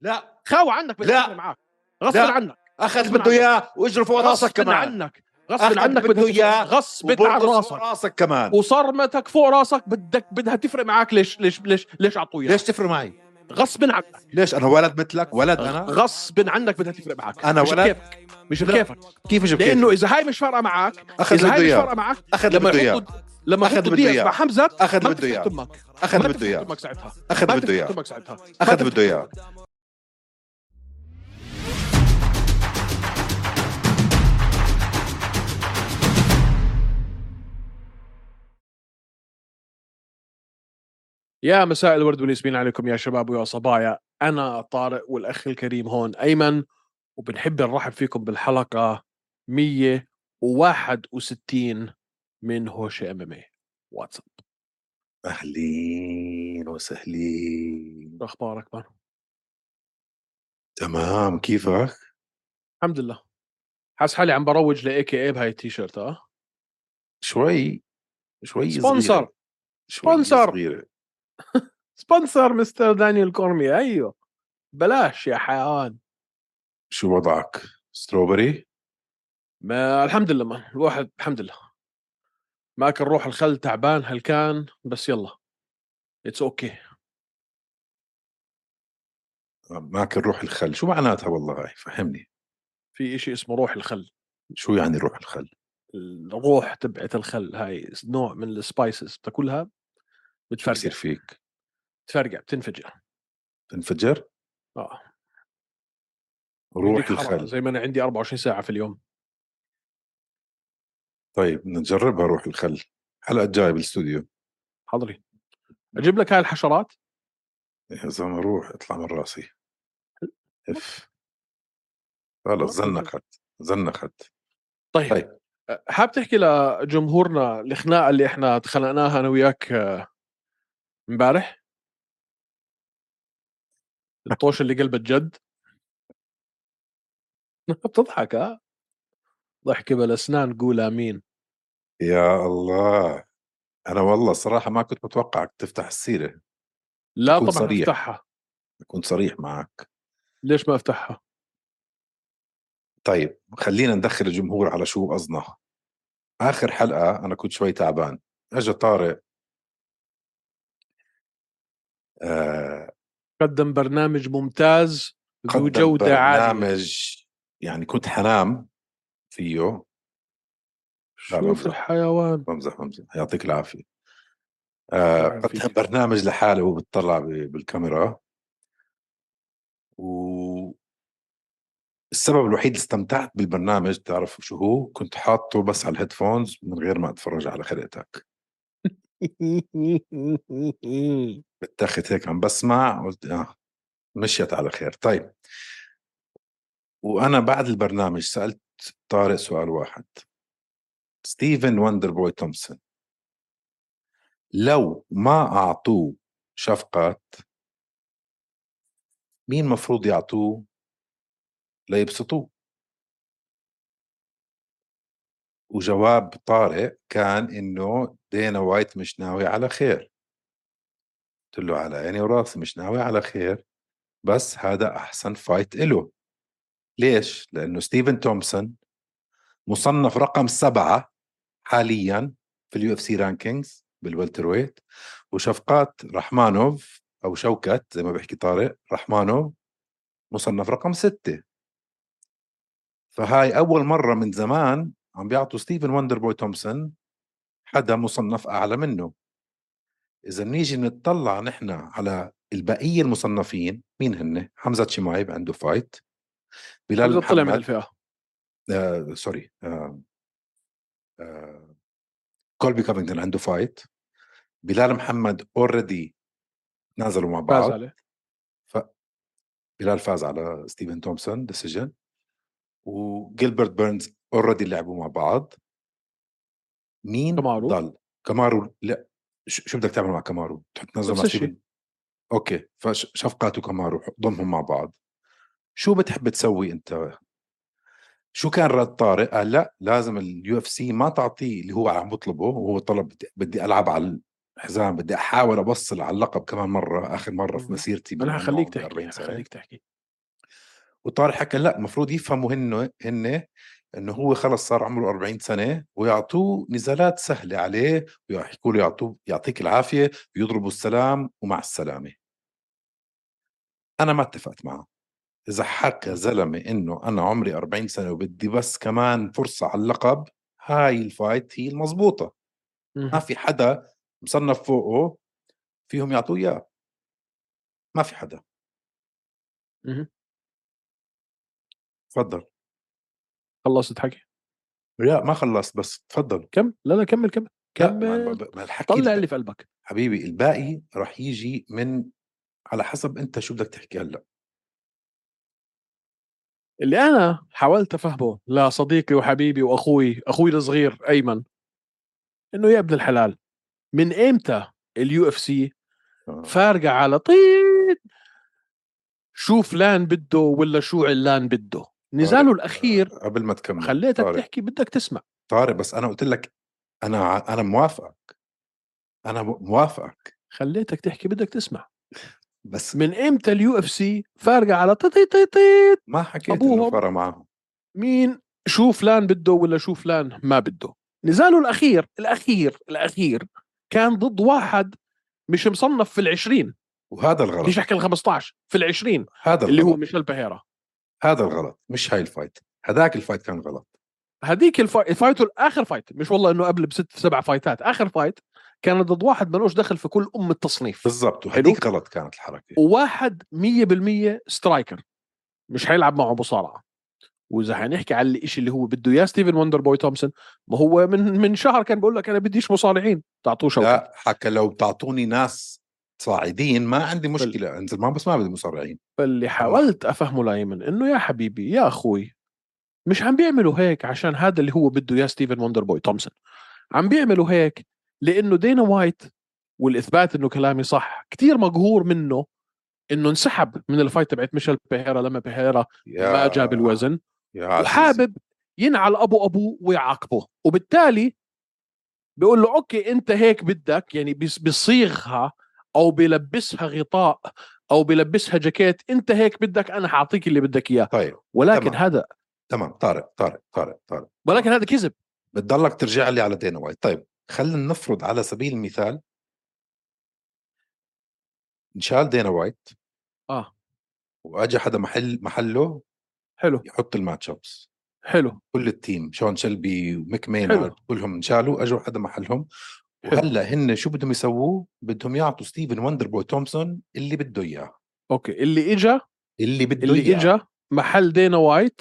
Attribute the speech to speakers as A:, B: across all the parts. A: لا
B: خاوة عنك
A: لا.
B: بيتخانق معاك غصب
A: لا.
B: عنك
A: اخذ بده اياه واجرى فوق راسك
B: غصب
A: كمان
B: عنك غصب
A: أخذ
B: عنك
A: بده
B: بدها-
A: إياه
B: غصب عن
A: وبرقص
B: راسك
A: فوق راسك كمان
B: وصرمتك فوق راسك بدك بدها تفرق معك ليش ليش ليش ليش عطويا
A: ليش تفرق معي؟
B: غصب عنك
A: ليش انا ولد مثلك ولد انا
B: غصب عنك بدها تفرق معك
A: أنا
B: مش
A: ولد؟
B: بكيفك مش بكيفك
A: كيف جبت
B: لانه اذا هاي مش فارقه معك
A: أخذ
B: اذا
A: بده
B: هاي مش
A: إياه.
B: فارقه معك
A: أخذ
B: لما
A: بده إياه.
B: يحطوا لما
A: أخذ
B: يحطوا
A: بده
B: دياز
A: إياه.
B: مع حمزه
A: أخذ
B: ما
A: بده
B: بتفتح
A: إياه.
B: تمك
A: أخذ
B: ما
A: بده
B: بتفتح
A: إياه.
B: تمك ساعتها
A: أخذ
B: ما
A: بده
B: بتفتح
A: إياه.
B: تمك ساعتها ما
A: اخذ
B: بتفتح
A: بده اياه
B: يا مساء الورد والياسمين عليكم يا شباب ويا صبايا انا طارق والاخ الكريم هون ايمن وبنحب نرحب فيكم بالحلقه 161 من هوش ام ام اي واتساب
A: اهلين وسهلين
B: شو اخبارك مان
A: تمام كيفك؟
B: الحمد لله حاسس حالي عم بروج لاي كي اي بهاي التيشيرت اه
A: شوي شوي صغيرة.
B: سبونسر
A: شوي
B: سبونسر.
A: صغيرة.
B: سبونسر مستر دانيال كورمي ايوه بلاش يا حيوان
A: شو وضعك؟ ستروبري؟
B: ما الحمد لله مان الواحد الحمد لله ماكل روح الخل تعبان هل كان بس يلا اتس اوكي okay.
A: معك الروح الخل شو معناتها والله هاي فهمني
B: في إشي اسمه روح الخل
A: شو يعني روح الخل
B: الروح تبعت الخل هاي نوع من السبايسز بتاكلها
A: شو بصير
B: بتفرقع
A: فيك
B: بتفرقع بتنفجر
A: تنفجر
B: اه
A: روح
B: عندي حرارة،
A: الخل
B: زي ما انا عندي 24 ساعه في اليوم
A: طيب بدنا نجربها روح الخل الحلقه الجايه بالاستوديو
B: حضري اجيب لك هاي الحشرات
A: يا زلمه روح اطلع من راسي اف خلص زنقت زنقت
B: طيب,
A: طيب.
B: أه، حاب تحكي لجمهورنا الخناقه اللي احنا تخلقناها انا وياك أه، امبارح الطوش اللي قلبت جد بتضحك ها ضحكه بلا اسنان قول امين
A: يا الله انا والله صراحه ما كنت متوقعك تفتح السيره
B: لا
A: أكون
B: طبعا
A: صريح.
B: افتحها
A: اكون صريح معك
B: ليش ما افتحها
A: طيب خلينا ندخل الجمهور على شو قصدنا اخر حلقه انا كنت شوي تعبان اجى طارق آه
B: قدم برنامج ممتاز ذو
A: قدم
B: جوده عاليه
A: برنامج يعني كنت حنام فيه لا،
B: شوف
A: بمزح.
B: الحيوان
A: بمزح بمزح يعطيك العافيه آه
B: يعافيك.
A: قدم برنامج لحاله وهو بيطلع ب- بالكاميرا و السبب الوحيد اللي استمتعت بالبرنامج تعرف شو هو كنت حاطه بس على الهيدفونز من غير ما اتفرج على خلقتك بتاخد هيك عم بسمع قلت اه مشيت على خير طيب وانا بعد البرنامج سالت طارق سؤال واحد ستيفن وندر بوي تومسون لو ما اعطوه شفقة مين مفروض يعطوه ليبسطوه وجواب طارق كان انه دينا وايت مش ناوي على خير قلت له على عيني وراسي مش ناوي على خير بس هذا احسن فايت إله ليش؟ لانه ستيفن تومسون مصنف رقم سبعة حاليا في اليو اف سي رانكينجز بالويلتر ويت وشفقات رحمانوف او شوكت زي ما بيحكي طارق رحمانوف مصنف رقم ستة فهاي اول مرة من زمان عم بيعطوا ستيفن وندر بوي تومسون حدا مصنف اعلى منه اذا نيجي نطلع نحن على البقية المصنفين مين هن حمزة شمايب عنده فايت بلال
B: طلع من
A: محمد
B: الفئه
A: آه سوري آه آه كولبي كافينغتون عنده فايت بلال محمد اوريدي نازلوا مع
B: فاز
A: بعض
B: عليه
A: بلال فاز على ستيفن تومسون ديسيجن وجيلبرت بيرنز اوريدي لعبوا مع بعض مين
B: كمارو.
A: ضل كمارو لا شو شو بدك تعمل مع كمارو تحط تنزل
B: نفس
A: مع
B: الشي.
A: ستيفن اوكي فشفقات وكمارو ضمهم مع بعض شو بتحب تسوي انت شو كان رد طارق قال لا لازم اليو اف سي ما تعطيه اللي هو عم بطلبه وهو طلب بدي, بدي العب على الحزام بدي احاول ابصل على اللقب كمان مره اخر مره في
B: مم.
A: مسيرتي
B: انا
A: بالممنوع
B: هخليك
A: من 40
B: تحكي
A: سنة.
B: هخليك تحكي
A: وطارق حكى لا المفروض يفهموا هن هن انه هو خلص صار عمره 40 سنه ويعطوه نزالات سهله عليه ويحكوا له يعطوه يعطيك العافيه ويضربوا السلام ومع السلامه انا ما اتفقت معه اذا حكى زلمه انه انا عمري 40 سنه وبدي بس كمان فرصه على اللقب هاي الفايت هي المزبوطه ما في حدا مصنف فوقه فيهم يعطوه اياه ما في حدا
B: مهم.
A: تفضل
B: خلصت حكي
A: لا ما خلصت بس تفضل
B: كم لا لا كمل كمل
A: لا، ما-
B: كمل.
A: ما- ما- ما الحكي
B: طلع
A: ده-
B: اللي في قلبك
A: حبيبي الباقي رح يجي من على حسب انت شو بدك تحكي هلا
B: اللي انا حاولت افهمه لصديقي وحبيبي واخوي اخوي الصغير ايمن انه يا ابن الحلال من امتى اليو اف سي
A: آه.
B: فارقه على طين شو فلان بده ولا شو علان بده نزاله الاخير
A: قبل ما تكمل
B: خليتك
A: آه، طارق
B: تحكي بدك تسمع
A: طارق بس انا قلت لك انا ع- انا موافقك انا مو- موافقك
B: خليتك تحكي بدك تسمع
A: بس
B: من امتى اليو اف سي فارقه على طيب، طي طي طي طي
A: ما حكيت
B: أبوهم.
A: انه فرق معهم
B: مين شو فلان بده ولا شو فلان ما بده نزاله الاخير الاخير الاخير كان ضد واحد مش مصنف في العشرين
A: وهذا الغلط
B: مش احكي ال 15 في العشرين
A: هذا
B: اللي هو
A: الغلط
B: ميشيل بهيرا
A: هذا الغلط مش هاي الفايت هذاك الفايت كان غلط
B: هذيك الفا- فايته اخر فايت مش والله انه قبل بست سبع فايتات اخر فايت كان ضد واحد ملوش دخل في كل ام التصنيف
A: بالضبط وهذيك غلط كانت الحركه
B: وواحد 100% سترايكر مش حيلعب معه مصارعه واذا حنحكي على الشيء اللي هو بده اياه ستيفن وندر بوي تومسون ما هو من من شهر كان بقول لك انا بديش مصارعين تعطوه شوكه
A: لا حكى لو بتعطوني ناس صاعدين ما عندي مشكله انزل معهم بس ما بدي مصارعين
B: فاللي حاولت افهمه لايمن انه يا حبيبي يا اخوي مش عم بيعملوا هيك عشان هذا اللي هو بده اياه ستيفن وندر بوي تومسون عم بيعملوا هيك لانه دينا وايت والاثبات انه كلامي صح كتير مقهور منه انه انسحب من الفايت تبعت ميشيل بيهيرا لما بيهيرا
A: يا
B: ما جاب الوزن
A: يا عزيزي.
B: وحابب ينعل ابو ابوه ويعاقبه وبالتالي بيقول له اوكي انت هيك بدك يعني بيس- بيصيغها او بيلبسها غطاء او بيلبسها جاكيت انت هيك بدك انا حاعطيك اللي بدك اياه
A: طيب
B: ولكن
A: تمام.
B: تمام. هذا
A: تمام طارق طارق طارق طارق
B: ولكن هذا كذب
A: بتضلك ترجع لي على دينا وايت طيب خلينا نفرض على سبيل المثال انشال دينا وايت
B: اه
A: واجى حدا محل محله
B: حلو
A: يحط الماتش ابس
B: حلو
A: كل التيم شون شلبي وميك
B: حلو.
A: مينارد كلهم انشالوا اجوا حدا محلهم
B: حلو.
A: وهلا هن شو بدهم يسووه؟ بدهم يعطوا ستيفن وندر بوي تومسون اللي بده اياه
B: اوكي اللي اجى
A: اللي بده
B: اللي
A: اياه
B: اجى محل دينا وايت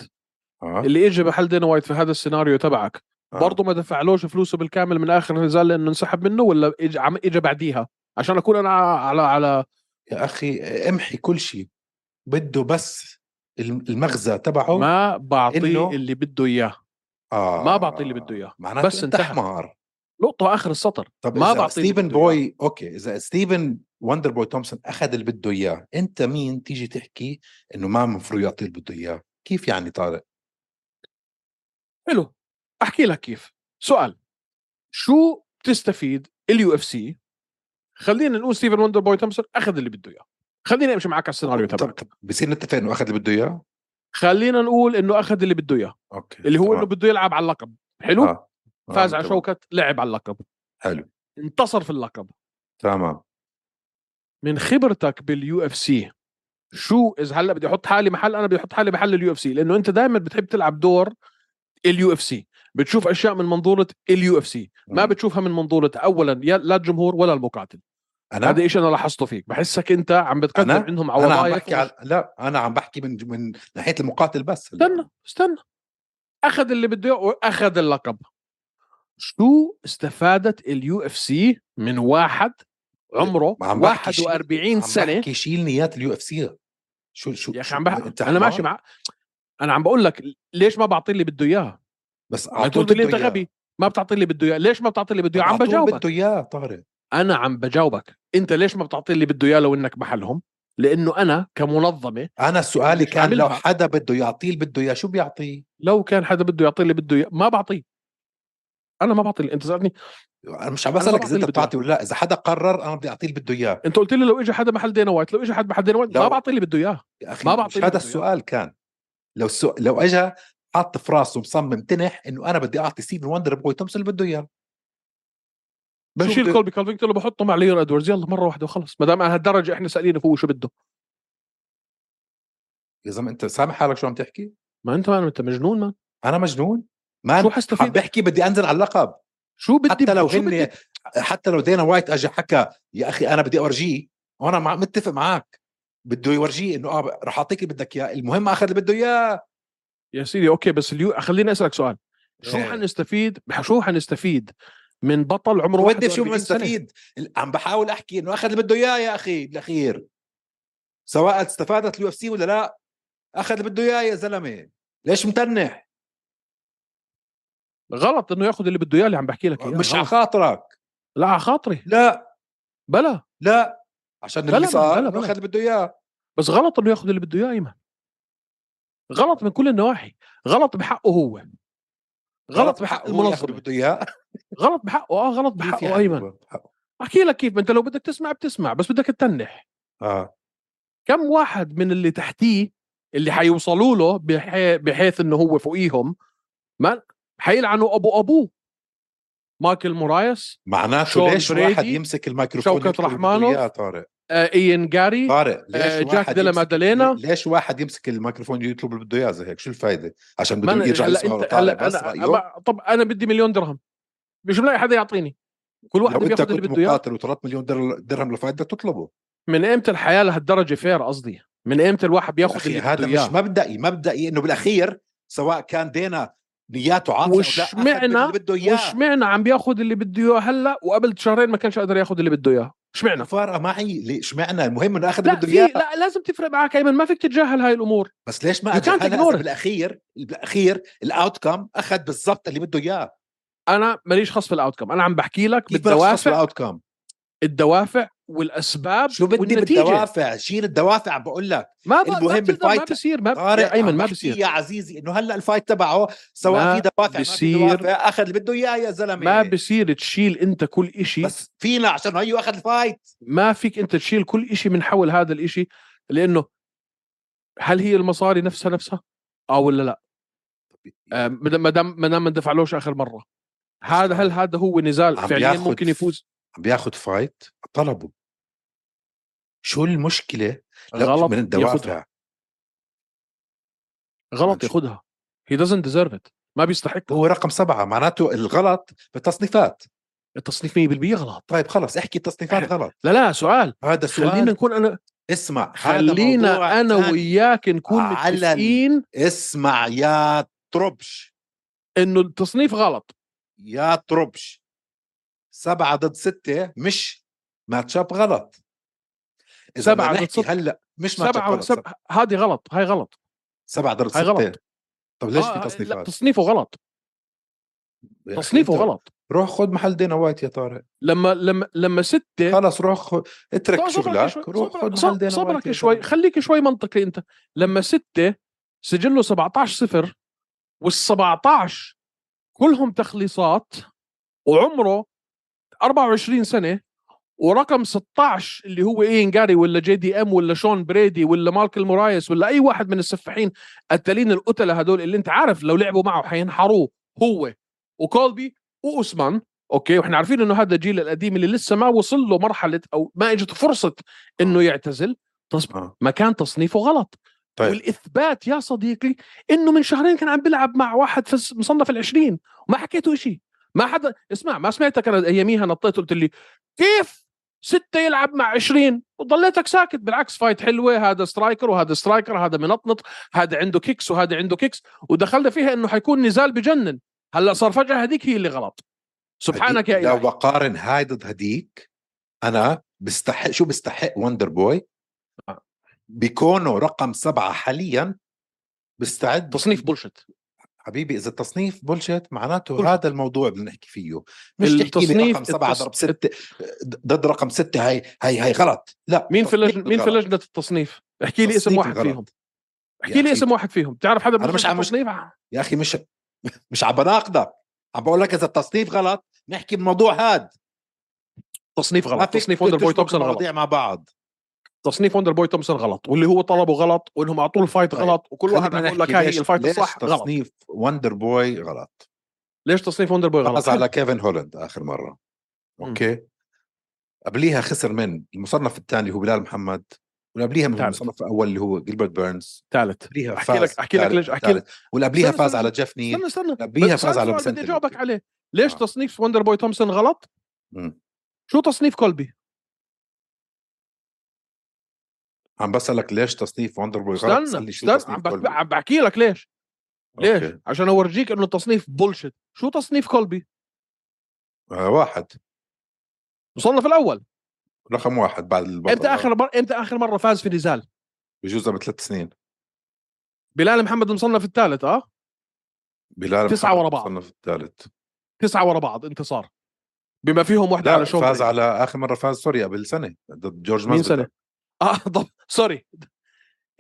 A: آه.
B: اللي اجى محل دينا وايت في هذا السيناريو تبعك
A: آه.
B: برضه ما دفعلوش فلوسه بالكامل من اخر نزال لانه انسحب منه ولا اجى عم اجى بعديها عشان اكون انا على على
A: يا اخي امحي كل شيء بده بس الم- المغزى تبعه
B: ما بعطيه
A: إنه-
B: اللي بده اياه
A: آه.
B: ما بعطي اللي بده إياه.
A: معناته
B: بس
A: بس انت
B: انتهى.
A: حمار
B: نقطه اخر السطر
A: طب
B: ما
A: ما إذا
B: بعطي اللي
A: ستيفن
B: بده
A: بوي اوكي اذا ستيفن وندر بوي تومسون اخذ اللي بده اياه انت مين تيجي تحكي انه ما المفروض يعطي اللي بده اياه كيف يعني طارق
B: حلو احكي لك كيف سؤال شو بتستفيد اليو اف سي خلينا نقول ستيفن وندر بوي تومسون اخذ اللي بده اياه خلينا امشي معك على السيناريو
A: طب-
B: تبعك
A: طب بصير نتفق انه اخذ اللي بده اياه
B: خلينا نقول انه اخذ اللي بده اياه
A: اوكي
B: اللي هو انه
A: تمام.
B: بده يلعب على اللقب حلو
A: آه. آه،
B: فاز على
A: تمام.
B: شوكه لعب على اللقب
A: حلو
B: انتصر في اللقب
A: تمام
B: من خبرتك باليو اف سي شو اذا هلا بدي احط حالي محل انا بدي احط حالي محل اليو اف سي لانه انت دائما بتحب تلعب دور اليو اف سي بتشوف اشياء من منظوره اليو اف سي ما
A: مم.
B: بتشوفها من منظوره اولا يا- لا الجمهور ولا المقاتل
A: انا
B: هذا إشي انا لاحظته فيك بحسك انت عم بتقدم
A: أنا؟
B: عندهم
A: انا
B: عوضايا
A: عم بحكي على... لا انا عم بحكي من من ناحيه المقاتل بس هلا.
B: استنى استنى اخذ اللي بده إياه واخذ اللقب شو استفادت اليو اف سي من واحد عمره
A: عم بحكي شيء-
B: 41 سنه
A: عم بحكي شيل نيات اليو اف سي شو شو
B: يا اخي
A: شو-
B: عم
A: أنت
B: بح... انا ماشي
A: حمار؟
B: مع انا عم بقول لك ليش ما بعطي اللي بده اياه
A: بس
B: ما
A: أعطوه
B: تقول لي
A: بده
B: انت
A: إياه.
B: غبي ما بتعطي اللي بده اياه ليش ما بتعطي اللي بده اياه عم
A: أعطوه
B: بجاوبك
A: بده اياه طارق
B: انا عم بجاوبك انت ليش ما بتعطي اللي بده اياه لو انك محلهم لانه انا كمنظمه
A: انا سؤالي
B: مش
A: كان لو
B: عاملها.
A: حدا بده يعطيه اللي بده اياه شو بيعطيه؟
B: لو كان حدا بده يعطي اللي بده اياه ما بعطيه انا ما بعطي اللي- انت سالتني
A: انا مش عم
B: أنا
A: بسالك
B: بعطيه
A: اذا انت
B: اللي بده إياه.
A: بتعطي ولا لا اذا حدا قرر انا بدي اعطيه اللي بده اياه
B: انت قلت لي لو اجى حدا محل دينا وايت لو اجى حدا محل دينا وايت
A: لو-
B: ما بعطي اللي بده اياه
A: يا اخي
B: ما
A: ما
B: بعطيه
A: بعطي
B: اللي
A: هذا
B: بده إياه.
A: السؤال كان لو سو... لو اجى حاط في راسه مصمم تنح انه انا بدي اعطي ستيفن وندر بوي تومسون اللي بده اياه شو
B: بشيل
A: بده-
B: كولبي كالفينجتون وبحطه مع ليون ادواردز يلا مره واحده وخلص ما دام على هالدرجه احنا سالين فوق شو بده
A: يا زلمه انت سامع حالك شو عم تحكي؟
B: ما انت ما انت مجنون ما
A: انا مجنون؟ ما
B: شو
A: أنا عم
B: حستفيد
A: بحكي بدي انزل على اللقب
B: شو بدي
A: حتى لو
B: شو
A: هن
B: بدي-
A: حتى لو دينا وايت اجى حكى يا اخي انا بدي اورجيه وانا مع... متفق معك بده يورجيه انه اه رح اعطيك اللي بدك اياه المهم اخذ اللي بده اياه
B: يا سيدي اوكي بس اليو خليني اسالك سؤال شو
A: إيه.
B: حنستفيد شو حنستفيد من بطل عمره
A: ودي
B: 41
A: شو
B: سنة؟
A: مستفيد عم بحاول احكي انه اخذ اللي بده اياه يا اخي بالاخير سواء استفادت اليو اف سي ولا لا اخذ اللي بده اياه يا زلمه ليش متنح
B: غلط انه ياخذ اللي بده اياه اللي عم بحكي لك اياه
A: مش على
B: غلط.
A: خاطرك
B: لا على خاطري
A: لا
B: بلا
A: لا عشان
B: بلا
A: اللي
B: بلا-
A: صار
B: بلا-
A: إنه
B: بلا.
A: اخذ اللي بده اياه
B: بس غلط انه ياخذ اللي بده اياه ايمن غلط من كل النواحي غلط بحقه هو غلط بحق
A: هو ياخذ اللي
B: المنظمه
A: بده يعني؟ اياه
B: غلط بحقه اه غلط
A: في- في
B: بحقه
A: حق
B: ايمن
A: هو بحقه.
B: احكي لك كيف ما انت لو بدك تسمع بتسمع بس بدك تتنح
A: اه
B: كم واحد من اللي تحتيه اللي حيوصلوا له بحي... بحيث انه هو فوقيهم ما حيلعنوا ابو ابوه مايكل مورايس
A: معناته
B: شون
A: ليش
B: بريدي،
A: واحد يمسك الميكروفون
B: شوكت
A: يحكي اللي بده
B: رحمانوف،
A: إياه، طارق
B: آه ايان جاري
A: طارق طيب، ليش
B: آه جاك
A: واحد
B: ديلا
A: يمسك-
B: مادالينا
A: ليش واحد يمسك الميكروفون يطلب اللي بده اياه زي هيك شو الفايده عشان
B: ما
A: بده
B: أنا-
A: يرجع
B: هلا
A: يسمعه
B: انت
A: طارق
B: هلا
A: بس
B: انا
A: رايه
B: ما- طب انا بدي مليون درهم مش ملاقي حدا يعطيني كل واحد
A: لو انت
B: بياخذ اللي
A: كنت
B: بده اياه
A: مقاتل وطلبت مليون در- درهم لفائده تطلبه
B: من امتى الحياه لهالدرجه فير قصدي من امتى الواحد بياخذ
A: اخي
B: اللي بده
A: هذا مش
B: اياه
A: مبدئي مبدئي انه بالاخير سواء كان دينا نياته عاطله
B: وش
A: أو لا، أخذ
B: معنى-
A: اللي بده اياه
B: واشمعنى عم بياخذ اللي بده اياه هلا وقبل شهرين ما كانش قادر ياخذ اللي بده اياه اشمعنى
A: فارقه معي ليش معنى المهم انه اخذ اللي
B: لا
A: بده
B: في
A: اياه
B: لا لازم تفرق معك ايمن ما فيك تتجاهل هاي الامور
A: بس ليش ما
B: You can't
A: أجحلها؟
B: ignore
A: إذا
B: it.
A: بالاخير بالاخير الاوت كم اخذ بالضبط اللي بده اياه
B: انا ماليش خص في الاوتكم انا عم بحكي لك
A: كيف بدك
B: بالدوافع
A: الاوت كم
B: الدوافع والاسباب
A: شو بدي
B: والنتيجة.
A: بالدوافع شيل الدوافع بقول لك
B: ما ب...
A: المهم
B: ما بتقدر، ما
A: بالفايت-
B: بصير ما ب...
A: طارق
B: يا ايمن
A: عم
B: ما
A: بحكي
B: بصير
A: يا عزيزي انه هلا الفايت تبعه سواء
B: ما
A: في دوافع
B: بصير-
A: ما في دوافع اخذ اللي بده اياه يا زلمه
B: ما بصير تشيل انت كل إشي
A: بس فينا عشان هيو اخذ الفايت
B: ما فيك انت تشيل كل إشي من حول هذا الإشي لانه هل هي المصاري نفسها نفسها؟ اه ولا لا؟ آه، ما دام ما دام ما دفعلوش اخر مره هذا هل هذا هو نزال
A: عم
B: فعليا
A: بياخد
B: ممكن يفوز؟
A: عم بياخذ فايت طلبه شو المشكله لو
B: غلط
A: من
B: ياخدها.
A: الدوافع
B: غلط
A: ماشي.
B: ياخذها هي doesn't deserve it ما بيستحقها
A: هو رقم سبعة معناته الغلط بالتصنيفات
B: التصنيف 100% غلط
A: طيب خلص احكي التصنيفات غلط
B: لا لا سؤال
A: هذا
B: خلينا
A: سؤال
B: نكون انا
A: اسمع هذا موضوع آه،
B: خلينا انا
A: تاني.
B: وياك نكون
A: على ال-
B: متفقين
A: اسمع يا طربش
B: انه التصنيف غلط
A: يا طربش سبعة ضد ستة مش ماتشاب غلط إذا
B: سبعة
A: بدنا
B: ضد
A: نحكي
B: ستة.
A: هلا مش ماتشاب
B: سبعة
A: غلط
B: سب... هذه غلط هاي غلط
A: سبعة ضد ستة
B: هاي غلط.
A: طب ليش
B: آه،
A: في
B: لا،
A: تصنيفات؟
B: تصنيفه غلط
A: يا أخي
B: تصنيفه
A: أنت
B: غلط
A: روح خد محل دينا وايت يا طارق
B: لما لما لما ستة
A: خلص روح خد
B: صبرك
A: اترك شغلك
B: إيه. شوي
A: روح خد
B: صبرك-
A: محل دينا وايت
B: صبرك
A: يا
B: شوي
A: زلمة.
B: خليك شوي منطقي انت لما ستة سجله 17 صفر وال 17 كلهم تخليصات وعمره 24 سنة ورقم 16 اللي هو اين جاري ولا جي دي ام ولا شون بريدي ولا ماركل مورايس ولا اي واحد من السفاحين التالين القتلة هدول اللي انت عارف لو لعبوا معه حينحروه هو وكولبي واوسمان اوكي واحنا عارفين انه هذا الجيل القديم اللي لسه ما وصل له مرحله او ما اجته فرصه انه يعتزل تص-
A: آه.
B: ما كان تصنيفه غلط
A: طيب.
B: والاثبات يا صديقي انه من شهرين كان عم بيلعب مع واحد فس مصنف ال20 وما حكيته شيء ما حدا اسمع ما سمعتك انا اياميها نطيت قلت لي كيف ستة يلعب مع 20 وضليتك ساكت بالعكس فايت حلوة هذا سترايكر وهذا سترايكر هذا منطنط هذا عنده كيكس وهذا عنده كيكس ودخلنا فيها انه حيكون نزال بجنن هلا صار فجأة هذيك هي اللي غلط سبحانك يا
A: هديك- لو
B: إلهي
A: بقارن هاي ضد هديك أنا بستحق شو بستحق وندر بوي؟
B: آه.
A: بكونه رقم سبعة حاليا بستعد
B: تصنيف بولشت
A: حبيبي اذا التصنيف بولشت معناته
B: بولشت.
A: هذا الموضوع بدنا نحكي فيه مش تحكي لي
B: التصنيف-
A: رقم سبعة
B: التص-
A: ضرب ستة ضد رقم ستة هاي هاي هاي غلط لا
B: مين في
A: التصنيف
B: لجنة مين في
A: غلط.
B: لجنة التصنيف احكي لي اسم
A: تصنيف
B: واحد
A: غلط.
B: فيهم
A: يا
B: احكي لي
A: أخي.
B: اسم واحد فيهم تعرف حدا
A: أنا مش
B: بلجنة
A: عم- مش-
B: التصنيف
A: يا اخي مش مش عم بناقضك عم بقول لك اذا التصنيف غلط نحكي بالموضوع هاد
B: تصنيف
A: ما
B: غلط
A: فيك
B: تصنيف وندر بوي
A: تشبك
B: تومسون غلط
A: المواضيع مع بعض
B: تصنيف وندر بوي تومسون غلط واللي هو طلبه غلط وانهم اعطوه الفايت
A: طيب.
B: غلط وكل واحد
A: خلينا
B: عم يقول لك
A: نحكي
B: هاي
A: ليش-
B: الفايت
A: ليش
B: الصح غلط
A: تصنيف وندر بوي غلط
B: ليش تصنيف وندر بوي غلط
A: فاز على كيفن هولند اخر مره
B: إمم.
A: اوكي قبليها خسر من المصنف الثاني هو بلال محمد وقبليها من
B: تعال.
A: المصنف الاول اللي هو جilbert بيرنز
B: ثالث
A: قبليها
B: أحكي لك- أحكي لك ليش- أحكي لك-
A: والقبليها
B: استنى-
A: فاز
B: استنى.
A: على جيف نيل
B: استنى استنى
A: قبليها
B: بس
A: فاز على
B: سؤال
A: بسنتر
B: بدي اجاوبك عليه ليش
A: آه.
B: تصنيف وندر بوي تومسون غلط
A: مم.
B: شو تصنيف كولبي
A: عم بسألك ليش تصنيف وندر بوي غلط
B: استنى
A: تسألني شو
B: استنى
A: تصنيف
B: عم بحكي-
A: كولبي.
B: عم بحكي لك ليش ليش
A: أوكي.
B: عشان اورجيك انه التصنيف بولشت شو تصنيف كولبي
A: آه واحد
B: مصنف الاول
A: رقم واحد بعد البطل آه،
B: امتى اخر مره امتى اخر مره فاز في نزال
A: بجوز قبل ثلاث سنين
B: بلال محمد المصنف الثالث اه
A: بلال
B: تسعة
A: محمد
B: ورا بعض.
A: الصنف الثالث
B: تسعة ورا بعض انتصار بما فيهم واحدة
A: لا
B: على شوم
A: فاز على اخر مره فاز سوريا قبل سنه ضد جورج
B: مين
A: مازفيدال.
B: سنة؟ اه طب سوري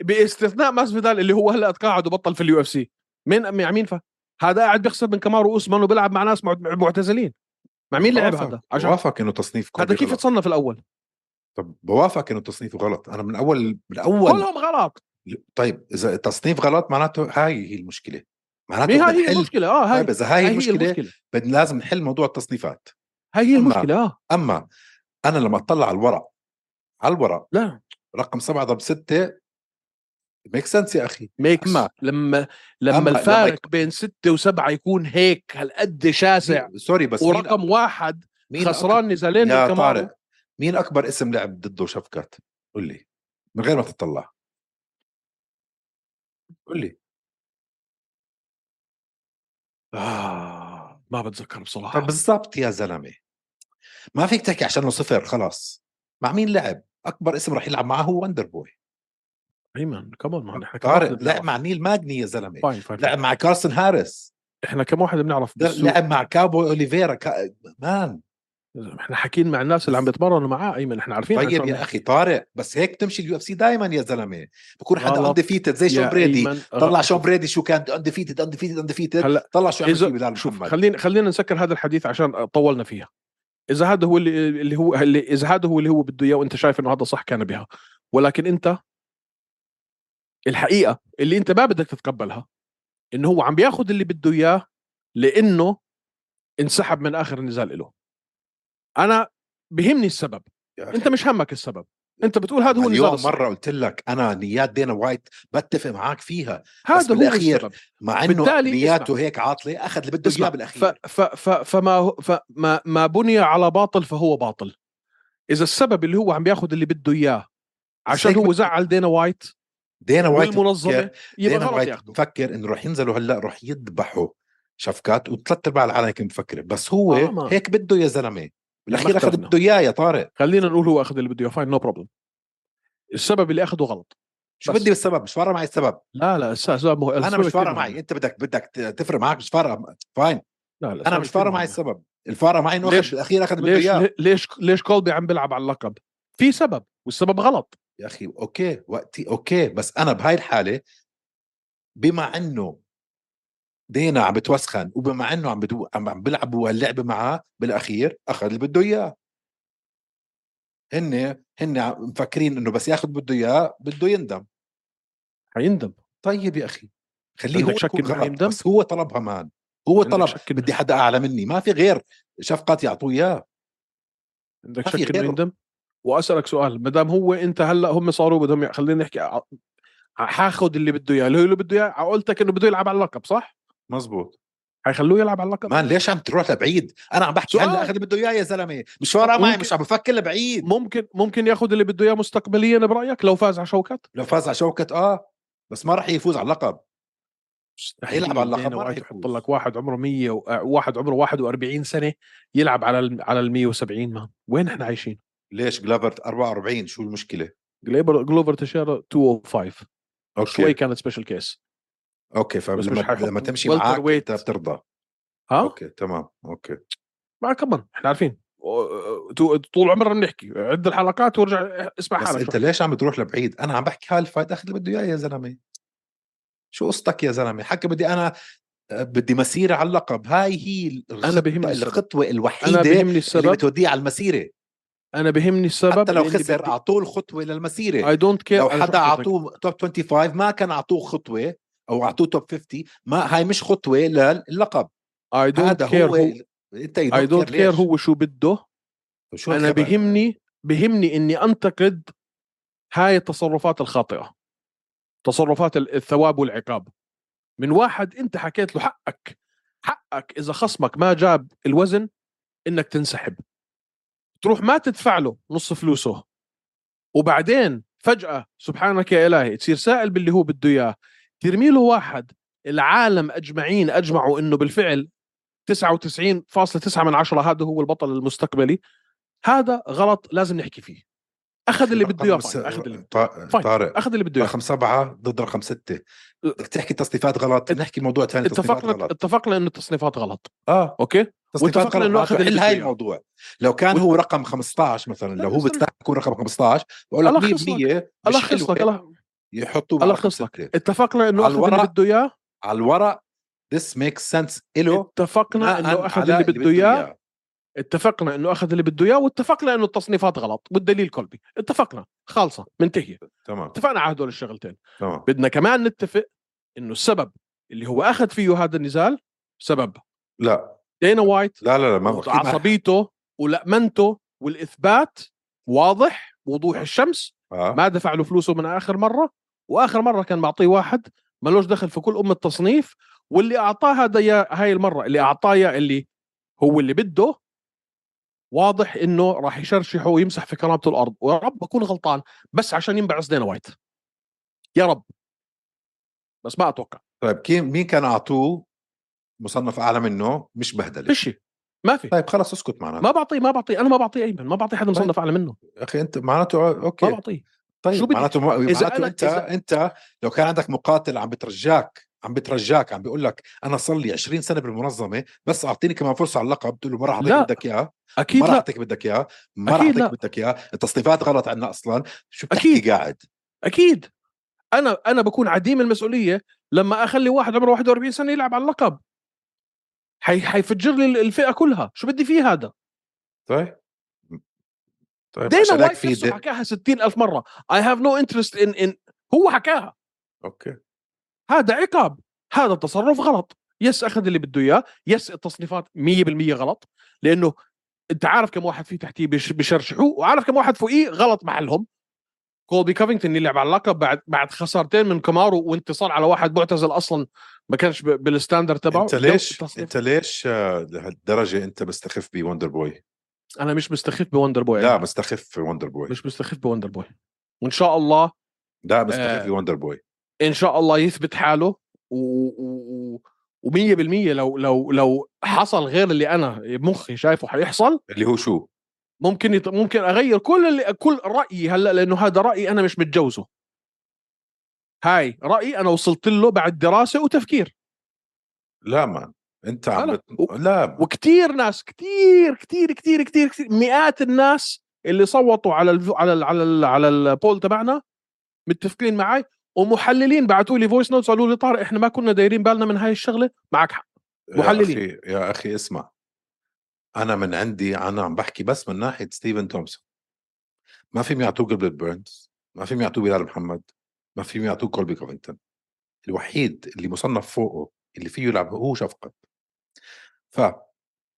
B: باستثناء ماسفيدال اللي هو هلا تقاعد وبطل في اليو اف سي مين مع مين ف هذا قاعد بيخسر من كمارو اوسمان وبيلعب مع ناس معت- معتزلين مع مين لعب
A: بوافق-
B: هذا؟ عشان
A: بوافق انه تصنيف كولبي
B: هذا كيف
A: غلط.
B: يتصنف الاول؟
A: طب بوافق انه تصنيفه غلط انا من اول من اول
B: كلهم غلط
A: طيب اذا التصنيف غلط معناته هاي هي المشكله معناته
B: مين هاي
A: بدنا
B: هي
A: نحل
B: المشكله اه هاي
A: طيب اذا هاي
B: هاي هي
A: المشكله
B: المشكله
A: بدنا لازم نحل موضوع التصنيفات
B: هاي هي
A: أما-
B: المشكله اه
A: اما انا لما اطلع على الورق على الورق
B: لا
A: رقم سبعة ضرب ستة ميك سنس يا اخي
B: ميكس
A: أما-
B: لما لما
A: أما- لما
B: الفارق بين ستة وسبعة يكون هيك هالقد شاسع
A: سوري بس مين-
B: ورقم واحد
A: مين
B: خسران نزالين من
A: يا
B: كمارو.
A: طارق مين اكبر اسم لعب ضده شفكات قول لي من غير ما تطلع قول لي
B: آه ما بتذكر بصراحة
A: طب بالضبط يا زلمه ما فيك تحكي عشانه صفر خلاص مع مين لعب اكبر اسم رح يلعب معه هو وندر بوي
B: ايمن كمان ما احنا كمان
A: طارق
B: بدنا
A: لعب
B: نعرف.
A: مع نيل ماجني يا زلمه
B: فاين فاين
A: لعب مع كارسون هاريس
B: احنا كم واحد بنعرف بالسوق.
A: لعب مع كابو اوليفيرا كا... مان
B: احنا حاكيين مع الناس اللي عم بيتمرنوا معاه ايمن احنا عارفين
A: طيب
B: عشان-
A: يا اخي طارق بس هيك بتمشي اليو اف سي دائما يا زلمه بكون حدا
B: غلط
A: انديفيتد زي شون
B: يا
A: بريدي
B: أيمن،
A: طلع شون بريدي شو كان انديفيتد انديفيتد انديفيتد
B: هلا
A: طلع شو عمل
B: إذا-
A: فيه بلال
B: شوف
A: محمد
B: خلينا خلينا نسكر هذا الحديث عشان طولنا فيها اذا هذا هو اللي اللي هو اللي اذا هذا هو اللي هو بده اياه وانت شايف انه هذا صح كان بها ولكن انت الحقيقه اللي انت ما بدك تتقبلها انه هو عم بياخذ اللي بده اياه لانه انسحب من اخر نزال له انا بهمني السبب
A: يا أخي.
B: انت مش همك السبب انت بتقول هذا هو النزال
A: اليوم
B: الصح.
A: مره قلت لك انا نيات دينا وايت بتفق معك فيها بس
B: هذا هو
A: بالأخير
B: السبب
A: مع انه
B: بالتالي
A: نياته هيك عاطله اخذ اللي بده
B: اسمع،
A: اياه
B: ف
A: بالاخير
B: ف ف فما هو- فما ما بني على باطل فهو باطل اذا السبب اللي هو عم بياخذ اللي بده اياه عشان
A: هيك
B: هو
A: بت-
B: زعل دينا وايت
A: دينا وايت
B: والمنظمه يبقى
A: دينا
B: غلط
A: وايت
B: ياخذه
A: بفكر انه رح ينزلوا هلا رح يذبحوا شفكات وثلاث ارباع العالم كان مفكر بس هو
B: آه، ما-
A: هيك بده يا زلمه بالاخير اخذ
B: اخترنا.
A: بده اياه يا طارق
B: خلينا نقول هو اخذ اللي بده اياه فاين نو بروبلم السبب اللي اخذه غلط
A: شو
B: بس.
A: بدي بالسبب مش فارقه معي السبب
B: لا لا الس- السبب مه...
A: انا
B: السبب
A: مش
B: كتير
A: فارقه
B: مهم.
A: معي انت بدك بدك ت- تفرق معك مش فارقه فاين
B: لا لا
A: انا
B: السبب
A: مش
B: كتير
A: فارقه معي
B: مهم.
A: السبب الفارقه معي انه
B: ليش-
A: اخذ بالاخير اخذ بده
B: ليش
A: اياه
B: ليش ليش كولبي عم بيلعب على اللقب في سبب والسبب غلط
A: يا اخي اوكي وقتي اوكي بس انا بهاي الحاله بما انه دينا عم بتوسخن وبما انه عم بدو عم عم بيلعبوا هاللعبه معاه بالاخير اخذ اللي بده اياه هن هن عم- مفكرين انه بس ياخذ بده اياه بده يندم
B: حيندم
A: طيب يا اخي خليه هو
B: عندك شك
A: يكون
B: إنه
A: غلط
B: حيندم؟
A: بس هو طلبها مان هو
B: عندك
A: طلب
B: شك إنه-
A: بدي حدا اعلى مني ما في غير شفقات يعطوه اياه
B: عندك
A: ما في
B: شك انه
A: غيره.
B: يندم واسالك سؤال ما دام هو انت هلا هم صاروا بدهم ي- خلينا نحكي ع- حاخذ اللي بده اياه اللي هو اللي بده اياه عقولتك انه بده يلعب على اللقب صح؟
A: مزبوط
B: حيخلوه يلعب على اللقب
A: مان ليش عم تروح لبعيد انا عم بحكي
B: سؤال.
A: هلا اخذ اللي بده اياه يا زلمه مش فارقه معي
B: ممكن-
A: مش عم بفكر لبعيد
B: ممكن ممكن ياخذ اللي بده اياه مستقبليا برايك لو فاز على شوكت
A: لو فاز على شوكة اه بس ما راح يفوز على اللقب يلعب على اللقب،
B: دينا
A: ما راح
B: وايت
A: يفوز.
B: يحط لك واحد عمره 100 و... آه، واحد عمره 41 سنه يلعب على ال... على ال 170 مان وين احنا عايشين؟
A: ليش جلافر 44 شو المشكله
B: جليبر جلوفر تشيرا 205 شوي
A: اوكي
B: كانت سبيشل كيس
A: اوكي
B: بس مش
A: فلما
B: حيحط آه؟
A: لما تمشي
B: welter
A: معك
B: weight.
A: انت بترضى
B: ها؟
A: اوكي تمام اوكي
B: ما كمان احنا عارفين و- تو- طول عمرنا بنحكي عد الحلقات وارجع اسمع
A: بس
B: حالك
A: انت ليش عم تروح لبعيد انا عم بحكي هالفايت اخذ اللي بده اياه يا زلمه شو قصتك يا زلمه حكى بدي انا آه، بدي مسيره على اللقب هاي هي الخطوه,
B: بيهمني السبب.
A: الخطوة
B: انا
A: الوحيده
B: بيهمني
A: اللي
B: السبب
A: بتوديه على المسيره
B: انا بهمني السبب
C: حتى لو خسر اعطوه الخطوه للمسيره
B: اي دونت كير
C: لو حدا اعطوه توب 25 ما كان اعطوه خطوه او اعطوه توب 50 ما هاي مش خطوه للقب
B: اي دونت
C: هذا
B: كير
C: هو انت
B: اي دونت كير هو شو بده
C: شو
B: انا
C: الخبر؟
B: بهمني بهمني اني انتقد هاي التصرفات الخاطئه تصرفات ال- الثواب والعقاب من واحد انت حكيت له حقك حقك اذا خصمك ما جاب الوزن انك تنسحب تروح ما تدفع له نص فلوسه وبعدين فجاه سبحانك يا الهي تصير سائل باللي هو بده اياه ترمي له واحد العالم اجمعين اجمعوا انه بالفعل 99.9 من عشرة هذا هو البطل المستقبلي هذا غلط لازم نحكي فيه اخذ اللي بده اياه
A: رقم س-
B: فاين، اخذ اللي آه.
A: طا-
B: فاين.
A: طارق
B: اخذ اللي بده اياه
A: رقم سبعة ضد رقم ستة بدك تحكي تصنيفات غلط نحكي موضوع ثاني تصنيفات
B: آه. اتفقنا
A: غلط
B: اتفقنا انه التصنيفات غلط
A: اه
B: اوكي
A: تصنيفات
B: واتفقنا
A: غلط
B: إنه
A: ما
B: أخذ اللي
A: تحل
B: بده
A: هاي
B: إياه.
A: الموضوع لو كان هو رقم 15 مثلا لو هو
B: استنى.
A: بيستحق يكون رقم 15 بقول لك
B: ألخص لك.
A: 100% مش
B: الخص لك
A: حلوة،
B: ألخ-
A: يحطوه مع رقم
B: الخص لك
A: ستة.
B: اتفقنا انه
A: إيه؟ على
B: اخذ اللي
A: الورق.
B: بده اياه
A: على الورق this makes sense له
B: اتفقنا
A: بناء
B: انه اخذ
A: على
B: اللي بده اياه اتفقنا انه اخذ اللي بده اياه واتفقنا انه التصنيفات غلط والدليل كولبي اتفقنا خالصه منتهيه
A: تمام
B: اتفقنا على هدول الشغلتين
A: تمام
B: بدنا كمان نتفق انه السبب اللي هو اخذ فيه هذا النزال سبب
A: لا
B: دينا وايت
A: لا لا لا ما أكيد ما-
B: عصبيته ولأمنته والإثبات واضح وضوح الشمس
A: آه.
B: ما دفع له فلوسه من آخر مرة وآخر مرة كان معطيه واحد ملوش دخل في كل أم التصنيف واللي أعطاه هذا يا- هاي المرة اللي أعطاه يا اللي هو اللي بده واضح انه راح يشرشحه ويمسح في كرامته الارض ويا رب بكون غلطان بس عشان ينبعث دينا وايت يا رب بس ما اتوقع
A: طيب كين- مين كان اعطوه مصنف اعلى منه مش بهدله
B: فيش شيء. ما في
A: طيب خلص اسكت معناته
B: ما بعطيه ما بعطيه انا ما بعطيه ايمن ما بعطيه حدا مصنف اعلى منه
A: اخي انت معناته
B: ما
A: اوكي
B: بعطيه
A: طيب
B: شو بدك؟
A: معناته ما...
B: إذا
A: معناته
B: أنا-
A: انت
B: إذا-
A: انت لو كان عندك مقاتل عم بترجاك عم بترجاك عم بيقول لك انا صار لي 20 سنه بالمنظمه بس اعطيني كمان فرصه على اللقب بتقول له ما راح اعطيك
B: لا.
A: بدك اياه
B: اكيد
A: ما راح
B: لا
A: اعطيك بدك اياه ما راح
B: أكيد
A: اعطيك
B: لا.
A: بدك اياه التصنيفات غلط عندنا اصلا شو بتحكي
B: أكيد.
A: قاعد
B: اكيد انا انا بكون عديم المسؤوليه لما اخلي واحد عمره 41 سنه يلعب على اللقب حي حيفجر لي الفئه كلها شو بدي فيه هذا
A: طيب طيب
B: دينا
A: عشان هيك
B: وايت
A: في
B: نفسه
A: دي...
B: حكاها 60 الف مره اي هاف نو انترست ان ان هو حكاها
A: اوكي
B: هذا عقاب هذا تصرف غلط يس اخذ اللي بده اياه يس التصنيفات 100% غلط لانه انت عارف كم واحد فيه تحتيه بش- بشرشحوه وعارف كم واحد فوقيه غلط محلهم كولبي كافينغتون يلعب على اللقب بعد بعد خسارتين من كمارو وانتصار على واحد معتزل اصلا ما كانش ب- بالستاندر تبعه
A: انت
B: جو-
A: ليش
B: التصنيف-
A: انت ليش آه، لهالدرجه انت مستخف بوندر بوي
B: انا مش مستخف بوندر بوي
A: لا مستخف في وندر بوي
B: مش مستخف بوندر بوي وان شاء الله
A: لا مستخف
B: آه.
A: في وندر بوي
B: ان شاء الله يثبت حاله و و- و- و100% لو لو لو حصل غير اللي انا مخي شايفه حيحصل
A: اللي هو شو
B: ممكن يط... ممكن اغير كل اللي... كل رايي هلا لانه هذا رايي انا مش متجوزه هاي رايي انا وصلت له بعد دراسه وتفكير
A: لا ما انت عم
B: لا.
A: بت... لا
B: وكتير ناس كتير كتير كتير كتير, كتير مئات الناس اللي صوتوا على الف... على ال... على ال... على البول تبعنا متفقين معي ومحللين بعثوا لي فويس نوتس قالوا لي طارق احنا ما كنا دايرين بالنا من هاي الشغله معك حق محللين.
A: يا اخي يا اخي اسمع انا من عندي انا عم بحكي بس من ناحيه ستيفن تومسون ما فيهم يعطوه جيلبرت بيرنز ما فيهم يعطوه بلال محمد ما فيهم يعطوه كولبي كوفينتون الوحيد اللي مصنف فوقه اللي فيه يلعب هو شفقة ف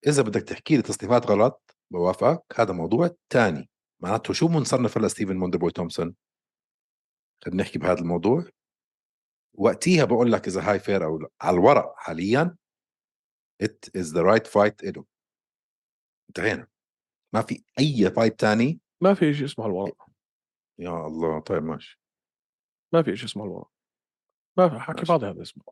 A: اذا بدك تحكي لي تصنيفات غلط بوافقك هذا موضوع تاني معناته شو منصنف هلا ستيفن موندر بوي تومسون خلينا نحكي بهذا الموضوع وقتيها بقول لك اذا هاي فير او لا على الورق حاليا it is the right fight له انتهينا ما في اي فايت تاني
B: ما في شيء اسمه الورق
A: يا الله طيب ماشي
B: ما في شيء اسمه الورق ما في حكي
A: ماشي.
B: فاضي هذا اسمه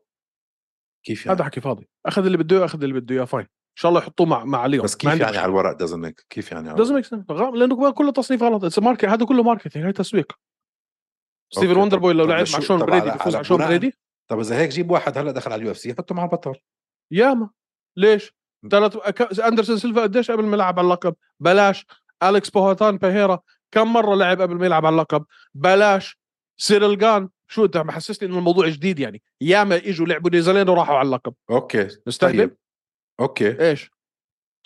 A: كيف يعني
B: هذا حكي فاضي اخذ اللي بده اياه اخذ اللي بده اياه فاين ان شاء الله يحطوه مع مع ليون
A: بس كيف يعني على الورق doesn't make كيف يعني على
B: لازم
A: الورق؟
B: ميك سنس لانه كله تصنيف غلط It's a market- هذا كله ماركتينج هاي تسويق ستيفن
A: أوكي،
B: وندر بوي لو
A: طب
B: لعب
A: شو-
B: مع شون
A: طب
B: بريدي
A: على-
B: بيفوز
A: على
B: على شون
A: بناء-
B: بريدي
A: طب اذا هيك جيب واحد هلا دخل على اليو اف سي حطه مع البطل
B: ياما ليش؟
A: م.
B: ثلاث ك- اندرسون سيلفا قديش قبل ما يلعب على اللقب؟ بلاش اليكس بوهاتان بيهيرا كم مره لعب قبل ما يلعب على اللقب؟ بلاش سيريل جان شو انت محسسني انه الموضوع جديد يعني ياما اجوا لعبوا نيوزيلندا وراحوا على اللقب
A: اوكي طيب.
B: مستهبل
A: اوكي
B: ايش؟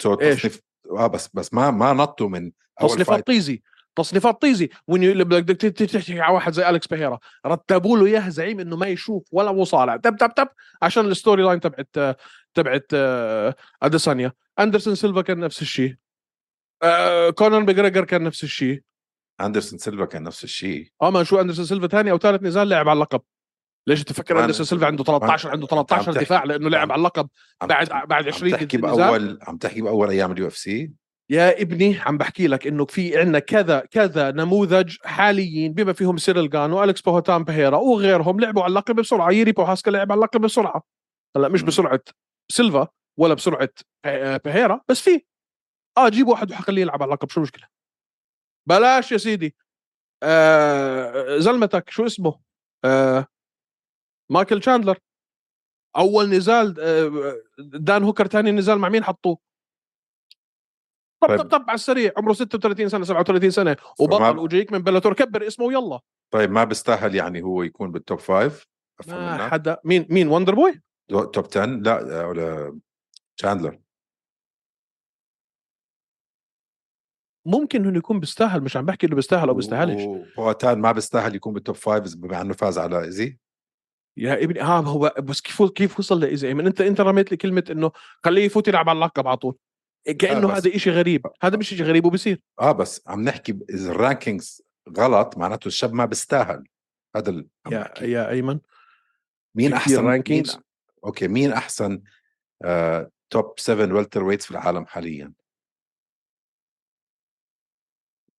A: سو
B: إيش؟
A: آه، تصنيف اه بس بس ما ما نطوا من أول
B: تصنيفات
A: فايت.
B: طيزي تصنيفات طيزي وإنه اللي بدك ت- ت- تحكي على واحد زي الكس بيهيرا رتبوا له اياه زعيم انه ما يشوف ولا مصارع تب تب تب عشان الستوري لاين تبعت تبعت آه، اديسانيا اندرسون سيلفا كان نفس الشيء آه، كونر ماجريجر كان نفس الشيء
A: اندرسون سيلفا كان نفس الشيء
B: اه ما شو اندرسون سيلفا ثاني او ثالث نزال لعب على اللقب ليش تفكر
A: طبعاً-
B: اندرسون سيلفا عنده 13 عنده 13
A: تحكي-
B: دفاع لانه لعب
A: عم-
B: على اللقب
A: عم
B: بعد آه،
A: تحكي-
B: بعد
A: عم
B: 20
A: تحكي
B: نزال.
A: باول عم تحكي باول ايام اليو اف سي
B: يا ابني عم بحكي لك انه في عندنا كذا كذا نموذج حاليين بما فيهم سيريل جان والكس بوهوتان بهيرا وغيرهم لعبوا على اللقب بسرعه يري بوهاسكا لعب على اللقب بسرعه هلا مش
A: مم.
B: بسرعه سيلفا ولا بسرعه آه، بهيرا بس في اه جيب واحد وحخليه يلعب على اللقب شو المشكله بلاش يا سيدي آه زلمتك شو اسمه آه مايكل شاندلر اول نزال آه، دان هوكر ثاني نزال مع مين حطوه طب
A: طيب.
B: طب طب على السريع عمره 36 سنه 37 سنه وبطل
A: فما-
B: اوجيك من بلاتور كبر اسمه ويلا
A: طيب ما بيستاهل يعني هو يكون بالتوب فايف أفهم
B: ما
A: منك؟
B: حدا مين مين وندر بوي
A: دو- توب 10 لا آه، ولا تشاندلر
B: ممكن انه يكون بيستاهل مش عم بحكي انه بيستاهل او بيستاهلش
A: بوتان ما بيستاهل يكون بالتوب فايف بما انه فاز على ايزي
B: يا ابني ها هو بس كيف كيف وصل لايزي ايمن انت انت رميت لي كلمه انه خليه يفوت يلعب على اللقب على طول كانه
A: آه، بس-
B: هذا إشي غريب هذا مش إشي غريب وبصير
A: اه بس عم نحكي ب- اذا الرانكينجز غلط معناته الشاب ما بيستاهل هذا ال- عم
B: يا
A: نحكي.
B: يا ايمن
A: مين
B: في
A: احسن
B: كتير
A: مين
B: rankings.
A: اوكي مين احسن آه، توب 7 ويلتر ويتس في العالم حاليا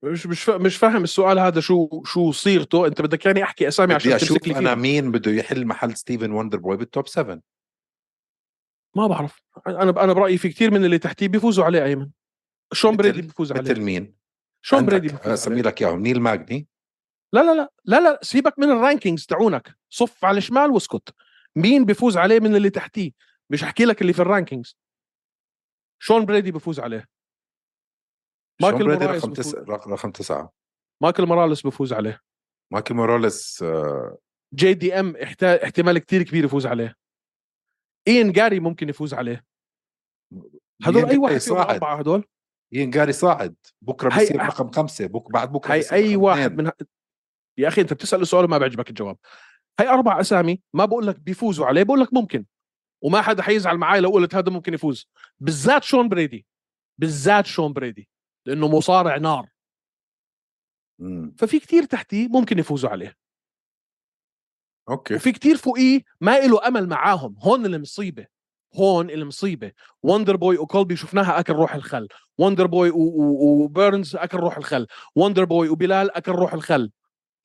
B: مش مش فا- مش فاهم السؤال هذا شو شو صيغته انت بدك يعني احكي اسامي عشان
A: بدي اشوف
B: تمسك لي
A: انا
B: فيها
A: مين بده يحل محل ستيفن وندر بوي بالتوب 7
B: ما بعرف انا انا برايي في كثير من اللي تحتيه بيفوزوا عليه ايمن شون
A: مثل-
B: بريدي بيفوز عليه
A: مثل مين
B: شون
A: عندك-
B: بريدي
A: آه،
B: بيفوز عليه.
A: اسمي لك اياهم نيل ماجني
B: لا لا لا لا لا سيبك من الرانكينجز تاعونك صف على الشمال واسكت مين بيفوز عليه من اللي تحتيه مش احكي لك اللي في الرانكينجز شون بريدي بيفوز عليه
A: شون
B: مايكل
A: بريدي
B: مورايز
A: رقم
B: بفوز.
A: تسعة رق- رقم تسعة
B: مايكل موراليس بيفوز عليه
A: مايكل موراليس آه،
B: جي دي ام احتا- احتمال كتير كبير يفوز عليه اين جاري ممكن يفوز عليه هدول
A: ينجاري
B: اي واحد فيهم
A: إيه، صاعد
B: اربعه هدول
A: ينجاري صاعد بكره
B: هي-
A: بصير رقم خمسة بك بعد بكره
B: هاي
A: بصير
B: اي
A: رقم
B: واحد
A: اثنين.
B: من ه- يا اخي انت بتسال السؤال وما بيعجبك الجواب هاي اربع اسامي ما بقول لك بيفوزوا عليه بقول لك ممكن وما حدا حيزعل معي لو قلت هذا ممكن يفوز بالذات شون بريدي بالذات شون بريدي لانه مصارع نار
A: مم.
B: ففي كتير تحتيه ممكن يفوزوا عليه
A: اوكي
B: وفي كتير فوقيه ما له امل معاهم هون المصيبه هون المصيبه وندر بوي وكولبي شفناها اكل روح الخل وندر بوي و- و- وبيرنز اكل روح الخل وندر بوي وبلال اكل روح الخل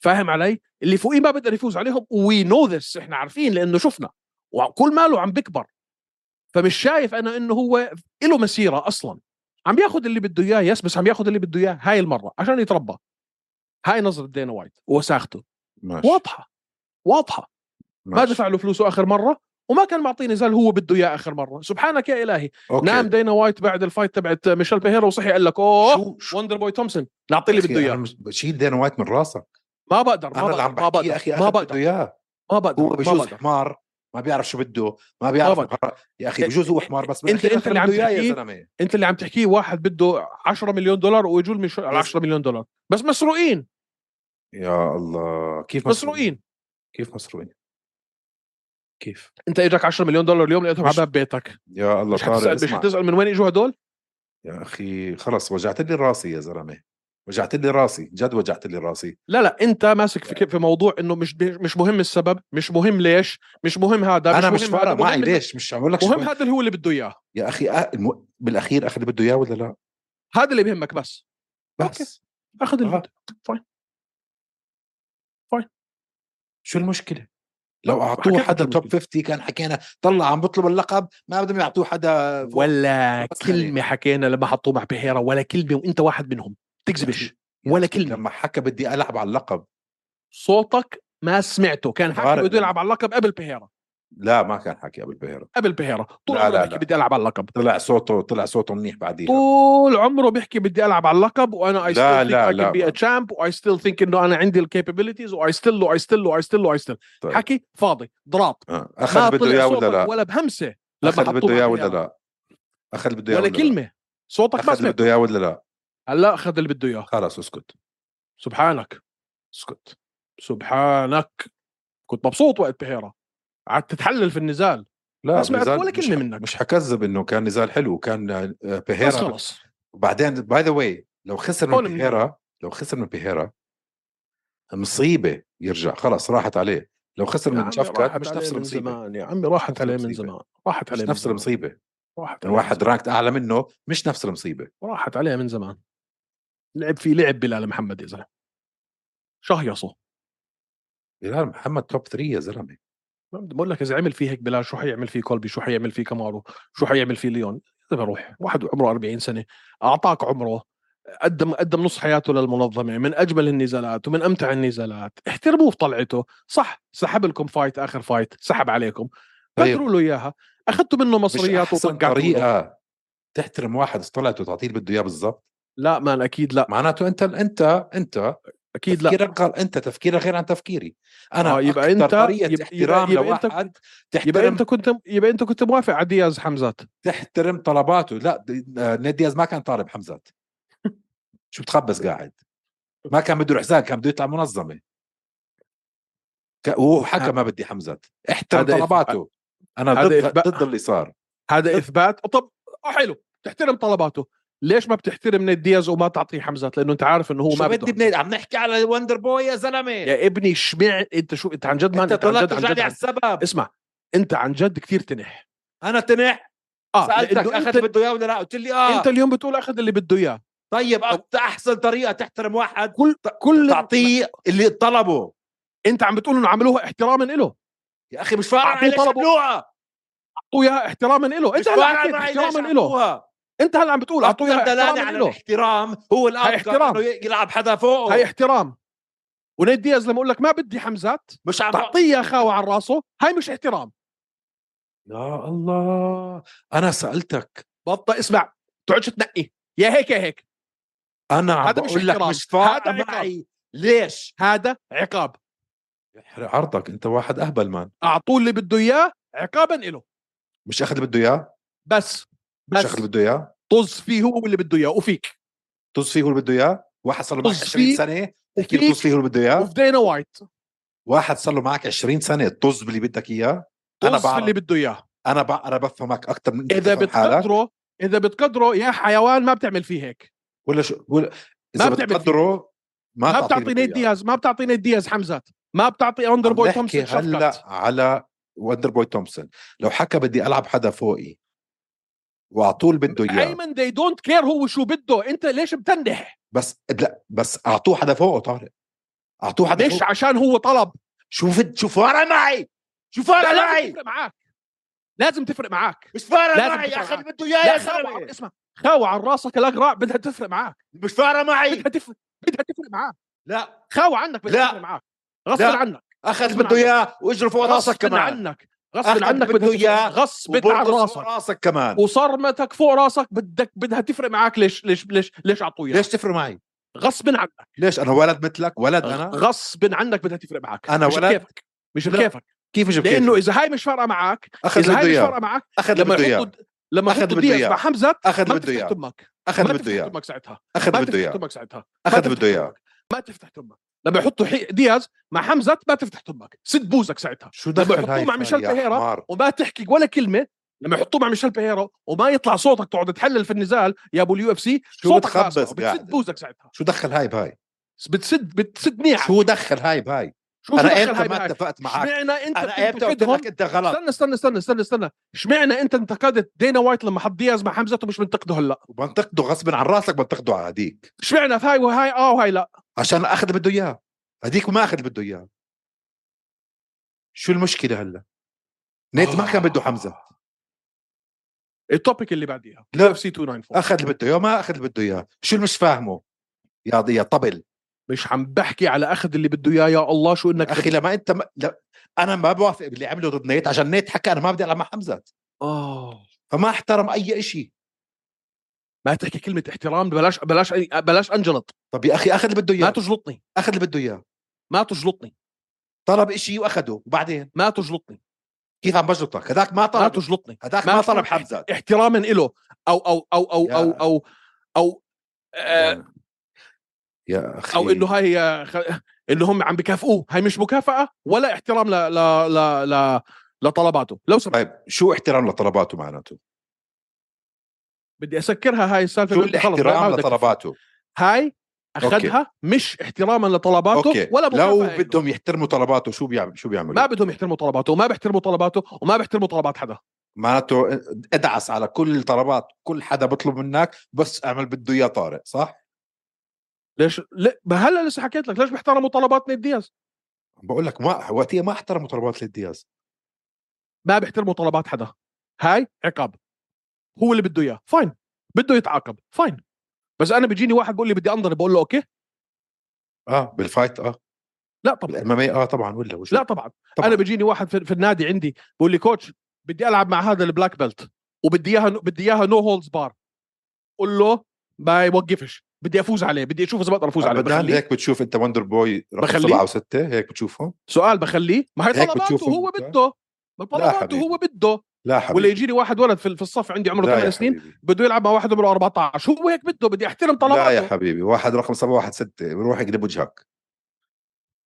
B: فاهم علي اللي فوقيه ما بقدر يفوز عليهم وي نو ذس احنا عارفين لانه شفنا وكل ماله عم بكبر فمش شايف انا انه هو له مسيره اصلا عم ياخذ اللي بده اياه يس بس عم ياخذ اللي بده اياه هاي المره عشان يتربى هاي نظره دينا وايت وساخته
A: ماشي
B: واضحه واضحه ما
A: ماشي.
B: دفع له فلوسه اخر مره وما كان معطيه نزال هو بده اياه اخر مره سبحانك يا الهي
A: أوكي.
B: نام دينا وايت بعد الفايت تبعت ميشيل بيهيرا وصحي قال لك اوه
A: شو شو
B: وندر بوي تومسون نعطيه اللي
A: أخي،
B: بده
A: أنا
B: اياه
A: مش- شيل دينا وايت من راسك
B: طيب ما بقدر ما
A: انا اللي
B: بقدر
A: عم
B: ما
A: بحكي يا
B: بقدر ما
A: اخي اخذ بده
B: بقدر
A: اياه
B: ما
A: هو
B: بقدر ما
A: بجوز
B: بقدر
A: حمار ما بيعرف شو بده ما بيعرف
B: بقدر.
A: قرار- يا اخي بجوز هو حمار بس من
B: أنت-
A: الأخير
B: أنت
A: أخذ
B: إيه، اللي عم
A: بده إياه يا
B: تحكيه.
A: زلمه
B: انت اللي عم تحكيه واحد بده 10 مليون دولار ويجوا المش... على 10 مليون دولار بس مسروقين
A: يا الله كيف
B: مسروقين
A: كيف مسروقين كيف
B: انت اجاك 10 مليون دولار اليوم لقيتهم على
A: مش-
B: باب بيتك
A: يا الله
B: مش
A: طارق
B: حتسال مش
A: اسمع
B: حتسال من وين اجوا هدول
A: يا اخي خلص وجعت لي راسي يا زلمه وجعت لي راسي جد وجعت لي راسي
B: لا لا انت ماسك
A: يعني
B: في, في موضوع انه مش مش مهم السبب مش مهم ليش مش مهم هذا
A: انا مش
B: مهم
A: فارق
B: هذا،
A: معي
B: مهم
A: ليش مش عم اقول لك شو
B: مهم
A: مهم.
B: هذا اللي هو اللي بده اياه
A: يا اخي أه الم... بالاخير اخذ اللي بده اياه ولا لا
B: هذا اللي بيهمك بس
A: بس
B: أوكي. اخذ اللي
A: آه.
B: بده
A: شو المشكله لو
B: حكيت
A: اعطوه
B: لك
A: حدا
B: المشكلة.
A: توب 50 كان حكينا طلع عم بطلب اللقب ما بدهم يعطوه حدا فوق.
B: ولا
A: أه، بس
B: كلمه
A: خلينا.
B: حكينا لما حطوه مع بيهيرا ولا كلمه وانت واحد منهم تكذبش
A: يا
B: ولا
A: أخي
B: كلمة.
A: لما حكى بدي العب على اللقب
B: صوتك ما سمعته كان
A: غارق
B: حكي بده يلعب على اللقب قبل بيهيرا
A: لا ما كان حكي ابو البهيرة
B: قبل بيهيرا طول
A: لا،
B: عمره
A: لا،
B: بيحكي
A: لا.
B: بدي العب على اللقب
A: طلع صوته طلع صوته منيح بعديها
B: طول عمره بيحكي بدي العب على اللقب وانا اي
A: لا،
B: ستيل
A: لا،
B: ثينك اي
A: لا،
B: بي
A: ما-
B: ا تشامب واي ستيل ثينك انه انا عندي الكابابيلتيز واي ستيل واي ستيل واي ستيل واي ستيل
A: طيب.
B: حكي فاضي ضراب
A: آه،
B: ما
A: اخذ بده
B: طلع
A: اياه
B: صوتك
A: ولا لا
B: ولا بهمسه لما
A: اخذ
B: حطوه
A: بده
B: مع
A: اياه ولا
B: بيهيرا.
A: لا اخذ بده اياه
B: ولا
A: يعني. ولا لا؟
B: كلمه صوتك ما
A: اخذ
B: سمعت
A: بده اياه ولا لا
B: هلا اخذ اللي بده اياه
A: خلص اسكت
B: سبحانك
A: اسكت
B: سبحانك كنت مبسوط وقت بحيره قعدت تتحلل في النزال
A: لا
B: ما سمعت
A: نزال
B: ولا
A: مش-
B: كلمة منك.
A: مش حكذب انه كان نزال حلو كان آه،
B: بس
A: بيهيرا
B: خلص
A: وبعدين باي ذا واي لو خسر
B: قول
A: من
B: من-
A: بيهيرا لو خسر من بيهيرا مصيبه يرجع خلاص راحت عليه لو خسر
B: يا
A: من
B: عمي
A: شافكات
B: راحت
A: مش
B: عليه
A: نفس
B: من
A: المصيبه
B: زمان يا عمي راحت
A: نفس
B: عليه من
A: المصيبة.
B: زمان راحت
A: مش
B: عليه
A: نفس
B: من زمان.
A: المصيبه
B: راحت عليه
A: واحد رانكت اعلى منه مش نفس المصيبه
B: راحت عليه من زمان لعب في لعب بلال محمد يا زلمه شهيصه
A: بلال محمد توب 3 يا زلمه
B: ما بدي بقول لك اذا عمل فيه هيك بلال شو حيعمل فيه كولبي شو حيعمل فيه كامارو شو حيعمل فيه ليون اذا بروح واحد عمره 40 سنه اعطاك عمره قدم قدم نص حياته للمنظمه من اجمل النزالات ومن امتع النزالات احترموه في طلعته صح سحب لكم فايت اخر فايت سحب عليكم
A: طيب.
B: بدروا له اياها اخذتوا منه
A: مش
B: مصريات
A: احسن
B: وطقعتوا له.
A: طريقه تحترم واحد طلعت وتعطيه اللي بده اياه بالضبط
B: لا مان اكيد لا
A: معناته انت انت انت
B: اكيد لا
A: تفكيرك غلط انت تفكيرك غير عن تفكيري انا
B: آه، يبقى
A: أكتر
B: أنت-
A: طريقه
B: يبقى-
A: احترام
B: يبقى- يبقى أنت-
A: لواحد
B: يبقى
A: تحترم
B: انت كنت يبقى انت كنت موافق على دياز حمزات
A: تحترم طلباته لا د- آه، نيد دياز ما كان طالب حمزات شو بتخبص
B: طيب.
A: قاعد ما كان بده حزام كان بده يطلع منظمه ك- وهو حكى ما بدي حمزات احترم
B: هذا إثب-
A: طلباته انا
B: هذا
A: ضد
B: إثبات.
A: ضد اللي صار
B: هذا اثبات طب آه، حلو تحترم طلباته ليش ما بتحترم نيد دياز وما تعطيه حمزات لانه انت عارف انه هو
A: شو
B: ما
A: بدي
B: بده
A: بنيد عم نحكي على وندر بوي يا زلمه
B: يا ابني شمع انت شو انت عن جد ما
A: انت
B: انت, عن
A: طلعت
B: جد عن
A: ترجع
B: جد آه،
A: لي على
B: عن...
A: السبب
B: اسمع انت عن جد كثير تنح
A: انا تنح
B: اه
A: سالتك
B: لأنه
A: اخذ
B: انت...
A: بده اياه ولا لا قلت لي اه
B: انت اليوم بتقول اخذ اللي بده اياه
A: طيب أكت- احسن طريقه تحترم واحد
B: كل كل
A: تعطيه اللي طلبه
B: انت عم بتقول انه عملوها احتراما له
A: يا اخي مش فاهم
B: أعطيه
A: ليش
B: طلبه.
A: عملوها
B: اعطوا اياها احتراما له
A: مش
B: انت هلا
A: فاهم
B: حكيت
A: علي ليش
B: احتراما له
A: عملوها.
B: انت هلا عم بتقول اعطوا اياها
A: اكثر دلاله
B: احتراما
A: على
B: له
A: الاحترام هو
B: هاي
A: الاوتكم
B: احترام.
A: انه يلعب حدا فوقه
B: هاي احترام ونيد دياز لما اقول لك ما بدي حمزات
A: مش عم
B: تعطيه إياه خاوة على راسه هاي مش احترام
A: يا الله انا سالتك
B: بطة اسمع تقعدش تنقي يا هيك يا هيك
A: انا عم
B: هذا مش
A: بقول لك
B: احترام.
A: مش فارقه
B: هذا عقاب.
A: معي ليش
B: هذا عقاب
A: يحرق عرضك انت واحد اهبل مان
B: اعطوه اللي بده اياه عقابا له
A: مش اخذ اللي بده اياه
B: بس
A: مش
B: بس
A: اخذ اللي بده اياه
B: طز فيه هو واللي بده اياه وفيك
A: طز فيه هو اللي بده اياه واحد صار له معك
B: طز
A: 20
B: فيه.
A: سنه تحكي له
B: وفيك
A: طز فيه هو اللي بده اياه
B: وفي دينا وايت
A: واحد صار له معك 20 سنه طز باللي بدك اياه انا
B: طز في
A: بعرف
B: اللي بده اياه
A: انا بع- انا بفهمك اكثر من أنت
B: اذا
A: بتفهم حالك
B: بتقدره اذا بتقدره يا حيوان ما بتعمل فيه هيك
A: ولا شو ولا اذا
B: بتعمل فيه.
A: بتقدره ما,
B: ما
A: تعطيه اللي
B: بتعطي
A: بده
B: نيد
A: إياه.
B: دياز ما بتعطي نيد دياز حمزات ما بتعطي اندر
A: عم
B: بوي
A: نحكي
B: تومسون
A: هلا
B: شفقت.
A: على وندر بوي تومسون لو حكى بدي العب حدا فوقي واعطوه اللي بده اياه
B: ايمن they دونت كير هو شو بده انت ليش بتنح
A: بس لا بس اعطوه حدا فوقه طارق اعطوه حدا
B: مش
A: فوقه
B: عشان هو طلب
A: شو فد شو فارقه معي شو فارقه
B: لا لازم
A: معي
B: تفرق معك لازم تفرق معك
A: مش فارقه
B: لازم
A: معي يا
B: تفرق
A: اخي
B: معك.
A: اللي بده اياه
B: لا
A: يا
B: خاوة عن-
A: زلمه
B: اسمع خاوة عن راسك الاقرع بدها تفرق معك
A: مش فارقه معي
B: بدها تفرق بدها تفرق معك
A: لا
B: خاوة عنك بدها
A: لا.
B: تفرق معك غصب
A: لا.
B: عنك
A: اخذ
B: اسمع.
A: بده اياه واجره فوق راسك
B: غصب
A: كمان
B: عنك
A: أخذ
B: غصب عنك
A: بده
B: بدها تفرق
A: إياه
B: غصب
A: وبرقص
B: عن
A: فوق
B: راسك
A: راسك كمان
B: وصرمتك فوق راسك بدك بدها تفرق معك ليش ليش ليش ليش اعطوه اياها
A: ليش تفرق معي
B: غصب عنك
A: ليش انا ولد مثلك ولد انا
B: غصب عنك بدها تفرق معك
A: أنا
B: مش
A: ولد؟
B: بكيفك مش
A: لا.
B: بكيفك
A: كيف جبت
B: لانه اذا هاي مش فارقه معك
A: اخذ
B: اذا
A: اللي
B: هاي
A: بده
B: مش
A: اياه
B: فارقه معك
A: اخذ اللي
B: لما
A: بده اياه
B: يحطوا لما
A: أخذ
B: يحطوا
A: بده
B: دياز
A: إياه.
B: مع حمزات
A: أخذ
B: ما
A: بده إياه.
B: تفتح تمك
A: اخذ
B: ما
A: اللي بده
B: تفتح
A: اياه
B: تمك ساعتها
A: اخذ
B: ما
A: اللي بده
B: تفتح
A: اياه
B: تمك ساعتها
A: اخذ
B: ما
A: اللي
B: تفتح
A: بده اياه
B: تمك. ما تفتح تمك لما يحطوا حي- دياز مع حمزه ما تفتح تمك سد بوزك ساعتها
A: شو
B: لما
A: دخل
B: يحطوه
A: هاي
B: مع
A: فال
B: ميشيل
A: يا
B: تهيرا؟
A: حمار؟
B: وما تحكي ولا كلمه لما يحطوه مع ميشيل بيهيرو وما يطلع صوتك تقعد تحلل في النزال يا ابو اليو اف سي
A: شو
B: صوتك
A: بتخبص
B: راسه. بتسد
A: قاعد؟
B: بوزك ساعتها
A: شو دخل هاي بهاي؟
B: بتسد بتسد نيعك
A: شو دخل هاي بهاي؟
B: شو
A: انا
B: دخل
A: امتى
B: هاي
A: ما
B: معك؟
A: اتفقت معك؟
B: اشمعنا انت
A: انا امتى قلت
B: بتنتقدهم
A: لك انت غلط
B: استنى استنى استنى استنى استنى اشمعنا انت انتقدت دينا وايت لما حط دياز مع حمزه ومش منتقده هلا
A: وبنتقده غصب عن راسك بنتقده على هديك
B: اشمعنا في هاي وهاي اه وهاي لا
A: عشان اخذ اللي بده اياه هديك ما اخذ اللي بده اياه شو المشكله هلا؟ نيت ما كان بده
B: آه،
A: حمزه
B: التوبيك اللي بعديها
A: لا.
B: UFC 294
A: اخذ اللي بده اياه ما اخذ اللي بده اياه شو اللي مش فاهمه؟ يا يا طبل
B: مش عم بحكي على اخذ اللي بده اياه يا الله شو انك
A: اخي لما انت ما... لا... انا ما بوافق باللي عمله ضد نيت عشان نيت حكى انا ما بدي العب مع حمزه
B: اه
A: فما احترم اي شيء
B: ما تحكي كلمه احترام بلاش بلاش بلاش انجلط
A: طب يا اخي اخذ اللي بده
B: ما
A: اياه
B: تجلطني
A: اخذ اللي بده اياه
B: ما تجلطني
A: طلب شيء واخده وبعدين
B: ما تجلطني
A: كيف عم بجلطك هذاك ما
B: ما
A: طلب
B: تجلطني
A: هذاك
B: ما
A: ما
B: تجلط.
A: طلب حمزه
B: احتراما له او او او او او
A: يا.
B: او او آه،
A: يعني. يا اخي
B: او انه هاي آه، خ- انه هم عم بكافئوه هاي مش مكافاه ولا احترام ل ل ل ل لطلباته لو سمحت
A: طيب شو احترام لطلباته معناته؟
B: بدي اسكرها هاي السالفه
A: طيب. شو
B: بدي- خلص، ما
A: الاحترام
B: بدك-
A: لطلباته؟
B: هاي اخذها مش احتراما لطلباته
A: اوكي
B: ولا
A: لو
B: مكافأة إله.
A: بدهم يحترموا طلباته شو بيعمل شو بيعملوا؟
B: ما بدهم يحترموا طلباته وما بيحترموا طلباته وما بيحترموا طلبات حدا
A: معناته ادعس على كل الطلبات كل حدا بطلب منك بس اعمل بده اياه طارق صح
B: ليش لا ما هلا لسه حكيت لك ليش بيحترموا طلبات نيد دياز
A: بقول لك ما وقتها ما احترموا طلبات للدياز
B: ما بيحترموا طلبات حدا هاي عقاب هو اللي بده اياه فاين بده يتعاقب فاين بس انا بيجيني واحد بيقول لي بدي انضرب بقول له اوكي
A: اه بالفايت اه
B: لا طبعا
A: الاماميه اه طبعا ولا وشو
B: لا طبعا
A: طبعا.
B: انا بيجيني واحد في, في النادي عندي بقول لي كوتش بدي العب مع هذا البلاك بيلت وبدي اياها بدي اياها نو هولدز بار قول له ما يوقفش بدي افوز عليه بدي اشوف اذا بقدر افوز عليه
A: ابدا
B: بخليه
A: هيك بتشوف انت وندر بوي رقم
B: بخليه؟
A: سبعه وسته هيك بتشوفهم
B: سؤال بخليه ما هي
A: هيك
B: طلباته
A: بتشوفهم
B: هو
A: أنت؟
B: بده ما طلباته
A: حبيبي.
B: هو بده
A: لا
B: ولا
A: حبيبي
B: يجيني واحد ولد في في الصف عندي عمره
A: لا يا
B: 8 سنين
A: حبيبي.
B: بده يلعب مع واحد عمره 14 هو هيك بده بدي احترم
A: لا يا
B: طلباته
A: حبيبي واحد رقم سبعه واحد سته بروح اقلب وجهك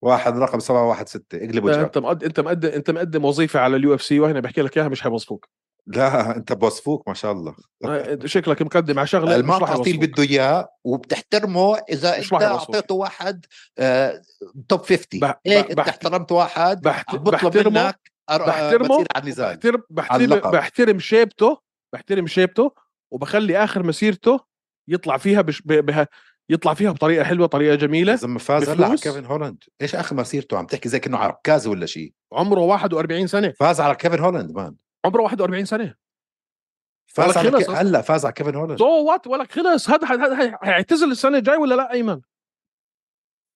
A: واحد رقم سبعه واحد سته اقلب
B: لا،
A: وجهك
B: انت مقدم انت مقدم انت مقدم وظيفه على اليو اف سي وهنا بحكي لك اياها مش حيوظفوك
A: لا انت بوصفوك ما شاء الله
B: آه، شكلك مقدم على شغله مش راح
A: المعطى
B: يوظفوك.
A: بده اياه وبتحترمه اذا
B: مش
A: انت
B: راح يوصل.
A: اعطيته واحد آه، توب 50
B: بح-
A: هيك انت
B: بح-
A: احترمت واحد
B: بحت-
A: عم بطلب
B: بحترمه-
A: منك أر- آه،
B: بحترمه
A: بتصير على النزال
B: بحترم بحترم
A: اللقب.
B: بحترم شيبته بحترم شيبته وبخلي اخر مسيرته يطلع فيها بش ب- بها يطلع فيها بطريقه حلوه طريقه جميله
A: اذا ما فاز هلا على
B: بفلوس؟
A: كيفن هولاند ايش اخر مسيرته عم تحكي زي كانه على عكازه ولا شيء
B: عمره 41 سنه
A: فاز على كيفن هولاند مان
B: عمره 41 سنه
A: فاز
B: ولك
A: على
B: خلص
A: كي-
B: أصلاً.
A: هلا فاز على كيفن هولاند
B: سو وات ولك خلص هذا هذا- هذا حيعتزل السنه الجاي ولا لا ايمن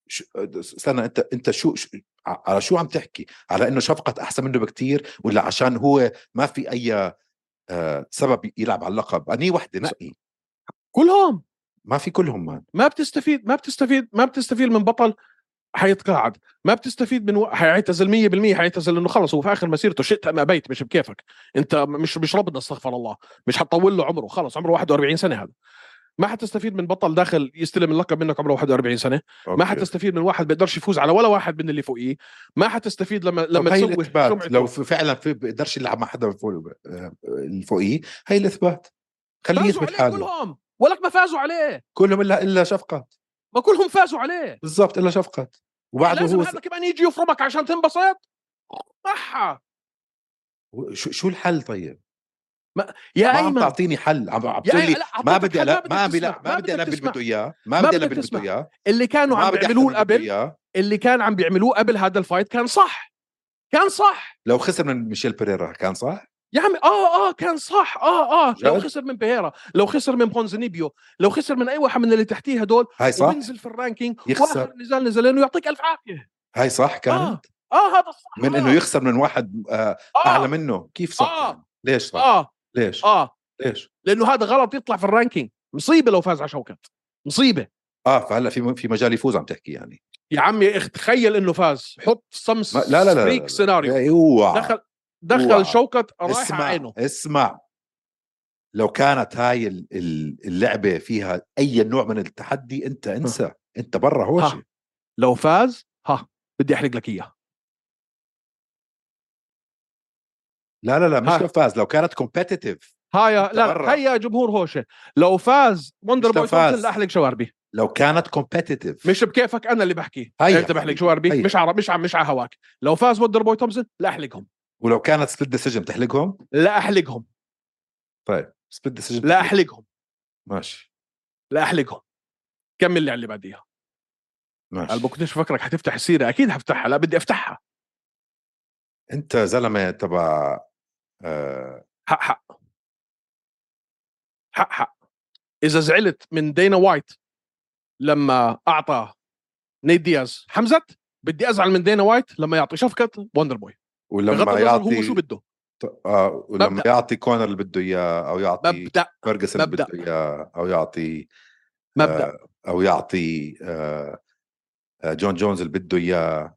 A: شو- استنى انت انت شو شو- ع- على شو عم تحكي على انه شفقة احسن منه بكتير ولا عشان هو ما في اي آه، سبب يلعب على اللقب اني وحده نقي
B: كلهم
A: ما في كلهم مان
B: ما بتستفيد ما بتستفيد ما بتستفيد من بطل حيتقاعد ما بتستفيد من و... حيعتزل 100% حيعتزل انه خلص هو في اخر مسيرته شئت ام ابيت مش بكيفك انت مش مش ربنا استغفر الله مش حتطول له عمره خلص عمره 41 سنه هذا ما حتستفيد من بطل داخل يستلم اللقب منك عمره 41 سنه ما
A: أوكي.
B: حتستفيد من واحد بيقدرش يفوز على ولا واحد من اللي فوقيه ما حتستفيد لما
A: لما
B: لما
A: هي
B: تسوي
A: الاثبات لو
B: سمعته.
A: في فعلا في بقدرش يلعب مع حدا فوق- آه، اللي فوقيه هي الاثبات خليه
B: فازوا
A: يثبت
B: عليه
A: حاله
B: كلهم ولك ما فازوا عليه
A: كلهم الا الا شفقة
B: ما كلهم فازوا عليه
A: بالضبط الا شفقة وبعده
B: لازم
A: هو
B: هذا كمان يجي يفرمك عشان تنبسط محا
A: شو شو الحل طيب؟ ما
B: يا
A: عم
B: ايمن
A: تعطيني حل عم عم
B: يا
A: تقول
B: أي-
A: لي
B: لا، أعطيتك
A: ما بدي
B: حل،
A: ألا ما بدي
B: تسمع،
A: ألا- ما
B: بدك
A: بدي العب اللي
B: تسمع.
A: بده اياه ما
B: ما
A: بدي
B: بدك
A: العب اللي
B: تسمع.
A: بده اياه
B: اللي كانوا
A: ما
B: عم
A: بدي أحترم
B: بيعملوه
A: اللي بده
B: قبل
A: اياه
B: اللي كان عم بيعملوه قبل هذا الفايت كان صح كان صح
A: لو خسر من ميشيل بيريرا كان صح؟
B: يا عمي اه اه كان صح اه اه لو
A: جد؟
B: خسر من بيهيرا لو خسر من بونزنيبيو لو خسر من اي واحد من اللي تحتيه هدول
A: هاي صح؟
B: وبنزل في الرانكينج
A: يخسر.
B: واخر نزال نزلين ويعطيك الف عافيه
A: هاي صح
B: اه
A: كانت؟
B: اه هذا الصح
A: من انه يخسر من واحد آه،
B: آه
A: اعلى منه كيف صح؟
B: آه.
A: يعني؟ ليش صح؟
B: اه
A: ليش؟
B: اه
A: ليش؟
B: لانه هذا غلط يطلع في الرانكينج مصيبه لو فاز على شوكت مصيبه
A: اه فهلا في في مجال يفوز عم تحكي يعني
B: يا عمي اخ- تخيل انه فاز حط سم
A: ما- لا لا لا, لا,
B: ستريك سيناريو
A: لا. اوعى
B: طيب. دخل
A: أوعى.
B: دخل شوكت رايح على
A: إيه، أيوة. اسمع
B: عينه
A: اسمع لو كانت هاي ال- ال- اللعبه فيها اي نوع من التحدي انت انسى انت برا هوشي
B: ها. لو فاز ها بدي احرق لك اياه
A: لا لا لا مش
B: ها.
A: لو فاز لو كانت كومبetitive
B: هاي
A: أنت
B: لا
A: برا.
B: هيا جمهور هوشه لو فاز وندر
A: مش لو
B: بوي تومسون
A: فاز.
B: لاحلق شواربي
A: لو كانت كومبetitive
B: مش بكيفك انا اللي بحكي
A: هيا.
B: انت بحلق شواربي
A: هيا.
B: مش عرب مش عم مش على هواك لو فاز وندر بوي تومسون لاحلقهم
A: ولو كانت سبليت ديسيجن تحلقهم
B: لا احلقهم
A: سبليت ديسيجن
B: لا احلقهم
A: ماشي
B: لا احلقهم كمل اللي على اللي بعديها
A: ماشي
B: هل ما كنتش فكرك حتفتح السيره اكيد هفتحها لا بدي افتحها
A: انت زلمه تبع آه
B: حق حق حق حق اذا زعلت من دينا وايت لما اعطى نيت دياز حمزه بدي ازعل من دينا وايت لما يعطي شفقه وندر بوي بغض
A: ولما
B: النظر هو شو
A: يعطي
B: بده
A: آه ولما
B: مبدأ.
A: يعطي كونر اللي بده اياه او يعطي
B: مبدا
A: فيرجسون اللي
B: مبدأ.
A: بده اياه او يعطي
B: مبدا
A: او يعطي آه آه، جون جونز اللي بده اياه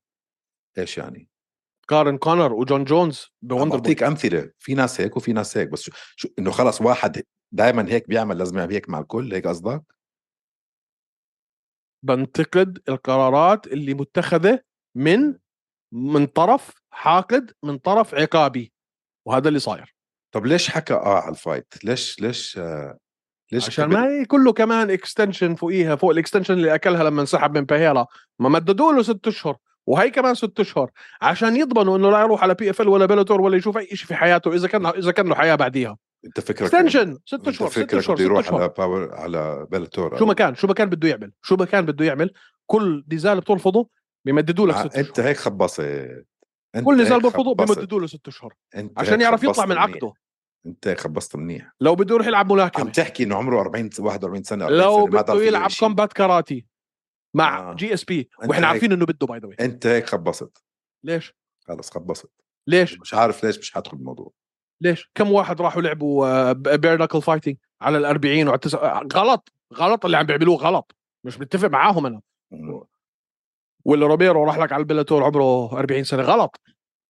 A: ايش يعني؟
B: كارن كونر وجون جونز
A: عم
B: بوندر بوي
A: بعطيك امثله في ناس هيك وفي ناس هيك بس شو, شو انه خلاص واحد دائما هيك بيعمل لازم يعمل هيك مع الكل هيك قصدك؟
B: بنتقد القرارات اللي متخذه من من طرف حاقد من طرف عقابي وهذا اللي صاير
A: طب ليش حكى اه على الفايت ليش ليش آه، ليش
B: عشان
A: قبل؟
B: ما هي كله كمان اكستنشن فوقيها فوق الاكستنشن اللي اكلها لما انسحب من بيهيرا ما مددوا له ست اشهر وهي كمان ست اشهر عشان يضمنوا انه لا يروح على بي اف ال ولا بيلاتور ولا يشوف اي شيء في حياته اذا كان اذا كان له حياه بعديها
A: انت فكرك
B: اكستنشن ست
A: أنت
B: اشهر ست
A: فكرك
B: اشهر
A: بده
B: ست
A: يروح
B: اشهر
A: على باور على بلاتور
B: شو ما كان شو ما كان بده يعمل شو ما كان بده يعمل كل نزال بترفضه بيمددوا لك ست اشهر
A: انت هيك خبصت انت
B: كل نزال
A: هيك
B: برفضه
A: خبصت.
B: بيمددوا له ست اشهر
A: انت
B: عشان
A: هيك
B: يعرف يطلع
A: خبصت
B: من
A: منيح.
B: عقده
A: انت هيك خبصت منيح
B: لو بده يروح يلعب
A: عم
B: ملاكمه
A: تحكي انه عمره 40 41 سنه 40
B: لو
A: سنة، ما
B: بده
A: تعرف
B: يلعب
A: شيء.
B: كومبات كاراتي مع
A: آه.
B: جي اس بي
A: أنت
B: واحنا
A: هيك-
B: عارفين انه بده باي ذا واي
A: انت هيك خبصت
B: ليش
A: خلص خبصت
B: ليش
A: مش عارف ليش مش حدخل الموضوع
B: ليش كم واحد راحوا لعبوا آه، بير نكل فايتنج على ال 40 وعلى التسعة- غلط غلط اللي عم بيعملوه غلط مش متفق معاهم انا ولا روبيرو راح لك على البلاتور عمره 40 سنه غلط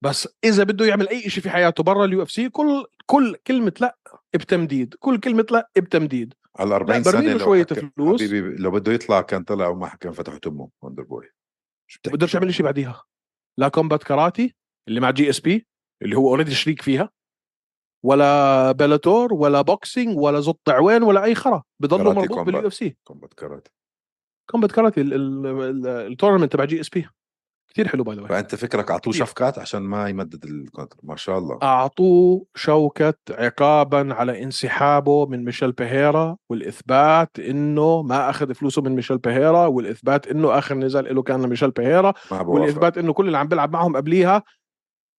B: بس اذا بده يعمل اي شيء في حياته برا اليو اف سي كل كل كلمه لا بتمديد كل كلمه لا بتمديد
A: على 40
B: برمي له
A: سنه لو
B: شوية
A: حكى-
B: فلوس.
A: حبيبي لو بده يطلع كان طلع وما كان فتحوا تمه وندر بوي شو بتحكي؟
B: بقدرش يعمل شيء بعديها لا كومبات كاراتي اللي مع جي اس بي اللي هو اوريدي شريك فيها ولا بلاتور ولا بوكسينج ولا زط عوين ولا اي خرا بضله
A: كاراتي
B: مربوط
A: كومبات.
B: باليو اف سي
A: كومبات كاراتي
B: كومبات كاراتي ال- ال- ال- التورنمنت تبع جي اس بي كثير حلو باي ذا واي
A: فانت فكرك اعطوه
B: كتير. آه،
A: شفكات عشان ما يمدد الكونتر ما شاء الله
B: اعطوه شوكه عقابا على انسحابه من ميشيل بيهيرا والاثبات انه ما اخذ فلوسه من ميشيل بيهيرا والاثبات انه اخر نزال له كان لميشيل بيهيرا
A: ما بوافق
B: والاثبات انه كل اللي عم بيلعب معهم قبليها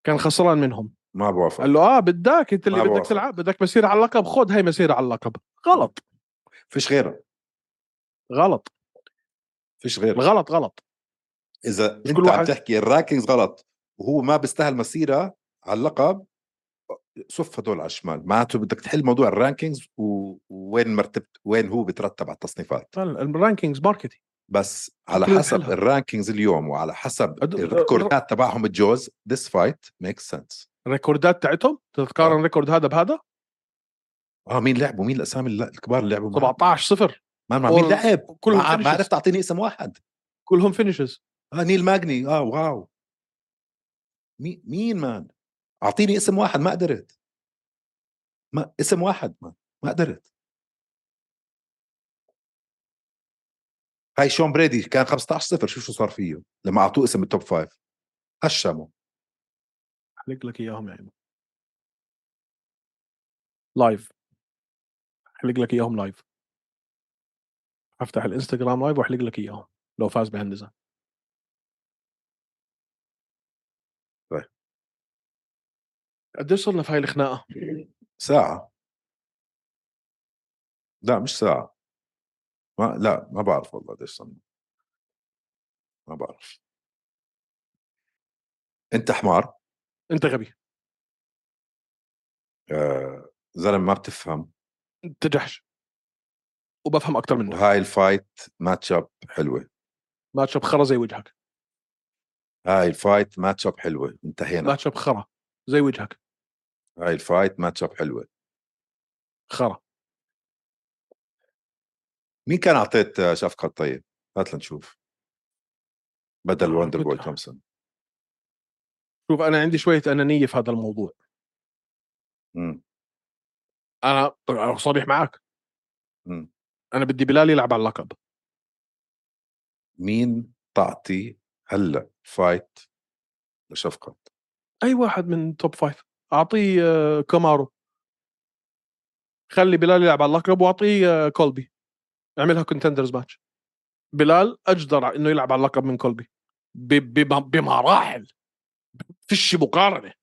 B: كان خسران منهم
A: ما بوافق
B: قال له اه بدك انت اللي
A: ما
B: بدك
A: بوافق.
B: تلعب بدك مسيره على اللقب خذ هاي مسيره على اللقب غلط
A: فيش غيره
B: غلط
A: فيش غيره
B: الغلط غلط
A: اذا انت
B: كل
A: عم
B: واحد-
A: تحكي الرانكينجز غلط وهو ما بيستاهل مسيره على اللقب صف هدول على الشمال معناته بدك تحل موضوع الرانكينجز و- وين مرتبت وين هو بترتب على التصنيفات
B: الرانكينجز ماركتينج
A: بس على
B: كله
A: حسب
B: بحلها.
A: الرانكينجز اليوم وعلى حسب
B: أد-
A: الريكوردات تبعهم الجوز this fight makes sense
B: الريكوردات تاعتهم تتقارن الريكورد هذا بهذا
A: اه مين لعبوا مين الاسامي الل- الكبار اللي لعبوا معهم؟
B: 17 0
A: ما ما- مين
B: all-
A: لعب
B: كلهم
A: ما, ما
B: finishes.
A: عرفت تعطيني اسم واحد
B: كلهم فينيشز
A: اه نيل ماجني اه واو مين مين مان اعطيني اسم واحد ما قدرت ما اسم واحد مان ما قدرت هاي شون بريدي كان 15 0 شوف شو صار فيه لما اعطوه اسم التوب فايف هشمه
B: حلق لك اياهم يا عيني لايف حلق لك اياهم لايف افتح الانستغرام لايف واحلق لك اياهم لو فاز بهالنزال
A: طيب.
B: قديش صرنا في هاي الخناقه؟
A: ساعة لا مش ساعة ما لا ما بعرف والله قديش صار ما بعرف انت حمار
B: انت غبي
A: آه زلمه ما بتفهم
B: انت جحش وبفهم اكثر منك
A: وهاي الفايت ماتش اب حلوه
B: ماتش اب خرا زي وجهك
A: هاي الفايت ماتش اب حلوه انتهينا
B: ماتش اب خرا زي وجهك
A: هاي الفايت ماتش اب حلوه
B: خرا
A: مين كان اعطيت آه، شفقه طيب هات لنشوف بدل
B: آه،
A: وندر بوي
B: كنت-
A: تومسون
B: شوف انا عندي شويه انانيه في هذا الموضوع
A: مم.
B: انا طبعاً صريح معك
A: مم.
B: انا بدي بلال يلعب على اللقب
A: مين تعطي هلا فايت لشفقه
B: اي واحد من توب فايف اعطيه آه، كومارو خلي بلال يلعب على اللقب واعطيه آه، كولبي اعملها كونتندرز ماتش بلال اجدر على انه يلعب على اللقب من كولبي ب- ب- بمراحل فيش مقارنه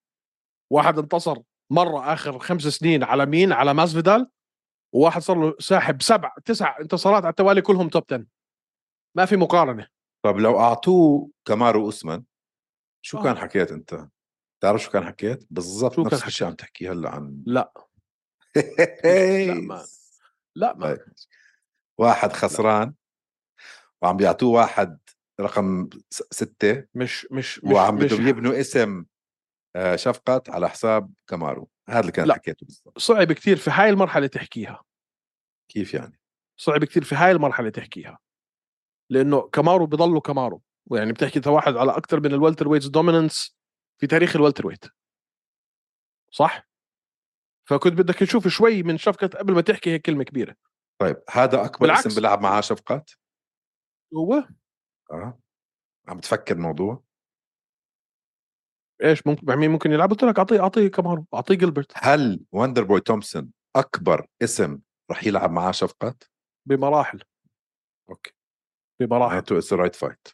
B: واحد انتصر مره اخر خمس سنين على مين على ماسفيدال وواحد صار له ساحب سبع تسع انتصارات على التوالي كلهم توب 10 ما في مقارنه
A: طب لو اعطوه كمارو اسمن شو
B: آه.
A: كان حكيت انت؟ تعرف شو كان حكيت؟ بالضبط
B: شو كان
A: نفس
B: حكيت؟
A: الشيء عم تحكي هلا عن
B: لا لا، ما- لا ما
A: طيب. واحد خسران وعم بيعطوه واحد رقم س- ستة
B: مش مش مش
A: وعم
B: مش
A: بدهم يبنوا اسم آه، شفقت على حساب كمارو هذا اللي كان
B: لا.
A: حكيته بالضبط
B: صعب كثير في هاي المرحله تحكيها
A: كيف يعني؟
B: صعب كثير في هاي المرحله تحكيها لانه كمارو بضله كمارو يعني بتحكي انت واحد على اكثر من الوالتر ويتس دوميننس في تاريخ الوالتر ويت صح فكنت بدك تشوف شوي من شفقة قبل ما تحكي هيك كلمه كبيره
A: طيب هذا اكبر
B: بالعكس.
A: اسم بيلعب معاه شفقات
B: هو
A: اه عم تفكر الموضوع
B: ايش ممكن مع مين ممكن يلعب قلت لك اعطيه اعطيه كمارو اعطيه جilbert
A: هل وندر بوي تومسون اكبر اسم رح يلعب معاه شفقات
B: بمراحل
A: اوكي
B: بمراحل
A: معناته اتس رايت فايت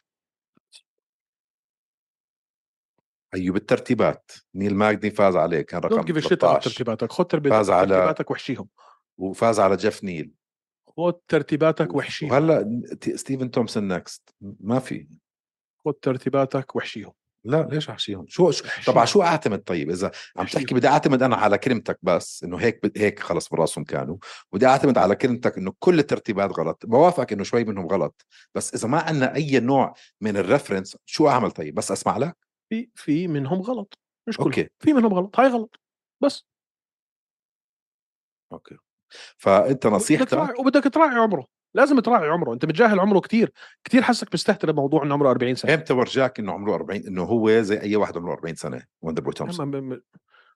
A: ايوه بالترتيبات نيل ماجدي فاز عليه كان
B: دونت
A: رقم
B: جيف شيت على
A: 13
B: ترتيباتك خد تربيت-
A: فاز على-
B: ترتيباتك وحشيهم
A: وفاز على جيف نيل
B: خد ترتيباتك وحشيهم
A: وهلا ت- ستيفن تومسون نكست ما في
B: خد ترتيباتك وحشيهم
A: لا ليش احشيهم شو, شو طب على شو اعتمد طيب اذا عم
B: أحشيهم.
A: تحكي بدي اعتمد انا على كلمتك بس انه هيك بد- هيك خلص براسهم كانوا بدي اعتمد على كلمتك انه كل الترتيبات غلط بوافقك انه شوي منهم غلط بس اذا ما عندنا اي نوع من الريفرنس شو اعمل طيب بس اسمع لك
B: في في منهم غلط مش كلهم
A: اوكي
B: في منهم غلط هاي غلط بس
A: اوكي فانت
B: بدك
A: نصيحتك
B: تراعي وبدك تراعي عمره لازم تراعي عمره انت متجاهل عمره كتير كتير حسك مستهتر بموضوع انه عمره 40 سنه
A: امتى ورجاك انه عمره 40 انه هو زي اي واحد عمره 40 سنه وندر بوي تومسون
B: أما م- م-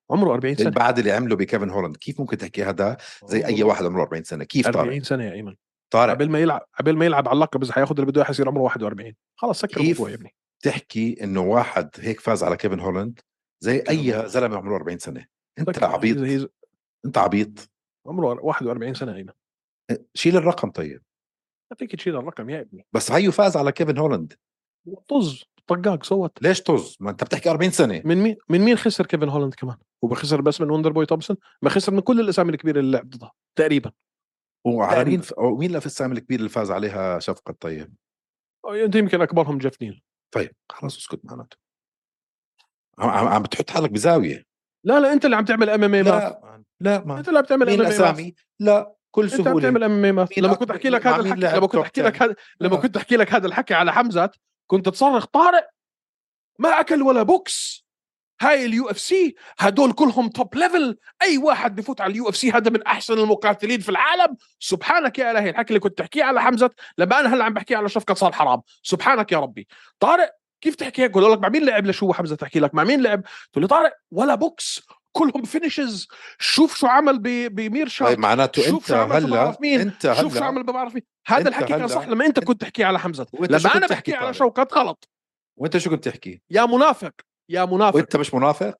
B: عمره 40 سنه
A: بعد اللي عمله بكيفن هولاند كيف ممكن تحكي هذا زي اي واحد عمره 40 سنه كيف طارق
B: 40 سنه يا ايمن
A: طارق
B: قبل ما يلعب قبل ما يلعب على اللقب اذا حياخذ اللي بده اياه حيصير عمره 41 خلص سكر
A: كيف؟
B: الموضوع يا ابني
A: تحكي انه واحد هيك فاز على كيفن هولاند زي اي زلمه عمره 40 سنه انت
B: سكر.
A: عبيط
B: هي- هي-
A: انت عبيط
B: عمره 41 سنه يا ايمن
A: شيل الرقم طيب
B: ما فيك تشيل الرقم يا ابني
A: بس هيو فاز على كيفن هولاند
B: طز طقاق صوت
A: ليش طز ما انت بتحكي 40 سنه
B: من مين من مين خسر كيفن هولاند كمان هو خسر بس من وندر بوي تومسون ما خسر من كل الاسامي الكبيره اللي لعب ضدها تقريبا
A: وعلى
B: تقريباً.
A: مين ومين اللي في السهم الكبير اللي فاز عليها شفقه طيب
B: انت يمكن اكبرهم جيف نيل
A: طيب خلاص اسكت معناته عم- عم عم بتحط حالك بزاويه
B: لا لا انت اللي عم تعمل ام ام اي
A: لا لا ما
B: انت اللي عم تعمل
A: مين
B: ام ام اي
A: الاسامي؟ لا كل
B: انت عم
A: سهوله
B: تعمل ام ام اي
A: مين
B: لما
A: أكبر-
B: كنت احكي لك
A: مع
B: هذا
A: مين
B: الحكي
A: لعب
B: لما كنت
A: توب
B: احكي
A: 10؟
B: لك هذا لما
A: آه.
B: كنت احكي لك هذا الحكي على حمزه كنت تصرخ طارق ما اكل ولا بوكس هاي اليو اف سي هدول كلهم توب ليفل اي واحد بفوت على اليو اف سي هذا من احسن المقاتلين في العالم سبحانك يا الهي الحكي اللي كنت تحكيه على حمزه لما انا هلا عم بحكيه على شفقه صار حرام سبحانك يا ربي طارق كيف تحكي هيك بقول لك مع مين لعب لشو حمزه تحكي لك مع مين لعب تقول لي طارق ولا بوكس كلهم فينيشز شوف شو عمل ب- بمير شاو
A: طيب معناته
B: شوف
A: انت
B: شو عمل في
A: هلا
B: بعرف مين،
A: انت
B: شوف شو
A: هلا
B: عمل بعرف مين هذا
A: أنت
B: الحكي كان
A: هلا-
B: صح لما انت كنت تحكي على حمزه
A: وأنت شو
B: لما
A: كنت
B: انا بحكي
A: تحكي
B: على
A: طارق؟
B: شوكات غلط
A: وانت شو كنت تحكي؟
B: يا منافق يا منافق
A: وانت مش منافق؟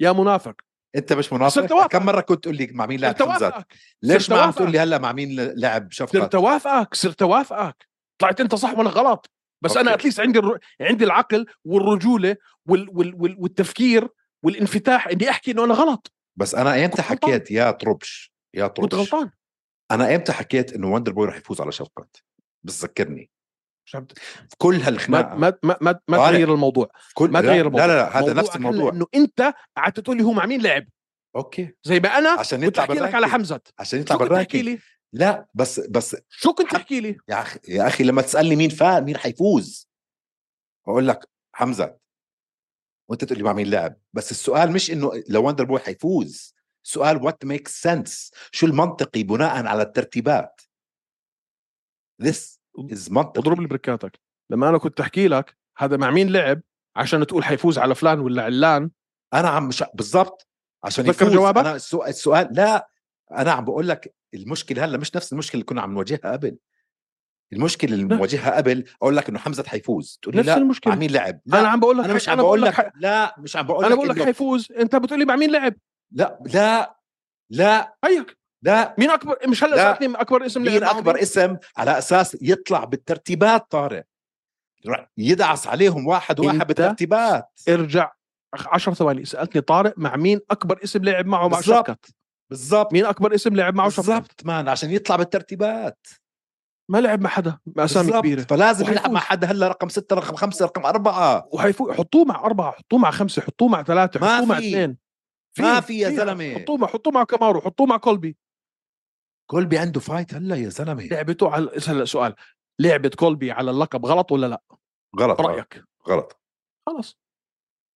B: يا منافق
A: انت مش
B: صرت واثق.
A: منافق؟ كم مره كنت تقول لي مع مين لعب
B: صرت
A: حمزات؟
B: وافقك
A: ليش
B: صرت
A: ما عم
B: واثق.
A: تقول لي هلا مع مين لعب
B: صرت
A: شفقه؟
B: وافقك صرت وافقك طلعت انت صح وانا غلط بس أوكي. انا
A: أوكي.
B: اتليست عندي الر... عندي العقل والرجوله وال... وال... وال... والتفكير والانفتاح اني احكي انه انا غلط
A: بس انا امتى
B: كنت غلطان.
A: حكيت يا طربش يا
B: كنت
A: طربش
B: غلطان
A: انا امتى حكيت انه وندر بوي رح يفوز على شفقات؟ بتذكرني
B: مش عم-
A: كل
B: ما
A: هالخناقه
B: ما ما ما, ما
A: طارق.
B: تغير الموضوع
A: كل
B: ما
A: لا-
B: تغير الموضوع
A: لا لا لا هذا
B: موضوعك
A: نفس
B: هلا
A: الموضوع
B: انه انت قعدت تقول لي هو مع مين لعب
A: اوكي
B: زي ما انا
A: عشان
B: كنت
A: يطلع
B: احكي لك على
A: بالرانكينج.
B: حمزه
A: عشان يطلع
B: شو كنت تحكي
A: بالرانكينج
B: لي
A: لا بس بس
B: شو كنت تحكي لي
A: يا اخي يا اخي لما تسالني مين فا مين حيفوز بقول لك حمزه وانت تقول لي مع مين لعب بس السؤال مش انه لو وندر بوي حيفوز سؤال وات ميك سنس شو المنطقي بناء على الترتيبات this is منطق
B: اضرب لي بركاتك لما انا كنت احكي لك هذا مع مين لعب عشان تقول حيفوز على فلان ولا علان
A: انا عم مش بالضبط عشان
B: تذكر
A: يفوز
B: جوابك؟
A: انا السؤال, السؤال لا انا عم بقول لك المشكله هلا مش نفس المشكله اللي كنا عم نواجهها قبل المشكله اللي
B: نفس-
A: بنواجهها قبل اقول لك انه حمزه حيفوز تقول لي
B: نفس
A: لا مع
B: المشكله
A: مين لعب لا
B: انا عم بقول لك
A: انا مش
B: حي-
A: عم بقول
B: حي-
A: لك لا مش عم بقول
B: انا بقول لك
A: إنه-
B: حيفوز انت بتقول لي مع مين لعب
A: لا لا لا
B: هيك
A: لا
B: مين اكبر مش هلا
A: لا.
B: سالتني مين اكبر اسم لعب
A: مين
B: معهم؟
A: اكبر اسم على اساس يطلع بالترتيبات طارق رح يدعس عليهم واحد واحد
B: أنت إيه،
A: بالترتيبات
B: ارجع 10 ثواني سالتني طارق مع مين اكبر اسم لعب معه مع
A: بالظبط.
B: شفقت
A: بالضبط
B: مين اكبر اسم لعب معه شفقت
A: بالضبط مان عشان يطلع بالترتيبات
B: ما لعب مع حدا مع اسامي
A: بالضبط.
B: كبيره
A: فلازم
B: وحيفوز.
A: يلعب مع حدا هلا رقم ستة رقم خمسة رقم أربعة
B: وحيفوز حطوه مع اربعه حطوه مع خمسه حطوه مع ثلاثه
A: ما
B: حطوه مع
A: في.
B: اثنين
A: ما
B: في-
A: في يا
B: في.
A: زلمة
B: حطوه مع حطوه مع كامارو حطوه مع كولبي
A: كولبي عنده فايت هلا يا زلمة
B: لعبته على هلا سؤال لعبه كولبي على اللقب غلط ولا لا
A: غلط
B: رايك
A: غلط
B: خلص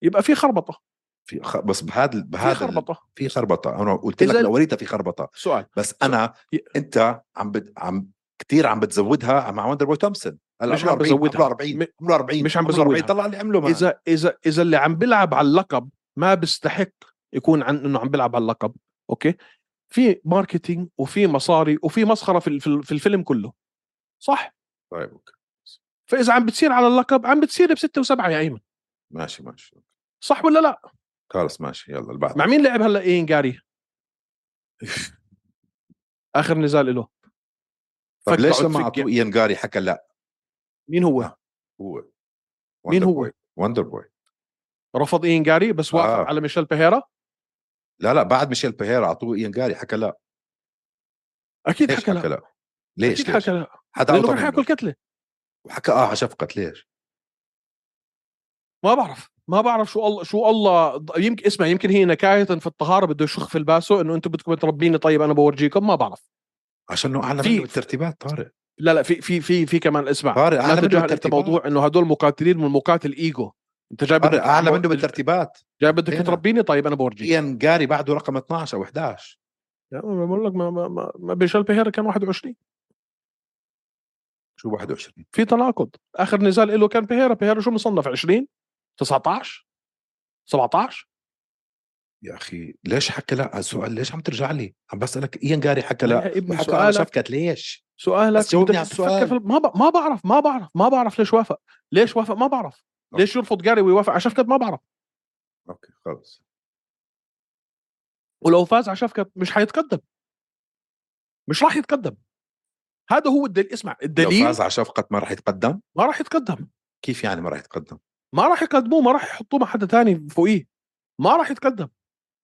B: يبقى في خربطه
A: في خ... بس بهذا
B: في
A: بهذا ال-
B: خربطه
A: في خربطة أنا قلت
B: إذا-
A: لك لوريتها في خربطة
B: سؤال
A: بس انا
B: ي-
A: انت عم بت... عم كثير عم بتزودها مع وندر بوي تومسون
C: هلا
B: مش
C: عمره
B: عم
C: 40
B: بزودها.
C: عمره 40
B: م-
C: عمره 40
B: مش عم
C: عمره
B: بزودها.
C: 40 طلع اللي عمله معه
B: اذا اذا اذا اللي عم بيلعب على اللقب ما بيستحق يكون عن انه عم بيلعب على اللقب اوكي في ماركتينج وفي مصاري وفي مسخره في ال- في ال- في الفيلم كله صح
A: طيب اوكي
B: فاذا عم بتصير على اللقب عم بتصير بستة وسبعة يا ايمن
A: ماشي ماشي
B: صح ولا لا
A: خلص ماشي يلا البعض
B: مع مين لعب إيه هلا اين جاري اخر نزال له
A: طيب
B: فك
A: ليش
B: بعد
A: لما
B: فك يعني
A: اعطوه ايان جاري حكى لا
B: مين هو
A: آه. هو
B: مين هو؟
A: وندر بوي
B: رفض اين جاري بس وافق
A: آه.
B: على ميشيل بيهيرا
A: لا لا بعد ميشيل بيهيرا اعطوه ايان جاري حكى لا
B: اكيد
A: ليش
B: حكى لا
A: حكى لا ليش
B: اكيد
A: ليش؟
B: حكى لا
A: حدا
B: لانه
A: أوطى
B: كان حياكل
A: منه.
B: كتله
A: وحكى اه على شفقة ليش
B: ما بعرف ما بعرف شو الله شو الله يمكن اسمع يمكن هي نكايه في الطهاره بده يشخ في الباسو انه انتم بدكم تربيني طيب انا بورجيكم ما بعرف
A: عشان انه اعلى
B: في-
A: منه بالترتيبات طارق
B: لا لا في في في في كمان اسمع
A: طارق
B: لا
A: اعلى منه
B: تتجاهل انت
A: بالترتيبات
B: موضوع انه هدول مقاتلين من مقاتل ايجو انت جاي بدك
A: طارق اعلى منه بالترتيبات
B: جاي بدك
A: دينا.
B: تربيني طيب انا بورجيك
A: ايان جاري بعده رقم 12 او 11
B: لا، ما بقول لك ما ما ما, ما بيشال بيهيرا كان 21
A: شو 21
B: في تناقض اخر نزال له كان بيهيرا بيهيرا شو مصنف 20 19 17
A: يا اخي ليش حكى لا على السؤال ليش عم ترجع لي عم بسالك ايان جاري حكى لا
B: يا ابني
A: وحكى على
B: سؤالك
A: شفقة ليش
B: سؤالك
A: بس جاوبني
B: بدك
A: على
B: تفكر
A: السؤال.
B: في ال- ما ب... ما بعرف ما بعرف ما بعرف ليش وافق ليش وافق ما بعرف
A: أوكي.
B: ليش يرفض جاري ويوافق على شفكت ما بعرف
A: اوكي خلص
B: ولو فاز على شفكت مش حيتقدم مش راح يتقدم هذا هو الدليل اسمع
A: لو
B: الدليل
A: فاز على شفقة ما راح يتقدم
B: ما راح يتقدم
A: كيف يعني ما راح يتقدم
B: ما راح يقدموه ما راح يحطوه مع حدا تاني فوقيه ما راح يتقدم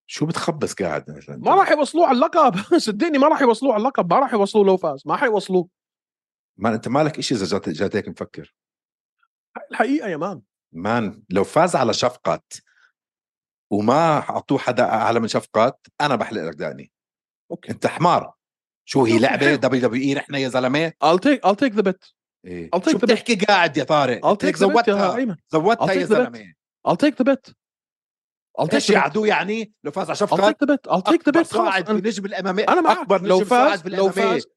A: شو بتخبص قاعد مثلا
B: ما راح يوصلوه على اللقب صدقني ما راح يوصلوه على اللقب ما راح يوصلوه لو فاز ما حيوصلوه
A: ما انت مالك شيء اذا جات- جات هيك مفكر
B: هاي الحقيقه يا مان
A: مان لو فاز على شفقة وما اعطوه حدا اعلى من شفقة انا بحلق لك دقني
B: اوكي
A: انت حمار شو هي
B: أوكي،
A: لعبه
B: حلو.
A: دبليو دبليو اي نحن يا زلمه
B: I'll take I'll take the bet
A: إيه.
B: I'll take
A: شو
B: the bet.
A: بتحكي قاعد يا طارق
B: I'll
A: انت
B: take
A: هيك
B: the bet يا
A: زودتها
B: ايمن I'll
A: زودتها يا
B: take the bet.
A: زلمه
B: I'll take the bet I'll take
A: ايش
B: the
A: يا
B: bet.
A: عدو يعني لو فاز على
B: I'll
A: شفقة
B: take the bet I'll take the bet خلاص
A: صاعد
B: أنا-
A: في نجم الامامي
B: انا معك
A: اكبر إيه؟ نجم
B: لو
A: صاعد
B: فاز
A: في
B: لو
A: الأمامية.
B: فاز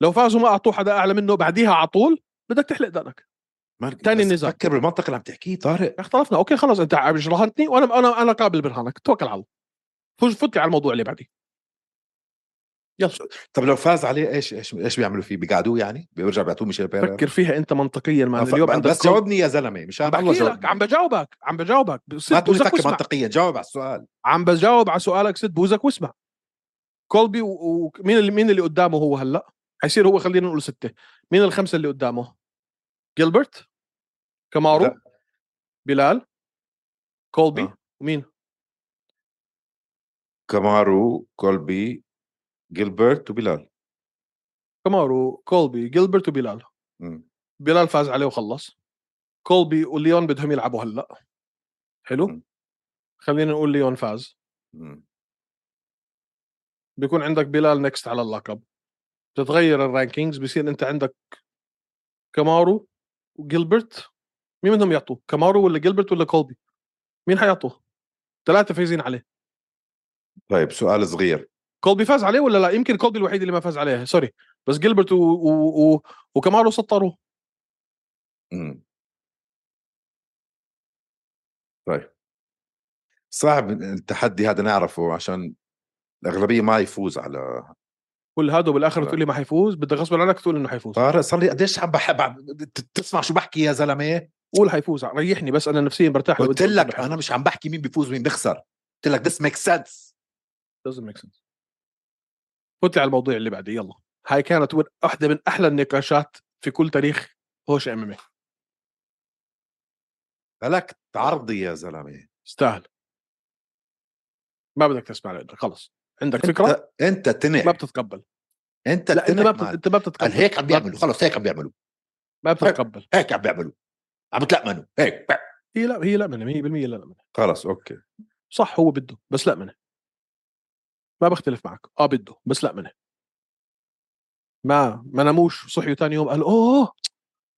B: لو فاز وما اعطوه حدا اعلى منه بعديها على طول بدك تحلق دقنك
A: مان،
B: تاني
A: بس
B: نزال.
A: فكر بالمنطق اللي عم تحكيه طارق
B: اختلفنا اوكي خلص انت عم جرهنتني وانا انا انا قابل برهانك توكل على الله فوز فوت لي على الموضوع اللي بعديه يلا
A: طب لو فاز عليه ايش ايش ايش بيعملوا فيه بيقعدوه يعني بيرجع بيعطوه ميشيل بيريرا
B: فكر فيها انت منطقيا مع
A: آه، ف-
B: اليوم عندك
A: بس
B: كل-
A: جاوبني يا زلمه مشان
B: عم
A: الله
B: بحكي لك
A: جاوبني
B: عم بجاوبك عم بجاوبك
A: ما
B: سد
A: تقول لي
B: بوزك
A: فكر
B: واسمع
A: منطقيا جاوب على السؤال
B: عم بجاوب على سؤالك سد بوزك واسمع كولبي ومين و... مين اللي مين اللي قدامه هو هلا حيصير هو خلينا نقول ستة مين الخمسة اللي قدامه جيلبرت كامارو
A: لا.
B: بلال كولبي
A: آه.
B: ومين
A: كامارو كولبي جيلبرت وبلال
B: كامارو كولبي جيلبرت وبلال
A: مم.
B: بلال فاز عليه وخلص كولبي وليون بدهم يلعبوا هلا حلو
A: مم.
B: خلينا نقول ليون فاز
A: مم.
B: بيكون عندك بلال نكست على اللقب بتتغير الرانكينجز بصير انت عندك كامارو وجيلبرت مين منهم يعطوه كامارو ولا جيلبرت ولا كولبي مين حيعطوه ثلاثه فايزين عليه
A: طيب سؤال صغير
B: كولبي فاز عليه ولا لا يمكن كولبي الوحيد اللي ما فاز عليه سوري بس جيلبرت و... و... و... وكامارو سطروه
A: مم. طيب صعب التحدي هذا نعرفه عشان الأغلبية ما يفوز على
B: كل هذا بالاخر
A: لا.
B: تقول لي ما حيفوز بدك غصب عنك تقول انه حيفوز
A: طارق صار لي قديش عم بحب عم- ت- تسمع شو بحكي يا زلمة
B: قول حيفوز ريحني بس انا نفسيا برتاح لو أنت
A: قلت
B: قلت
A: لك
B: إنه
A: أنا مش عم بحكي مين بيفوز ومين بيخسر قلت لك this makes sense
B: doesn't make sense فوت على الموضوع اللي بعده يلا هاي كانت ون- واحدة من أحلى النقاشات في كل تاريخ هوش إيه. ام ام
A: فلك تعرضي يا زلمة
B: استاهل ما بدك تسمع لأنه خلص عندك فكرة
A: أنت- يعني أنت تنع
B: ما بتتقبل
A: أنت
B: لا أنت ما
A: تنع
B: بت...
A: مان.
B: أنت ما
A: قال
B: بتتقبل
A: هيك طيب. عم بيعملوا
B: ما-
A: خلص هيك عم بيعملوا
B: ما بتتقبل
A: هيك عم بيعملوا عم بتلأمنوا هيك
B: هي لا هي لا منه 100% لا منه
A: خلص أوكي
B: صح هو بده بس لا منه ما بختلف معك اه بده بس لا منه ما ما ناموش صحيوا ثاني يوم قالوا اوه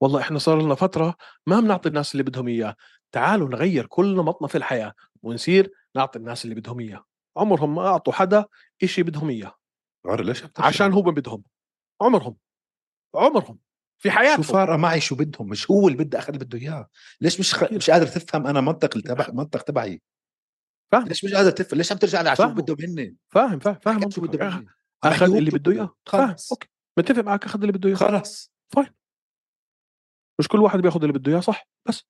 B: والله احنا صار لنا فتره ما بنعطي الناس اللي بدهم اياه تعالوا نغير كل نمطنا في الحياه ونصير نعطي الناس اللي بدهم اياه عمرهم ما اعطوا حدا إشي بدهم اياه
A: طارق ليش عم ترجع؟
B: عشان هو بدهم عمرهم عمرهم في حياته
A: شو فارقه معي شو بدهم مش هو اللي بدي اخذ اللي بده اياه ليش مش خ... مش قادر تفهم انا منطق اللي تبع منطق تبعي
B: نعم. فاهم.
A: ليش مش قادر تفهم ليش عم ترجع لي على شو
B: فاهمه.
A: بدهم هن
B: فاهم فاهم فاهم
A: حكيت شو
B: منطقك.
A: بدهم هن عم
B: اخذ
A: بحكي
B: اللي
A: هو
B: بده اياه فاهم
A: خلص
B: اوكي متفق معك اخذ اللي بده اياه
A: خلص
B: مش كل واحد بياخذ اللي بده اياه صح بس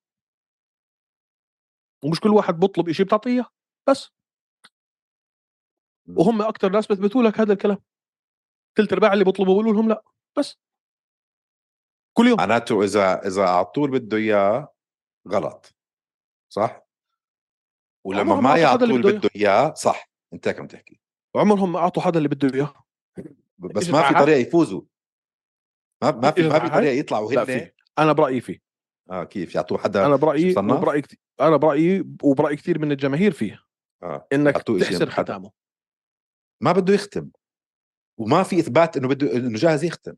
B: ومش كل واحد بطلب شيء بتعطيه اياه بس
A: م.
B: وهم اكثر ناس بيثبتوا لك هذا الكلام ثلث ارباع اللي بيطلبوا بيقولوا لهم لا بس كل يوم
A: معناته اذا اذا اعطوه اللي بده اياه غلط
B: آه،
A: صح؟ ولما
B: عمرهم
A: ما
B: ما أعطوا حدا
A: يعطوه
B: اللي
A: اللي
B: بده
A: بده اياه صح انت هيك عم تحكي
B: عمرهم ما اعطوا حدا اللي بده اياه
A: بس
B: إجت
A: ما
B: مع
A: في
B: حد؟
A: طريقه يفوزوا ما ما في
B: إجت
A: ما
B: مع
A: في
B: حد؟
A: طريقه يطلعوا
B: لا
A: هن
B: في انا برايي في
A: اه كيف يعطوه حدا
B: انا برايي
A: شو صنف؟
B: وبرايي كت- انا برايي وبراي كثير من الجماهير فيه
A: آه.
B: انك
A: يعطوه إشي
B: تحسن
A: من حد.
B: ختامه
A: ما بده يختم وما في اثبات انه بده انه جاهز يختم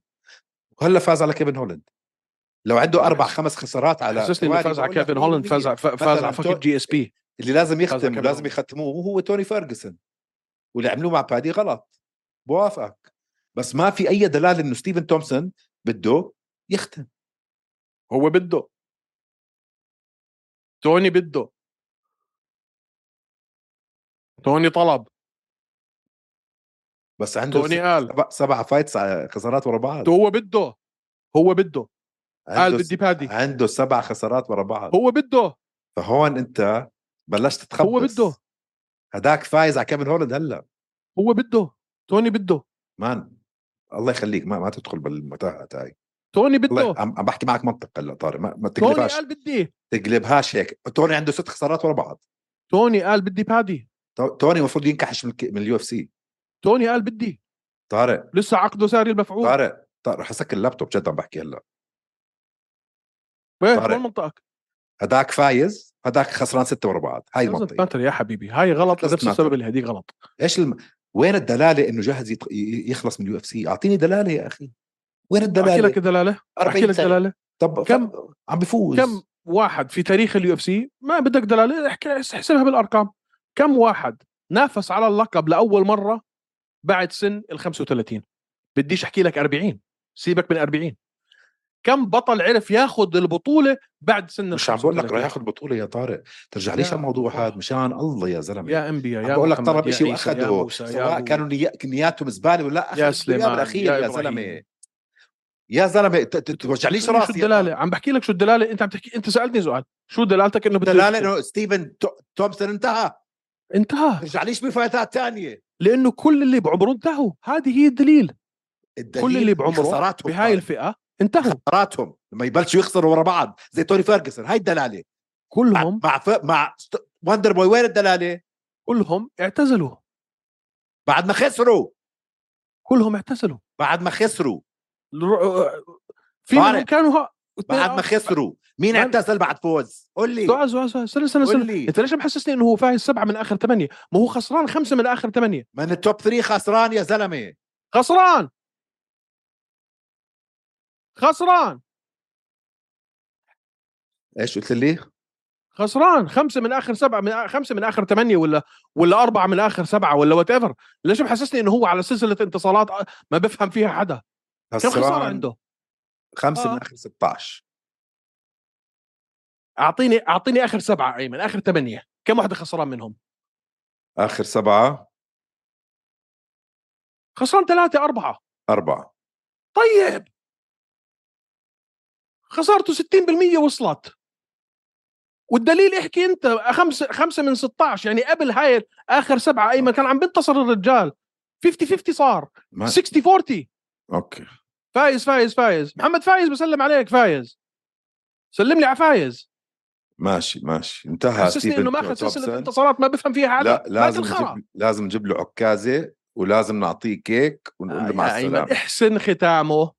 A: وهلا فاز على كيفن هولند لو عنده اربع خمس خسارات على
B: حسسني انه
A: توالي
B: فاز على
A: بقول لك
B: كيفن هولند
A: 100%
B: فاز على فاز
A: مثلاً
B: على فكت
A: تو-
B: جي اس بي
A: اللي لازم
B: على
A: يختم
B: كيفن
A: ولازم
B: هولند.
A: يختموه هو توني فيرجسون واللي عملوه مع بادي غلط بوافقك بس ما في اي دلاله انه ستيفن تومسون بده يختم
B: هو بده توني بده توني طلب
A: بس عنده
B: توني قال
A: سبع, سبع فايتس على خسارات ورا بعض
B: هو بده هو بده قال
A: عنده
B: بدي بادي
A: عنده سبع خسارات ورا بعض
B: هو بده
A: فهون انت بلشت تتخبص
B: هو بده.
A: هداك فايز على كيفن هولند هلا
B: هو بده توني بده
A: مان الله يخليك ما ما تدخل بالمتاهه هاي
B: توني
A: الله
B: بده
A: عم عم بحكي معك منطق هلا طارق ما, ما
B: توني
A: تقلبهاش
B: قال بدي إيه؟
A: تقلبهاش هيك توني عنده ست خسارات ورا بعض
B: توني قال بدي بادي
A: تو- توني المفروض ينكحش من الك- من اليو اف سي
B: توني قال بدي
A: طارق
B: لسه عقده ساري المفعول
A: طارق طارق رح اسكر اللابتوب جد عم بحكي هلا
B: وين
A: طارق.
B: وين منطقك
A: هداك فايز هداك خسران ستة ورا بعض هاي
B: دازنت
A: المنطقة
B: ماتر يا حبيبي هاي غلط
A: Doesn't
B: لنفس
A: matter.
B: السبب اللي هديك غلط
A: ايش الم... وين الدلالة انه جاهز يت... ي- يخلص من اليو اف سي اعطيني دلالة يا اخي وين
B: احكي
A: الدلالة
B: لك دلاله احكي
A: 40
B: لك
A: سنة
B: دلاله
A: طب
B: كم-
A: ف... عم بفوز
B: كم واحد في تاريخ اليو اف سي ما بدك دلاله احكي احسبها بالارقام كم واحد نافس على اللقب لاول مره بعد سن ال 35 بديش احكي لك 40 سيبك من 40 كم بطل عرف ياخذ البطوله بعد سن ال
A: مش عم بقول لك رح
B: 35؟
A: ياخذ بطولة يا طارق ترجع ليش
B: يا
A: الموضوع
B: الله.
A: هذا مشان الله يا زلمة
B: يا انبياء
A: عم
B: يا
A: بقول لك
B: محمد،
A: طلب
B: يا
A: شيء
B: عيسى، يا
A: واخده
B: موسى، يا
A: سواء
B: أبوه.
A: كانوا نيا- نياتهم زباله ولا لا أخذ
B: يا
A: الدنيا
B: سليمان،
A: بالاخير
B: يا
A: يا
B: إبراهيم.
A: زلمه يا زلمه ت- ت- توجعليش
B: شو
A: راسي يا
B: الدلاله عم بحكي لك شو الدلاله انت عم تحكي انت سالتني سؤال شو دلالتك انه بده
A: دلاله
B: يختم؟
A: انه ستيفن تو- تومسون انتهى
B: انتهى
A: رجعليش بفايتات تانية
B: لانه كل اللي بعمره انتهوا هذه هي الدليل
A: الدليل
B: اللي بعمره
A: خساراتهم
B: بهاي
A: بهاي
B: الفئه انتهوا
A: خساراتهم لما يبلشوا يخسروا ورا بعض زي توني فيرجسون هاي الدلاله مع
B: كلهم
A: مع, ف- مع ست- وندر بوي وين الدلاله؟
B: كلهم اعتزلوا
A: بعد ما خسروا
B: كلهم اعتزلوا
A: بعد ما خسروا
B: الر- في
A: طارق.
B: منهم كانوا ها-
A: بعد ما خسروا مين
B: من-
A: اعتزل بعد فوز؟ قول لي
B: آه، سؤال سؤال سؤال استنى استنى
A: قول
B: استنى
A: لي
B: انت ليش محسسني انه هو فايز سبعه من اخر ثمانيه؟ ما هو خسران خمسه من اخر ثمانيه،
A: من التوب 3 خسران يا زلمه
B: خسران خسران
A: ايش قلت لي؟
B: خسران خمسه من اخر سبعه من آ- خمسه من اخر ثمانيه ولا ولا اربعه من اخر سبعه ولا وات ايفر، ليش محسسني انه هو على سلسله انتصارات آه، ما بفهم فيها حدا، كم خساره عنده؟
A: خمسه
B: آه.
A: من اخر 16
B: اعطيني اعطيني اخر سبعه ايمن اخر ثمانيه، كم واحده خسران منهم؟
A: اخر سبعه
B: خسران ثلاثه اربعه
A: اربعه
B: طيب خسارته 60% وصلت والدليل احكي انت خمسه خمسه من 16 يعني قبل هاي اخر سبعه ايمن كان عم بينتصر الرجال 50 50 صار
A: ما...
B: 60 40
A: اوكي
B: فايز فايز فايز محمد فايز بسلم عليك فايز سلم لي على فايز
A: ماشي ماشي انتهى
B: حسسني
A: ستيفن
B: انه ما اخذ
A: تومسون.
B: سلسله انتصارات ما بفهم فيها حدا
A: لا
B: ما
A: لازم
B: تنخرع.
A: نجيب لازم نجيب له عكازه ولازم نعطيه كيك ونقول له
B: آه،
A: مع
B: يا أيمن،
A: السلامه
B: احسن ختامه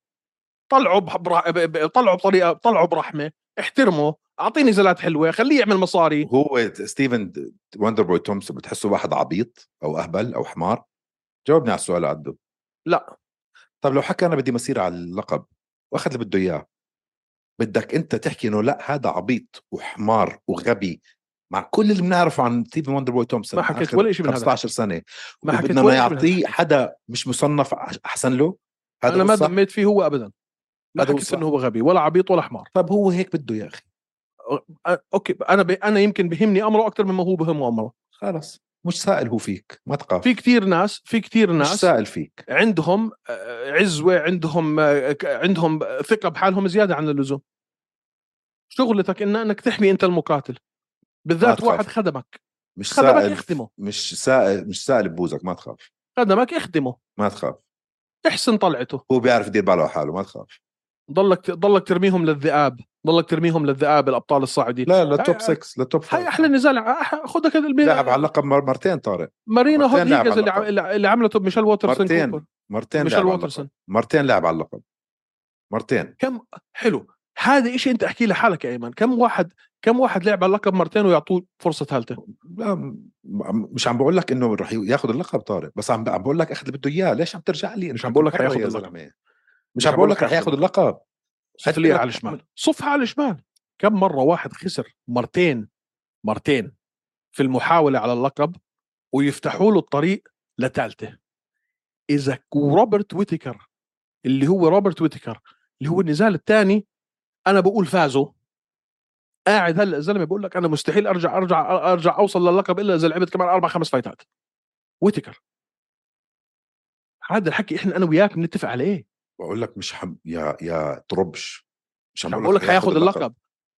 B: طلعوا بحبرا... ب- ب- طلعوا بطريقه طلعوا برحمه احترمه اعطيني نزلات حلوه خليه يعمل مصاري
A: هو ستيفن وندر بوي تومسون بتحسه واحد عبيط او اهبل او حمار جاوبني على السؤال اللي عده
B: لا
A: طب لو حكى انا بدي مسيره على اللقب واخذ اللي بده اياه بدك انت تحكي انه لا هذا عبيط وحمار وغبي مع كل اللي بنعرفه عن ستيفن وندر بوي تومسون
B: ما حكيت
A: آخر
B: ولا شيء من هذا.
A: 15 سنه
B: ما حكيت
A: بدنا
B: ولا
A: ما
B: شيء من هذا.
A: يعطيه حدا مش مصنف أح- احسن له هذا
B: انا
A: هو
B: ما
A: الصح
B: دميت فيه هو ابدا لا
C: هذا هو
B: حكيت
C: صح.
B: انه هو غبي ولا عبيط ولا حمار
C: طب هو هيك بده يا اخي
B: أ- اوكي انا ب... انا يمكن بهمني امره اكثر مما هو بهمه امره
C: خلص مش سائل هو فيك ما تقاف
B: في كثير ناس في كثير
C: مش
B: ناس
C: سائل فيك
B: عندهم آه، عزوه عندهم آه، ك- عندهم ثقه بحالهم زياده عن اللزوم شغلتك إن انك تحمي انت المقاتل بالذات
A: تخاف.
B: واحد خدمك
A: مش
B: خدمك
A: سائل
B: اخدمه
A: مش سائل مش سائل ببوزك ما تخاف
B: خدمك اخدمه
A: ما تخاف
B: احسن طلعته
A: هو بيعرف يدير باله على حاله ما تخاف
B: ضلك ضلك ترميهم للذئاب ضلك ترميهم للذئاب الابطال الصاعدين
A: لا للتوب
B: هاي-
A: 6 للتوب
B: هاي
A: 5
B: احلى نزال ع- خدك هذا البيت
A: لعب على اللقب مر- مرتين طارق
B: مارينا
A: مرتين
B: هود
A: لعب
B: هيجز
A: على
B: اللي,
A: اللقب.
B: ع- اللي اللي عملته بميشيل واترسون
A: مرتين
B: كوبر.
A: مرتين لعب
B: ميشيل
A: على اللقب
B: واترسون
A: مرتين لعب على اللقب مرتين
B: حلو هذا إشي انت احكي لحالك يا ايمن كم واحد كم واحد لعب على اللقب مرتين ويعطوه فرصه ثالثه
A: لا م- م- مش عم بقول لك انه رح ياخذ اللقب طارق بس عم ب- عم بقول لك اخذ اللي بده اياه ليش عم ترجع لي
B: مش عم بقول لك
A: مرة
B: حياخد
A: يا
B: اللقب.
A: زلمة. مش عم بقول لك رح ياخذ اللقب
B: صف لي على الشمال صفها على الشمال كم مره واحد خسر مرتين مرتين في المحاوله على اللقب ويفتحوا له الطريق لثالثه اذا روبرت ويتكر اللي هو روبرت ويتكر اللي هو النزال الثاني انا بقول فازه قاعد هلا الزلمه بقول لك انا مستحيل ارجع ارجع ارجع اوصل للقب الا اذا لعبت كمان اربع خمس فايتات ويتكر هذا الحكي احنا انا وياك بنتفق عليه
A: بقول لك مش حم... يا يا طربش مش
B: مش عم بقول لك
A: حياخد
B: حياخد اللقب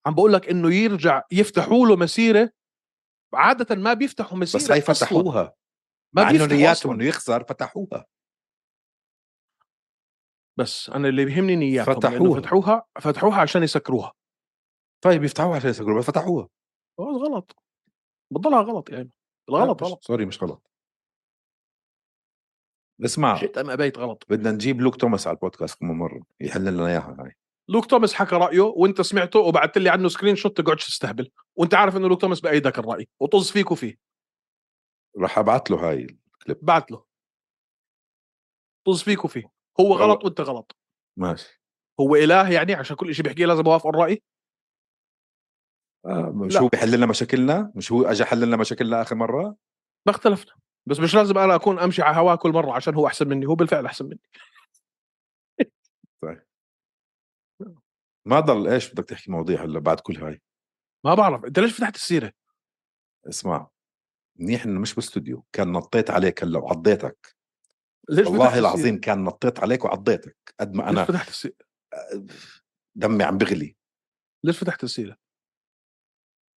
B: عم بقول لك انه يرجع يفتحوا له مسيره عاده ما بيفتحوا مسيره
A: بس هي
B: أصلاً.
A: فتحوها
B: ما
A: مع انه
B: بيفتحوا
A: نياتهم
B: أصلاً.
A: انه يخسر فتحوها
B: بس انا اللي بيهمني نياتهم لأنه
A: فتحوها.
B: فتحوها فتحوها عشان يسكروها
A: طيب يفتحوها عشان يسكروا بس فتحوها
B: بس غلط بتضلها غلط يعني الغلط
A: لا، مش-
B: غلط
A: سوري مش غلط اسمع
B: شئت ام ابيت غلط
A: بدنا نجيب لوك توماس على البودكاست كم مره يحل لنا اياها هاي
B: لوك توماس حكى رايه وانت سمعته وبعثت لي عنه سكرين شوت تقعدش تستهبل وانت عارف انه لوك توماس بايدك الراي وطز فيك وفيه
A: رح ابعت له هاي
B: بعت له طز فيك وفيه هو
A: والله.
B: غلط وانت غلط
A: ماشي
B: هو اله يعني عشان كل شيء بيحكيه لازم اوافق الراي
A: آه مش
B: لا.
A: هو بيحل لنا مشاكلنا مش هو اجى حل لنا مشاكلنا اخر مره
B: ما اختلفنا بس مش لازم انا اكون امشي على هواه كل مره عشان هو احسن مني هو بالفعل احسن مني
A: ما ضل ايش بدك تحكي مواضيع هلا بعد كل هاي
B: ما بعرف انت ليش فتحت السيره
A: اسمع منيح انه مش باستوديو كان نطيت عليك هلا وعضيتك
B: ليش فتحت
A: والله
B: السيرة؟
A: العظيم كان نطيت عليك وعضيتك قد ما
B: ليش
A: انا
B: فتحت السيره
A: دمي عم بغلي
B: ليش فتحت طيب، السيره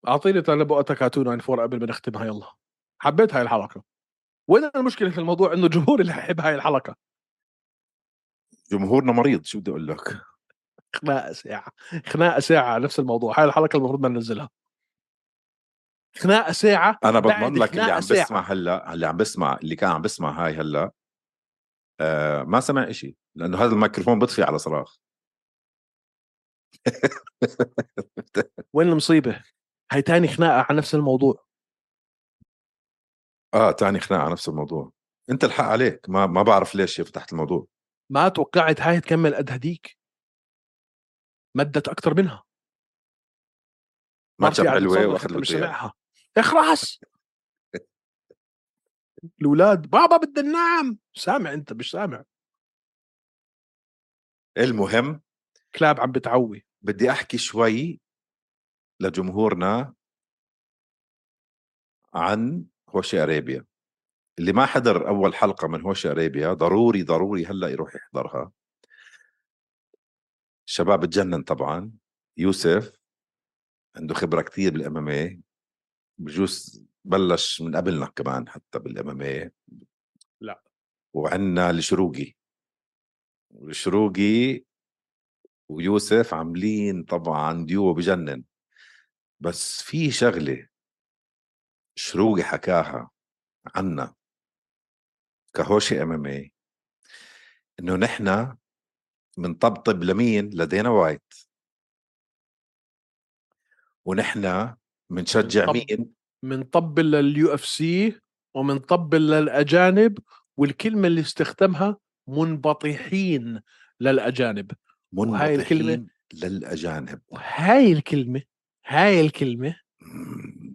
B: اعطيني طلب وقتك كاتون عن فور قبل ما نختمها يلا حبيت هاي الحلقه وين المشكله في الموضوع انه الجمهور اللي حيحب هاي الحلقه
A: جمهورنا مريض شو بدي اقول لك
B: خناقه ساعه خناقه ساعه على نفس الموضوع هاي الحلقه المفروض ما ننزلها خناقه ساعه
A: انا
B: بعد
A: بضمن لك اللي
B: خناقة
A: عم
B: ساعة.
A: بسمع هلا اللي عم بسمع اللي كان عم بسمع هاي هلا آه ما سمع إشي لانه هذا الميكروفون بيطفي على صراخ
B: وين المصيبه هاي تاني خناقه على نفس الموضوع
A: اه تاني خناقه على نفس الموضوع انت الحق عليك ما ما بعرف ليش يا فتحت الموضوع
B: ما توقعت هاي تكمل قد هديك مدت اكثر منها
A: ماتشب
B: في عدد صدر
A: حلوه
B: حتى
A: واخذ
B: مش
A: بده إياها.
B: سامعها اخرس الاولاد بابا بدنا ننام سامع انت مش سامع
A: المهم
B: كلاب عم بتعوي
A: بدي احكي شوي لجمهورنا عن هوشي اريبيا اللي ما حضر اول حلقه من هوشي اريبيا ضروري ضروري هلا يروح يحضرها الشباب بتجنن طبعا يوسف عنده خبره كثير بالام بجوز بلش من قبلنا كمان حتى بالام
B: لا.
A: وعندنا الشروقي الشروقي ويوسف عاملين طبعا ديو بجنن بس في شغله شروقي حكاها عنا كهوشي ام ام انه نحن بنطبطب لمين لدينا وايت ونحن بنشجع
B: بنطبطب.
A: مين
B: من طب لليو اف سي ومن طب للاجانب والكلمه اللي استخدمها منبطحين للاجانب وهاي الكلمة-
A: منبطحين للاجانب
B: وهاي الكلمه هاي الكلمه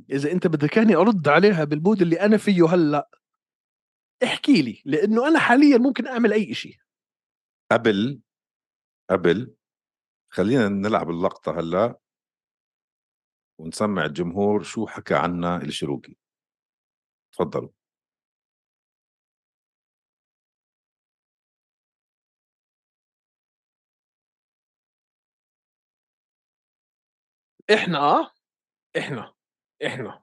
B: اذا انت بدك إياني ارد عليها بالمود اللي انا فيه هلا احكي لي لانه انا حاليا ممكن اعمل اي شيء
A: قبل قبل خلينا نلعب اللقطه هلا ونسمع الجمهور شو حكى عنا الشروقي تفضلوا
B: احنا احنا احنا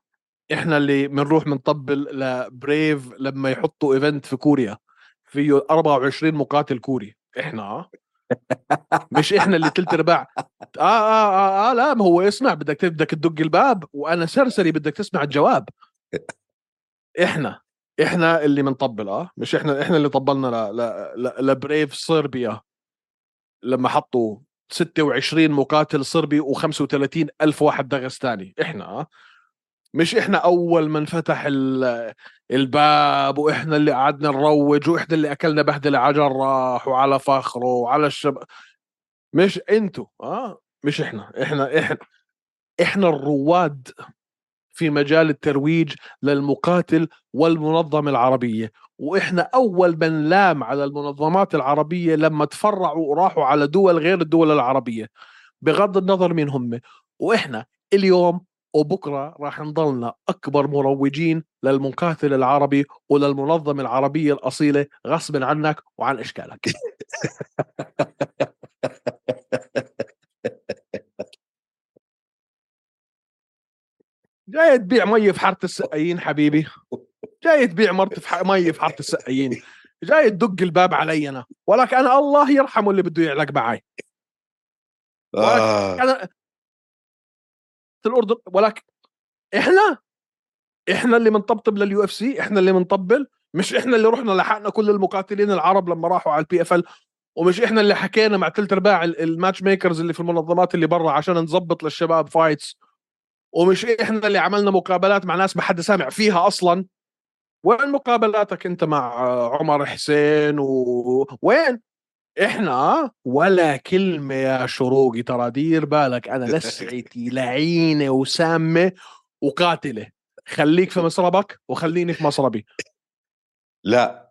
B: احنا اللي بنروح بنطبل لبريف لما يحطوا ايفنت في كوريا فيه 24 مقاتل كوري احنا مش احنا اللي ثلث ارباع آه, آه, اه اه لا ما هو اسمع بدك ت- بدك تدق الباب وانا سرسري بدك تسمع الجواب احنا احنا اللي بنطبل اه مش احنا احنا اللي طبلنا ل- ل- ل- لبريف صربيا لما حطوا 26 مقاتل صربي و35 ألف واحد داغستاني احنا آه. مش احنا اول من فتح ال- الباب واحنا اللي قعدنا نروج واحنا اللي اكلنا بهدله على جراح وعلى فخره وعلى الشب مش انتوا اه مش احنا احنا احنا احنا الرواد في مجال الترويج للمقاتل والمنظمه العربيه واحنا اول من لام على المنظمات العربيه لما تفرعوا وراحوا على دول غير الدول العربيه بغض النظر مين هم واحنا اليوم وبكره راح نضلنا اكبر مروجين للمقاتل العربي وللمنظمه العربيه الاصيله غصبا عنك وعن اشكالك جاي تبيع مي في حاره السقايين حبيبي جاي تبيع مرتي في ح- مي في حاره السقايين جاي تدق الباب علي انا ولك انا الله يرحمه اللي بده يعلق معي
A: آه.
B: انا الاردن ولكن احنا احنا اللي بنطبطب لليو اف سي احنا اللي بنطبل مش احنا اللي رحنا لحقنا كل المقاتلين العرب لما راحوا على البي اف ال ومش احنا اللي حكينا مع ثلث ارباع ال- الماتش ميكرز اللي في المنظمات اللي برا عشان نظبط للشباب فايتس ومش احنا اللي عملنا مقابلات مع ناس ما حدا سامع فيها اصلا وين مقابلاتك انت مع آه، عمر حسين و... وين احنا ولا كلمة يا شروقي ترى دير بالك انا لسعتي لعينة وسامة وقاتلة خليك في مصربك وخليني في مصربي
A: لا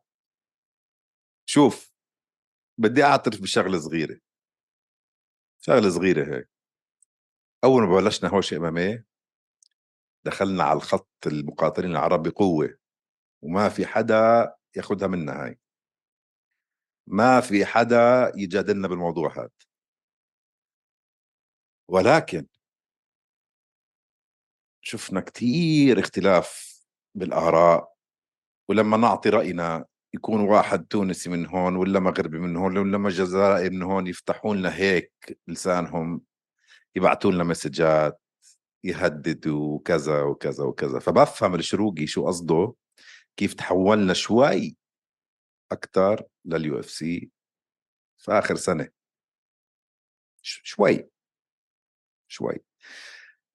A: شوف بدي اعترف بشغله صغيره شغله صغيره هيك اول ما بلشنا هوشه اماميه إيه، دخلنا على الخط المقاتلين العرب بقوه وما في حدا ياخذها منا هاي ما في حدا يجادلنا بالموضوع هذا ولكن شفنا كتير اختلاف بالاراء ولما نعطي راينا يكون واحد تونسي من هون ولا مغربي من هون ولا ما جزائري من هون يفتحوا لنا هيك لسانهم يبعثوا لنا مسجات يهددوا وكذا وكذا وكذا فبفهم الشروقي شو قصده كيف تحولنا شوي اكثر لليو اف سي في اخر سنه ش- شوي شوي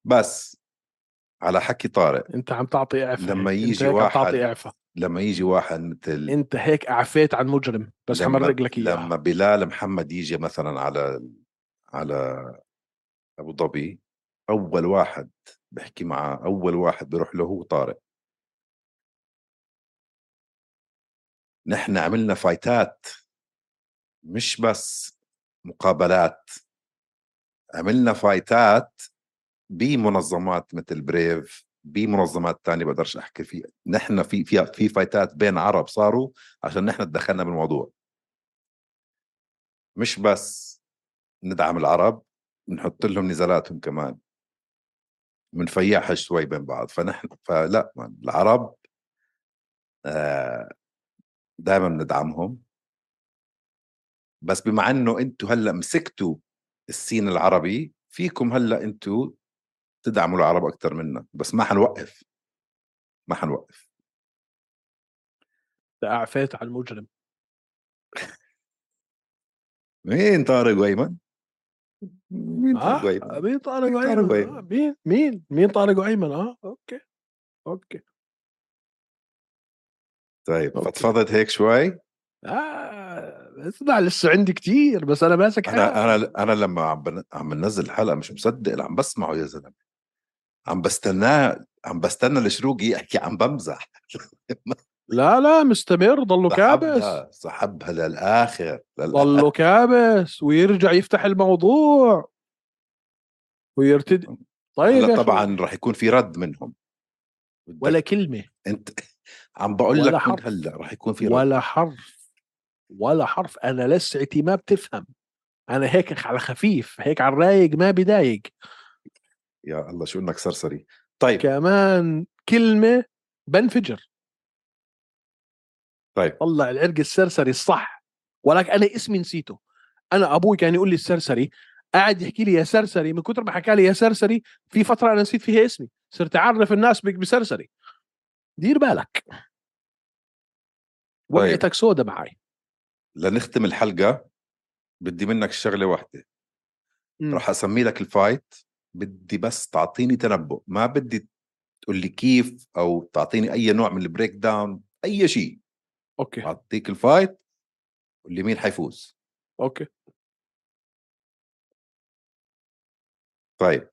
A: بس على حكي طارق
B: انت عم تعطي اعفاء
A: لما
B: هيك.
A: يجي
B: انت هيك عم
A: واحد
B: تعطي اعفاء
A: لما يجي واحد مثل
B: انت هيك اعفيت عن مجرم بس إيه
A: لما-
B: حمرق لك اياها
A: لما بلال محمد يجي مثلا على على ابو ظبي اول واحد بحكي معه اول واحد بروح له هو طارق نحن عملنا فايتات مش بس مقابلات عملنا فايتات بمنظمات مثل بريف بمنظمات تانية بقدرش احكي فيها نحن في في في فايتات بين عرب صاروا عشان نحن تدخلنا بالموضوع مش بس ندعم العرب بنحط لهم نزالاتهم كمان بنفيعها شوي بين بعض فنحن فلا ما- العرب دائما بندعمهم بس بما انه انتم هلا مسكتوا السين العربي فيكم هلا انتم تدعموا العرب اكثر منا بس ما حنوقف ما حنوقف
B: انت اعفيت عن مجرم
A: مين طارق وايمن؟ مين طارق
B: آه؟
A: وايمن؟
B: مين طارق
A: مين طارق
B: وأيمن؟
A: وأيمن؟
B: آه، مين مين مين طارق وأيمن اه اوكي اوكي
A: طيب
B: أوكي.
A: فضفضت هيك شوي
B: آه اسمع لسه عندي كتير بس انا ماسك حالي.
A: انا انا انا لما عم بن- عم بنزل الحلقه مش مصدق اللي عم بسمعه يا زلمه عم بستناه عم بستنى الشروق يحكي عم بمزح
B: لا لا مستمر ضله كابس
A: سحبها سحبها للاخر للآخر.
B: ضله كابس ويرجع يفتح الموضوع ويرتدي طيب يا
A: هلا
B: أخي،
A: طبعا رح يكون في رد منهم بدك-
B: ولا كلمه
A: انت عم بقول
B: ولا
A: لك من
B: حرف.
A: هلا رح يكون في رد
B: ولا حرف ولا حرف انا لسعتي ما بتفهم انا هيك على خفيف هيك على الرايق ما بدايق
A: يا الله شو انك سرسري طيب
B: كمان كلمه بنفجر
A: طيب
B: طلع العرق السرسري الصح ولك انا اسمي نسيته انا ابوي كان يقول لي السرسري قاعد يحكي لي يا سرسري من كتر ما حكى لي يا سرسري في فتره انا نسيت فيها اسمي صرت اعرف الناس بك بسرسري دير بالك
A: طيب.
B: وقعتك سودة معي
A: لنختم الحلقه بدي منك شغله واحده
B: مم.
A: رح اسمي لك الفايت بدي بس تعطيني تنبؤ ما بدي تقول لي كيف او تعطيني اي نوع من البريك داون اي شيء
B: اوكي
A: بعطيك الفايت قول لي مين حيفوز
B: اوكي
A: طيب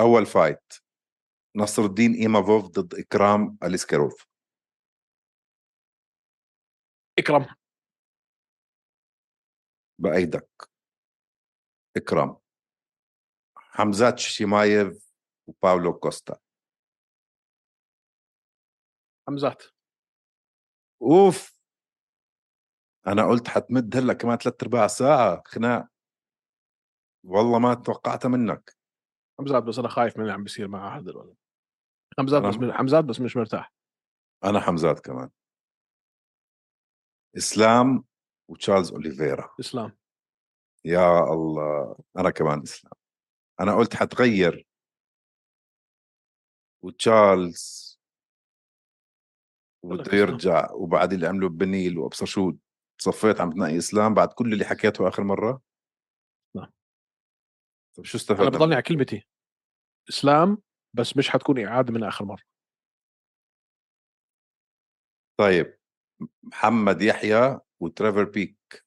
A: اول فايت نصر الدين ايمافوف ضد اكرام الاسكاروف
B: اكرم
A: بايدك اكرام حمزات شيمايف وباولو كوستا
B: حمزات
A: اوف انا قلت حتمد هلا كمان ثلاث ارباع ساعه خناق والله ما توقعتها منك
B: حمزات بس انا خايف من اللي عم بيصير مع هذا الولد حمزات بس
A: أنا-
B: حمزات بس مش مرتاح
A: انا حمزات كمان اسلام وتشارلز اوليفيرا
B: اسلام
A: يا الله انا كمان اسلام انا قلت حتغير وتشارلز
B: لك
A: وبده
B: إسلام.
A: يرجع وبعد اللي عمله ببنيل وابصر شو صفيت عم تنقي اسلام بعد كل اللي حكيته اخر مره
B: نعم.
A: طيب شو
B: انا
A: استفدنا
B: بضلني
A: من-
B: على كلمتي اسلام بس مش حتكون اعاده من اخر مره
A: طيب محمد يحيى وتريفر بيك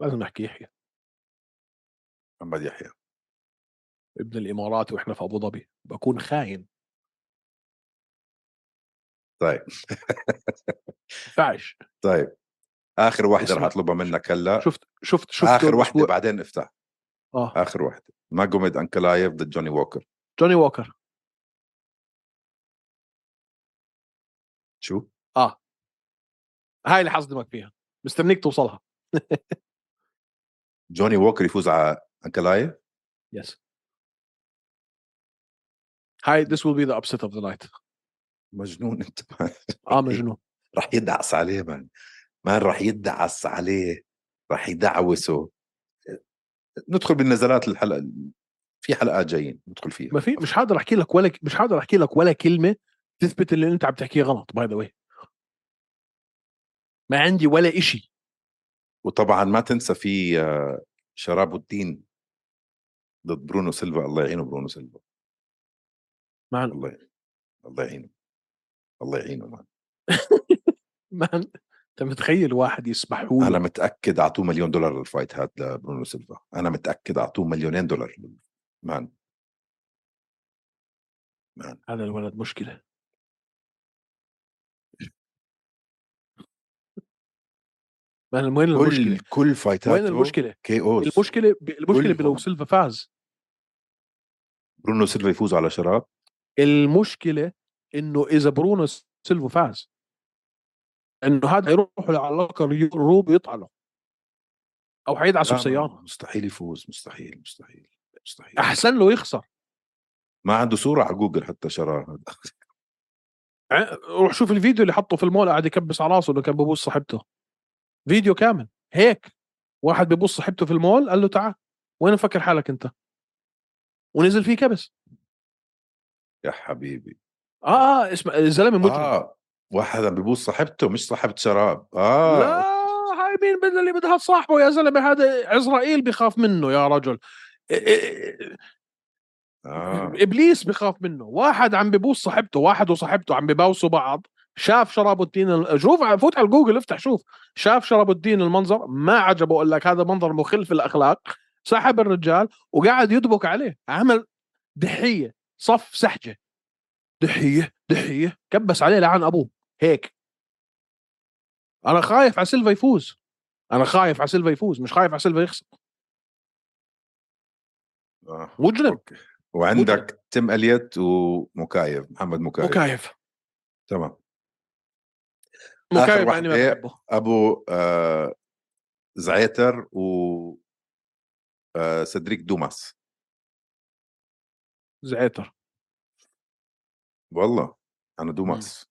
B: لازم نحكي يحيى
A: محمد يحيى
B: ابن الامارات واحنا في ابو ظبي بكون خاين
A: طيب
B: فعش
A: طيب اخر وحده رح
B: اسمع.
A: اطلبها منك هلا
B: شفت شفت شفت
A: اخر وحده
B: الأسبوع-
A: بعدين افتح
B: اه
A: اخر وحده ماجوميد انكلايف ضد جوني ووكر
B: جوني ووكر
A: شو
B: هاي اللي حصدمك فيها مستنيك توصلها
A: جوني ووكر يفوز على انكلايف
B: يس هاي this will be the upset of the night
A: مجنون انت
B: اه مجنون
A: رح يدعس عليه مان مان رح يدعس عليه رح يدعوسه ندخل بالنزلات الحلقه في حلقات جايين ندخل فيها
B: ما في مش حاضر احكي لك ولا مش حاضر احكي لك ولا كلمه تثبت اللي انت عم تحكيه غلط باي ذا واي ما عندي ولا إشي
A: وطبعا ما تنسى في آه، شراب الدين ضد برونو سيلفا الله يعينه برونو سيلفا
B: مان
A: الله يعينه الله يعينه الله يعينه مان
B: مان انت متخيل واحد يسمحوا
A: انا
B: له
A: متاكد اعطوه مليون دولار للفايت هاد لبرونو سيلفا انا متاكد اعطوه مليونين دولار مان
B: هذا الولد مشكله مان وين
A: كل
B: المشكله؟
A: كل
B: وين
A: فايتاته
B: المشكله؟
A: كي اوز
B: المشكله ب- المشكله
A: كلهم.
B: بلو سيلفا فاز
A: برونو سيلفا يفوز على شراب
B: المشكله انه اذا برونو سيلفا فاز انه هذا حيروحوا لعلاقه روب يطعنوا او حيدعسوا
A: لا، ما-
B: بسياره
A: مستحيل يفوز مستحيل مستحيل مستحيل
B: احسن له يخسر
A: ما عنده صوره على جوجل حتى شراب هذا
B: ع- روح شوف الفيديو اللي حطه في المول قاعد يكبس على راسه انه كان ببوس صاحبته فيديو كامل هيك واحد ببوس صاحبته في المول قال له تعال وين مفكر حالك انت ونزل فيه كبس
A: يا حبيبي
B: اه اه اسمع الزلمه مجرم آه.
A: اه واحد عم بيبوس صاحبته مش صاحبة شراب اه
B: لا هاي مين بدها اللي بدها تصاحبه يا زلمه هذا عزرائيل بخاف منه يا رجل إ- إ-
A: آه.
B: ابليس بخاف منه واحد عم ببوس صاحبته واحد وصاحبته عم بباوسوا بعض شاف شراب الدين ال- شوف ع- فوت على الجوجل افتح شوف شاف شراب الدين المنظر ما عجبه قال لك هذا منظر مخل في الاخلاق سحب الرجال وقعد يدبك عليه عمل دحيه صف سحجه دحيه دحيه كبس عليه لعن ابوه هيك انا خايف على سيلفا يفوز انا خايف على سيلفا يفوز مش خايف على سيلفا يخسر
A: آه.
B: مجرم
A: أوكي. وعندك تيم اليت ومكايف محمد مكايف,
B: مكايف
A: تمام
B: مكايف مع اني
A: واحد
B: يعني ما
A: إيه؟
B: بحبه
A: ابو آه زعيتر و آه سدريك دوماس
B: زعتر
A: والله انا دوماس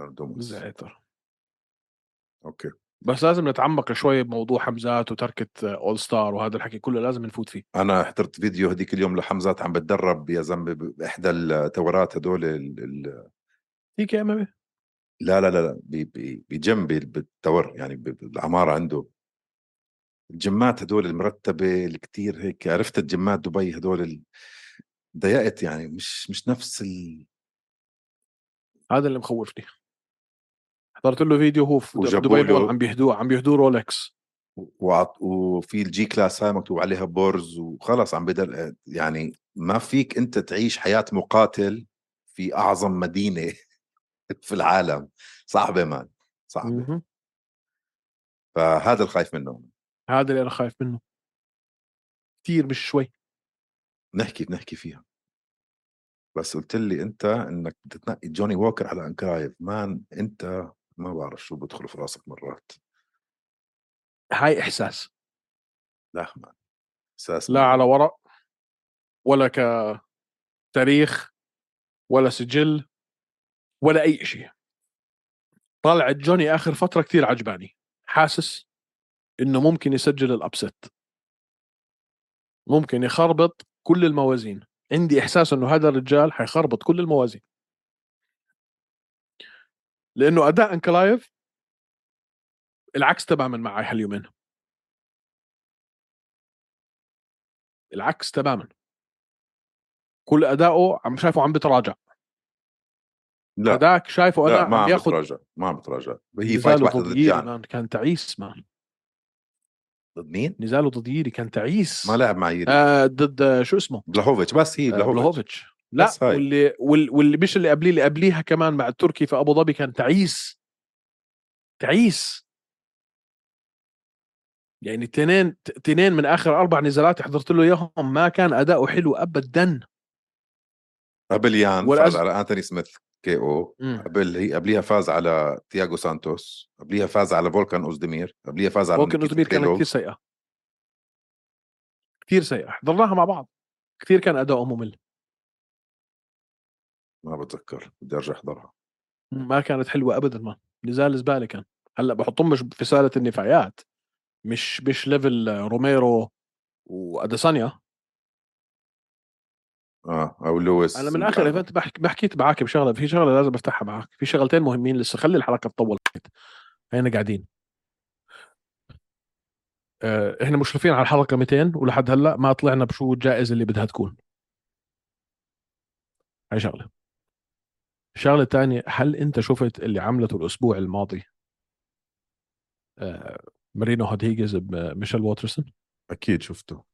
A: انا دوماس
B: زعتر
A: اوكي
B: بس لازم نتعمق شوي بموضوع حمزات وتركه اول ستار وهذا الحكي كله لازم نفوت فيه
A: انا حضرت فيديو هذيك اليوم لحمزات عم بتدرب يا زلمه باحدى التورات هدول ال... ال...
B: تي كي إيه؟ ام ام
A: لا لا لا لا، ب- ب- بجنب بالتور يعني ب- بالعماره عنده الجمات هدول المرتبه الكتير هيك عرفت الجمات دبي هدول ال... ضايقت يعني مش مش نفس ال...
B: هذا اللي مخوفني حضرت له فيديو هو في
A: وجابوا
B: دبي
A: له-
B: مول عم بيهدوه عم بيهدوه رولكس
A: وعط... وفي الجي كلاس هاي مكتوب عليها بورز وخلص عم بدل يعني ما فيك انت تعيش حياه مقاتل في اعظم مدينه في العالم صعبه مان صعبه
B: مهم.
A: فهذا الخايف منه
B: هذا اللي انا خايف منه كثير مش شوي
A: نحكي بنحكي فيها بس قلت لي انت انك بدك تنقي جوني ووكر على انكرايف مان انت ما بعرف شو بدخل في راسك مرات
B: هاي احساس
A: لا مان اساس
B: لا على ورق ولا كتاريخ ولا سجل ولا اي شيء طلعت جوني اخر فتره كثير عجباني حاسس انه ممكن يسجل الابست ممكن يخربط كل الموازين عندي احساس انه هذا الرجال حيخربط كل الموازين لانه اداء انكلايف العكس تماما معي هاليومين العكس تماما كل اداؤه عم شايفه عم بتراجع
A: لا لا,
B: اداك شايفه اداء
A: ما
B: عم
A: عم
B: ياخذ
A: بتراجع ما عم بتراجع هي فايت
B: نزاله
A: واحده
B: ضد
A: ضد يعني.
B: ييري
A: جان
B: مان كان تعيس مان
A: ضد مين؟
B: نزاله ضد ييري كان تعيس
A: ما لعب مع ييري
B: آه ضد آه، شو اسمه
A: بلاهوفيتش بس هي
B: آه،
A: بلاهوفيتش
B: بلاهوفيتش لا
A: بس هاي.
B: واللي وال- واللي مش اللي قبليه اللي قبليها كمان مع التركي في ابو ظبي كان تعيس تعيس يعني تنين تنين من اخر اربع نزالات حضرت له اياهم ما كان اداؤه حلو ابدا
A: قبل يان
B: والأز-
A: فاز على انتوني سميث كي او قبل هي قبليها فاز على تياغو سانتوس قبليها فاز على فولكان اوزدمير قبليها فاز على
B: ممكن
A: نيكيتا
B: اوزمير كانت
A: كريلوف.
B: كثير سيئه كثير سيئه حضرناها مع بعض كثير كان اداؤه ممل
A: ما بتذكر بدي ارجع احضرها
B: ما كانت حلوه ابدا ما نزال زباله كان هلا بحطهم مش في سله النفايات مش مش ليفل روميرو واديسانيا
A: اه او لويس
B: انا من اخر ايفنت بحكي ما حكيت معك بشغله في شغله لازم افتحها معك في شغلتين مهمين لسه خلي الحلقه تطول هينا قاعدين آه، احنا مشرفين على الحلقه 200 ولحد هلا ما طلعنا بشو الجائزه اللي بدها تكون هاي شغله الشغله الثانيه هل انت شفت اللي عملته الاسبوع الماضي آه، مارينو هوديجز بميشيل واترسون
A: اكيد شفته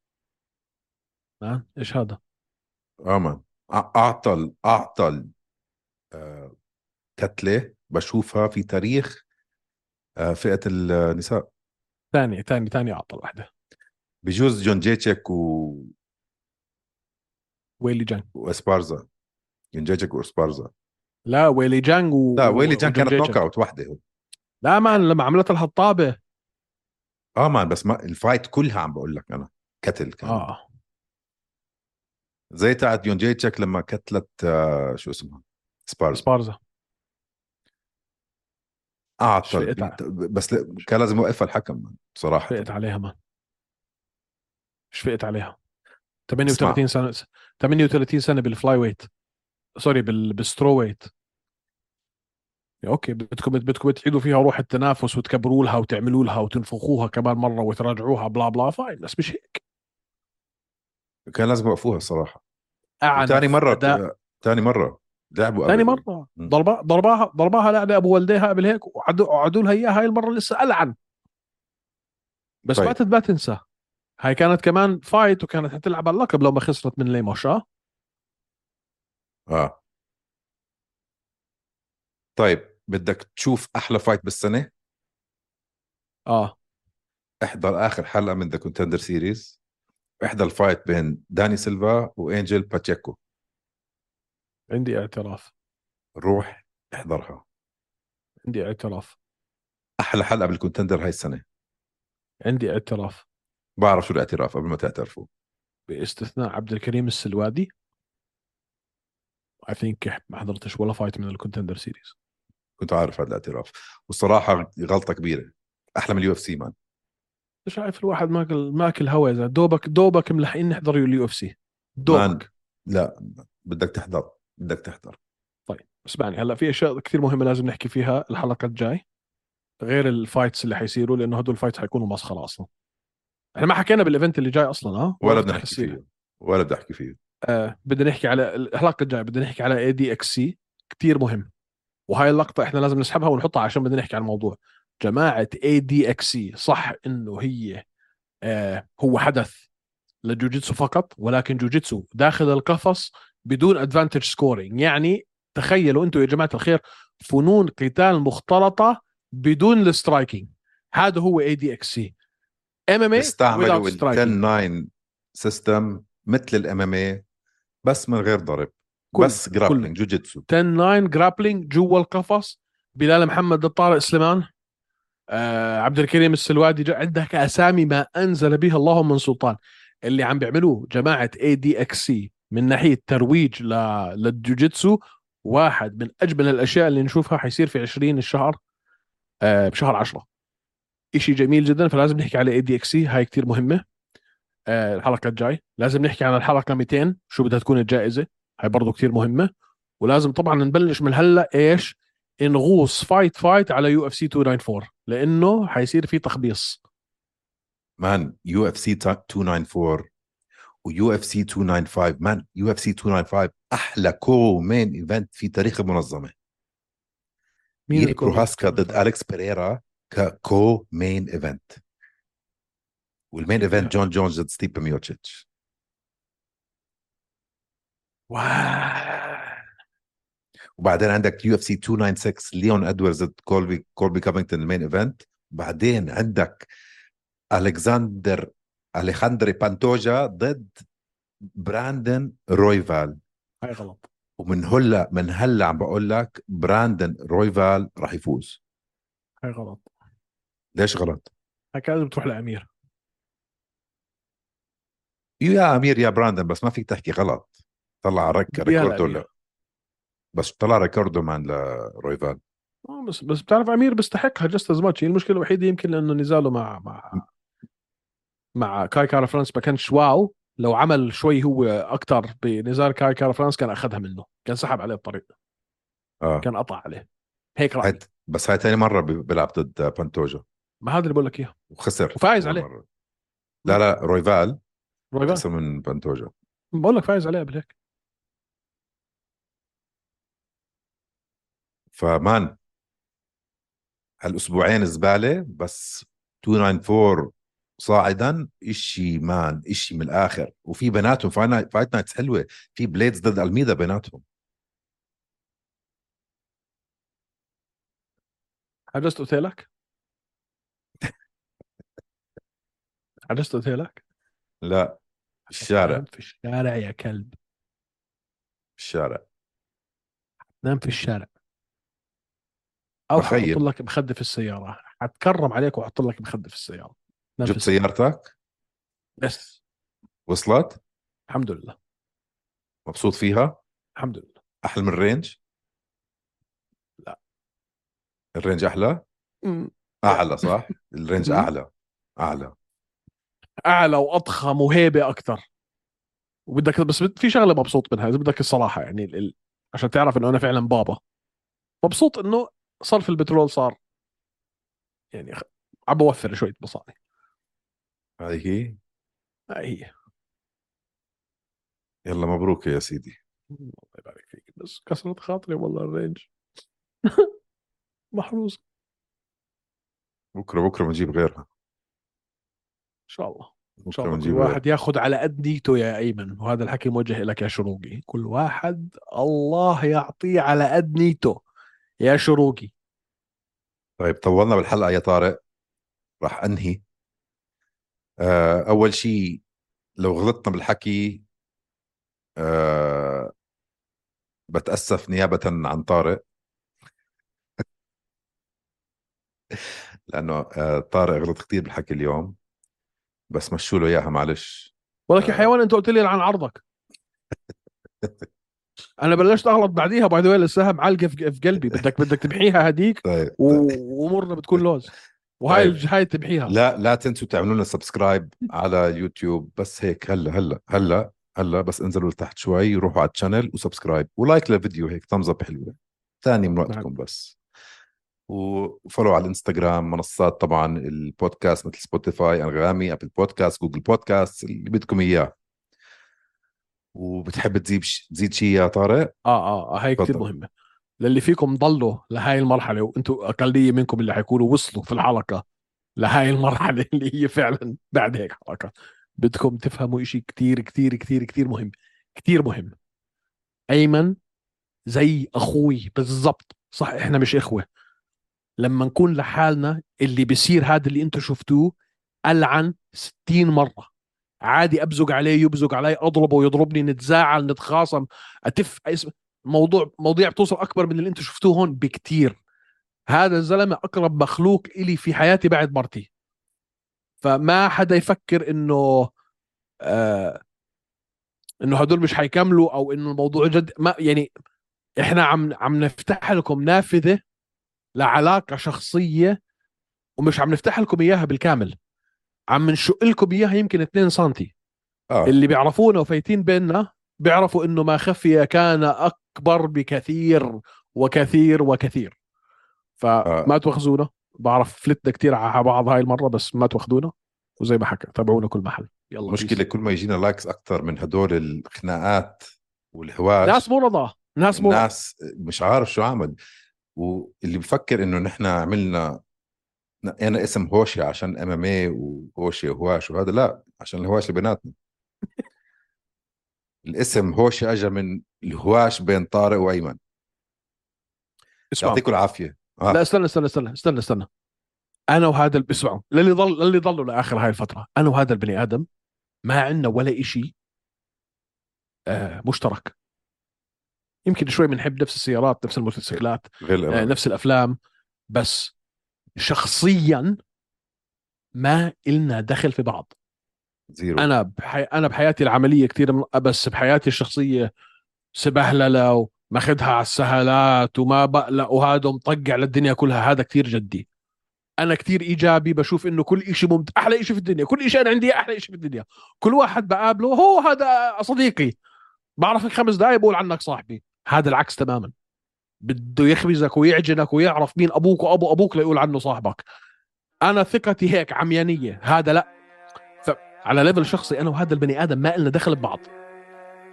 B: نعم ايش هذا
A: امان اعطل اعطل آه، كتله بشوفها في تاريخ آه، فئه النساء
B: ثاني ثاني ثاني اعطى واحده
A: بجوز جون جيتشك و...
B: ويلي جانج
A: واسبارزا جون جيتشك واسبارزا
B: لا ويلي جانج و...
A: لا ويلي جان
B: وجون
A: كانت
B: جيجن.
A: نوك اوت وحده
B: لا مان لما عملت الحطابه
A: اه مان بس ما الفايت كلها عم بقول لك انا كتل كان آه.
B: اه
A: زي تاعت جون جيتشك لما كتلت آه شو اسمها سبارزا
B: سبارزا
A: اعطل
B: شفقت على-
A: آه، طيب. بس لا- كان لازم يوقفها الحكم مان، بصراحه
B: شفقت عليها مان شفقت عليها 38 سنه 38 سنه بالفلاي ويت سوري بال... بالسترو ويت يا اوكي بدكم بدكم تعيدوا فيها روح التنافس وتكبروا لها وتعملوا لها وتنفخوها كمان مره وتراجعوها بلا بلا فاين بس مش هيك
A: كان لازم يوقفوها الصراحه
B: أعنف
A: ثاني مره
B: آه، أداء
A: ثاني مره لعبوا
B: ثاني
A: قبل.
B: مره
A: مم.
B: ضربها ضربها ضربها لعبه ابو والديها قبل هيك وعدوا وعدوا لها اياها هاي المره لسه العن بس
A: طيب.
B: ما تت- ما تنسى هاي كانت آه؟ كمان فايت وكانت حتلعب على اللقب لو ما خسرت من ليموش اه
A: اه طيب بدك تشوف احلى فايت بالسنه
B: اه
A: احضر اخر حلقه من ذا كونتندر سيريز احضر الفايت بين داني سيلفا وانجل باتشيكو
B: عندي اعتراف
A: روح احضرها
B: عندي اعتراف
A: احلى حلقه بالكونتندر هاي السنه
B: عندي اعتراف
A: بعرف شو الاعتراف قبل ما تعترفوا
B: باستثناء عبد الكريم السلوادي اي ثينك ما حضرتش ولا فايت من الكونتندر سيريز
A: كنت عارف هذا الاعتراف والصراحه غلطه كبيره احلى من اليو اف سي مان
B: شايف الواحد ماكل ماكل هوا يا زلمة. دوبك دوبك ملحقين نحضر اليو اف سي
A: مان.
B: دوبك
A: لا بدك تحضر بدك تحضر
B: اسمعني هلا في اشياء كثير مهمه لازم نحكي فيها الحلقه الجاي غير الفايتس اللي حيصيروا لانه هدول الفايتس حيكونوا مسخره اصلا احنا ما حكينا بالايفنت اللي جاي اصلا ها
A: ولا بدنا
B: بدنا
A: نحكي فيه ولا بدي احكي فيه
B: آه بدنا نحكي على الحلقه الجايه بدنا نحكي على اي دي اكس سي كثير مهم وهاي اللقطه احنا لازم نسحبها ونحطها عشان بدنا نحكي عن الموضوع جماعه اي دي اكس سي صح انه هي آه هو حدث لجوجيتسو فقط ولكن جوجيتسو داخل القفص بدون ادفانتج سكورينج يعني تخيلوا انتم يا جماعه الخير فنون قتال مختلطه بدون السترايكينج هذا هو اي دي اكس سي ام ام اي
A: استعملوا ال 10 9 سيستم مثل الام بس من غير ضرب
B: كل-
A: بس جرابلينج جوجيتسو
B: 10 9 جرابلينج جوا القفص بلال محمد الطارق سليمان آه عبد الكريم السلوادي جا- عندك اسامي ما انزل بها الله من سلطان اللي عم بيعملوه جماعه اي دي اكس سي من ناحيه ترويج ل... للجوجيتسو واحد من اجمل الاشياء اللي نشوفها حيصير في 20 الشهر آه بشهر 10 إشي جميل جدا فلازم نحكي على اي دي اكس سي هاي كتير مهمه آه الحلقه الجاي لازم نحكي عن الحلقه 200 شو بدها تكون الجائزه هاي برضو كتير مهمه ولازم طبعا نبلش من هلا ايش نغوص فايت فايت على يو اف سي 294 لانه حيصير في تخبيص
A: مان يو اف سي 294 ويو اف سي 295 مان يو اف سي 295 احلى كو مين ايفنت في تاريخ المنظمه ايريك
B: الكل؟
A: روهاسكا ضد اليكس بيريرا ككو مين ايفنت والمين ايفنت جون جونز ضد ستيب ميوتشيتش
B: واو.
A: وبعدين عندك يو اف سي 296 ليون ادواردز ضد كولبي كولبي كافينغتون المين ايفنت بعدين عندك الكساندر اليخاندري بانتوجا ضد براندن رويفال
B: هاي غلط
A: ومن هلا من هلا عم بقول لك براندن رويفال راح يفوز
B: هاي غلط
A: ليش غلط
B: هاي كان لازم تروح لامير
A: يا امير يا براندن بس ما فيك تحكي غلط طلع رك
B: بدي إياها
A: ريكوردو
B: لأمير.
A: لا. بس طلع ريكوردو مان لرويفال
B: آه، بس بس بتعرف امير بيستحقها جست از ماتش المشكله الوحيده يمكن لانه نزاله مع مع مع كاي كارا فرانس ما كانش واو لو عمل شوي هو اكثر بنزال كاي كارا فرانس كان اخذها منه كان سحب عليه الطريق
A: اه
B: كان قطع عليه هيك
A: هاي
B: رأيي
A: بس هاي ثاني مره بي- بيلعب ضد بانتوجا
B: ما هذا اللي بقول لك اياه
A: وخسر
B: وفايز
A: أول
B: عليه.
A: مرة. لا لا رويفال
B: رويبال.
A: خسر من بانتوجا
B: بقول لك فايز عليه قبل هيك
A: فمان هالاسبوعين زباله بس 294 صاعدا اشي مان اشي من الاخر وفي بيناتهم فايت فايت نايتس حلوه في بليدز ضد الميدا بيناتهم
B: حجزت اوتيلك؟ حجزت اوتيلك؟
A: لا الشارع
B: نام في الشارع يا كلب
A: الشارع
B: نام في الشارع او
A: بخيل.
B: ححط لك مخده في السياره حتكرم عليك واحط لك مخده في السياره نام في
A: جبت
B: السيارة.
A: سيارتك
B: بس
A: وصلت
B: الحمد لله
A: مبسوط فيها
B: الحمد لله
A: احلى من الرينج
B: لا.
A: الرينج احلى اعلى صح الرينج
B: مم.
A: اعلى اعلى
B: اعلى واضخم وهيبه اكثر وبدك بس بد- في شغله مبسوط منها اذا بدك الصراحه يعني ال... ال- عشان تعرف انه انا فعلا بابا مبسوط انه صرف البترول صار يعني خ- عم بوفر شويه مصاري
A: هاي هي
B: هاي هي
A: يلا مبروك يا سيدي
B: الله يبارك فيك بس كسرت خاطري والله الرينج محروس ان
A: بكره بكره بنجيب غيرها
B: شاء الله ان شاء
A: بكره
B: الله كل
A: بنجيب غيرها
B: واحد ياخذ على قد نيته يا ايمن وهذا الحكي موجه لك يا شروقي كل واحد الله يعطيه على قد نيته يا شروقي
A: طيب طولنا بالحلقه يا طارق راح انهي آه، اول شيء لو غلطنا بالحكي آه، بتاسف نيابه عن طارق لانه آه، طارق غلط كثير بالحكي اليوم بس مشوا له اياها معلش
B: ولك يا
A: آه.
B: حيوان انت قلت لي عن عرضك انا بلشت اغلط بعديها باي ذا لساها معلقه في في قلبي بدك بدك تمحيها هديك
A: طيب طيب.
B: و- وامورنا بتكون لوز وهاي
A: طيب.
B: الج- هاي تمحيها
A: لا لا تنسوا تعملوا لنا سبسكرايب على اليوتيوب بس هيك هلا هلا هلا هلا بس انزلوا لتحت شوي روحوا على الشانل وسبسكرايب ولايك للفيديو هيك ثامز اب حلوه ثاني من وقتكم بس وفولو على الانستغرام منصات طبعا البودكاست مثل سبوتيفاي انغامي ابل بودكاست جوجل بودكاست اللي بدكم اياه وبتحب تزيد ش- تزيد شيء يا طارق
B: اه اه هاي كثير
A: تفضل.
B: مهمه للي فيكم ضلوا لهاي المرحله وانتم اقليه منكم اللي حيكونوا وصلوا في الحلقه لهاي المرحله اللي هي فعلا بعد هيك حلقه بدكم تفهموا شيء كثير كثير كثير كثير مهم كثير مهم ايمن زي اخوي بالضبط صح احنا مش اخوه لما نكون لحالنا اللي بيصير هذا اللي انتم شفتوه العن 60 مره عادي ابزق عليه يبزق علي اضربه يضربني نتزاعل نتخاصم اتف اسم موضوع مواضيع بتوصل اكبر من اللي انتم شفتوه هون بكتير هذا الزلمه اقرب مخلوق الي في حياتي بعد مرتي فما حدا يفكر انه آه انه هدول مش حيكملوا او انه الموضوع جد ما يعني احنا عم عم نفتح لكم نافذه لعلاقه شخصيه ومش عم نفتح لكم اياها بالكامل عم نشق لكم اياها يمكن 2 سنتي
A: اه
B: اللي بيعرفونا وفايتين بيننا بيعرفوا انه ما خفي كان اكبر بكثير وكثير وكثير فما تواخذونا بعرف فلتنا كثير على بعض هاي المره بس ما تواخذونا وزي ما حكى تابعونا كل محل يلا
A: مشكله كل ما يجينا لايكس اكثر من هدول الخناقات والهواش
B: بيس. ناس مو رضا ناس مو رضا.
A: الناس مش عارف شو عمل واللي بفكر انه نحن عملنا نقينا اسم هوشه عشان ام ام اي وهوشه وهواش وهذا لا عشان الهواش اللي بيناتنا الاسم هوشه اجى من الهواش بين طارق وايمن
B: اسمعوا
A: يعطيكم العافيه آه.
B: لا استنى استنى استنى استنى استنى انا وهذا ال- اسمعوا للي ضل للي ضلوا لاخر هاي الفتره انا وهذا البني ادم ما عندنا ولا إشي آه مشترك يمكن شوي بنحب نفس السيارات نفس الموتوسيكلات
A: غير
B: آه،
A: الأمانة.
B: نفس الافلام بس شخصيا ما إلنا دخل في بعض
A: زيرو
B: انا بحي... انا بحياتي العمليه كثير من... بس بحياتي الشخصيه سبهلله وماخذها على السهلات وما بقلق وهذا مطقع للدنيا كلها هذا كثير جدي انا كثير ايجابي بشوف انه كل شيء ممت... احلى شيء في الدنيا كل شيء انا عندي إياه احلى شيء في الدنيا كل واحد بقابله هو هذا صديقي بعرفك خمس دقائق بقول عنك صاحبي هذا العكس تماما بده يخبزك ويعجنك ويعرف مين ابوك وابو ابوك ليقول عنه صاحبك انا ثقتي هيك عميانيه هذا لا على ليفل شخصي انا وهذا البني ادم ما لنا دخل ببعض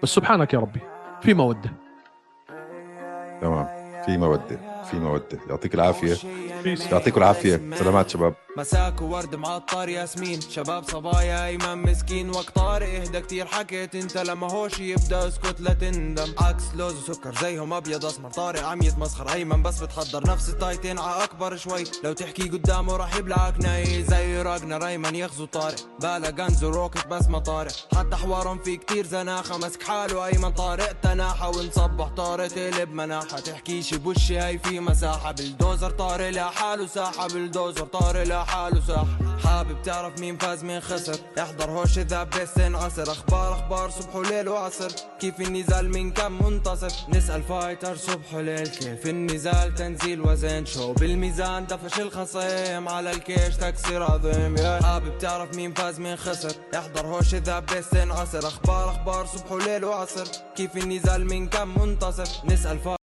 B: بس سبحانك يا ربي في موده
A: تمام في موده في موده يعطيك العافيه
B: Peace.
A: يعطيكم العافيه سلامات شباب
D: مساك وورد معطر ياسمين شباب صبايا ايمن مسكين وقت طارق اهدى كتير حكيت انت لما هوش يبدا اسكت لا تندم عكس لوز وسكر زيهم ابيض اسمر طارق عم يتمسخر ايمن بس بتحضر نفس التايتين ع اكبر شوي لو تحكي قدامه راح يبلعك ناي زي راجنا ريمان يغزو طارق بالا غنز وروكت بس ما طارق حتى حوارهم في كتير زناخه مسك حاله ايمن طارق تناحه ونصبح طارق تقلب مناحه تحكيش بوشي هاي في مساحه بالدوزر طارق لحاله ساحه بالدوزر طارق لحاله ساحه حابب تعرف مين فاز مين خسر احضر هوش ذا بس انعصر اخبار اخبار صبح وليل وعصر كيف النزال من كان منتصر نسال فايتر صبح وليل كيف النزال تنزيل وزن شو بالميزان دفش الخصيم على الكيش تكسير عظيم يا حابب تعرف مين فاز مين خسر احضر هوش ذا بس انعصر اخبار اخبار صبح وليل وعصر كيف النزال من كان منتصر نسال فايتر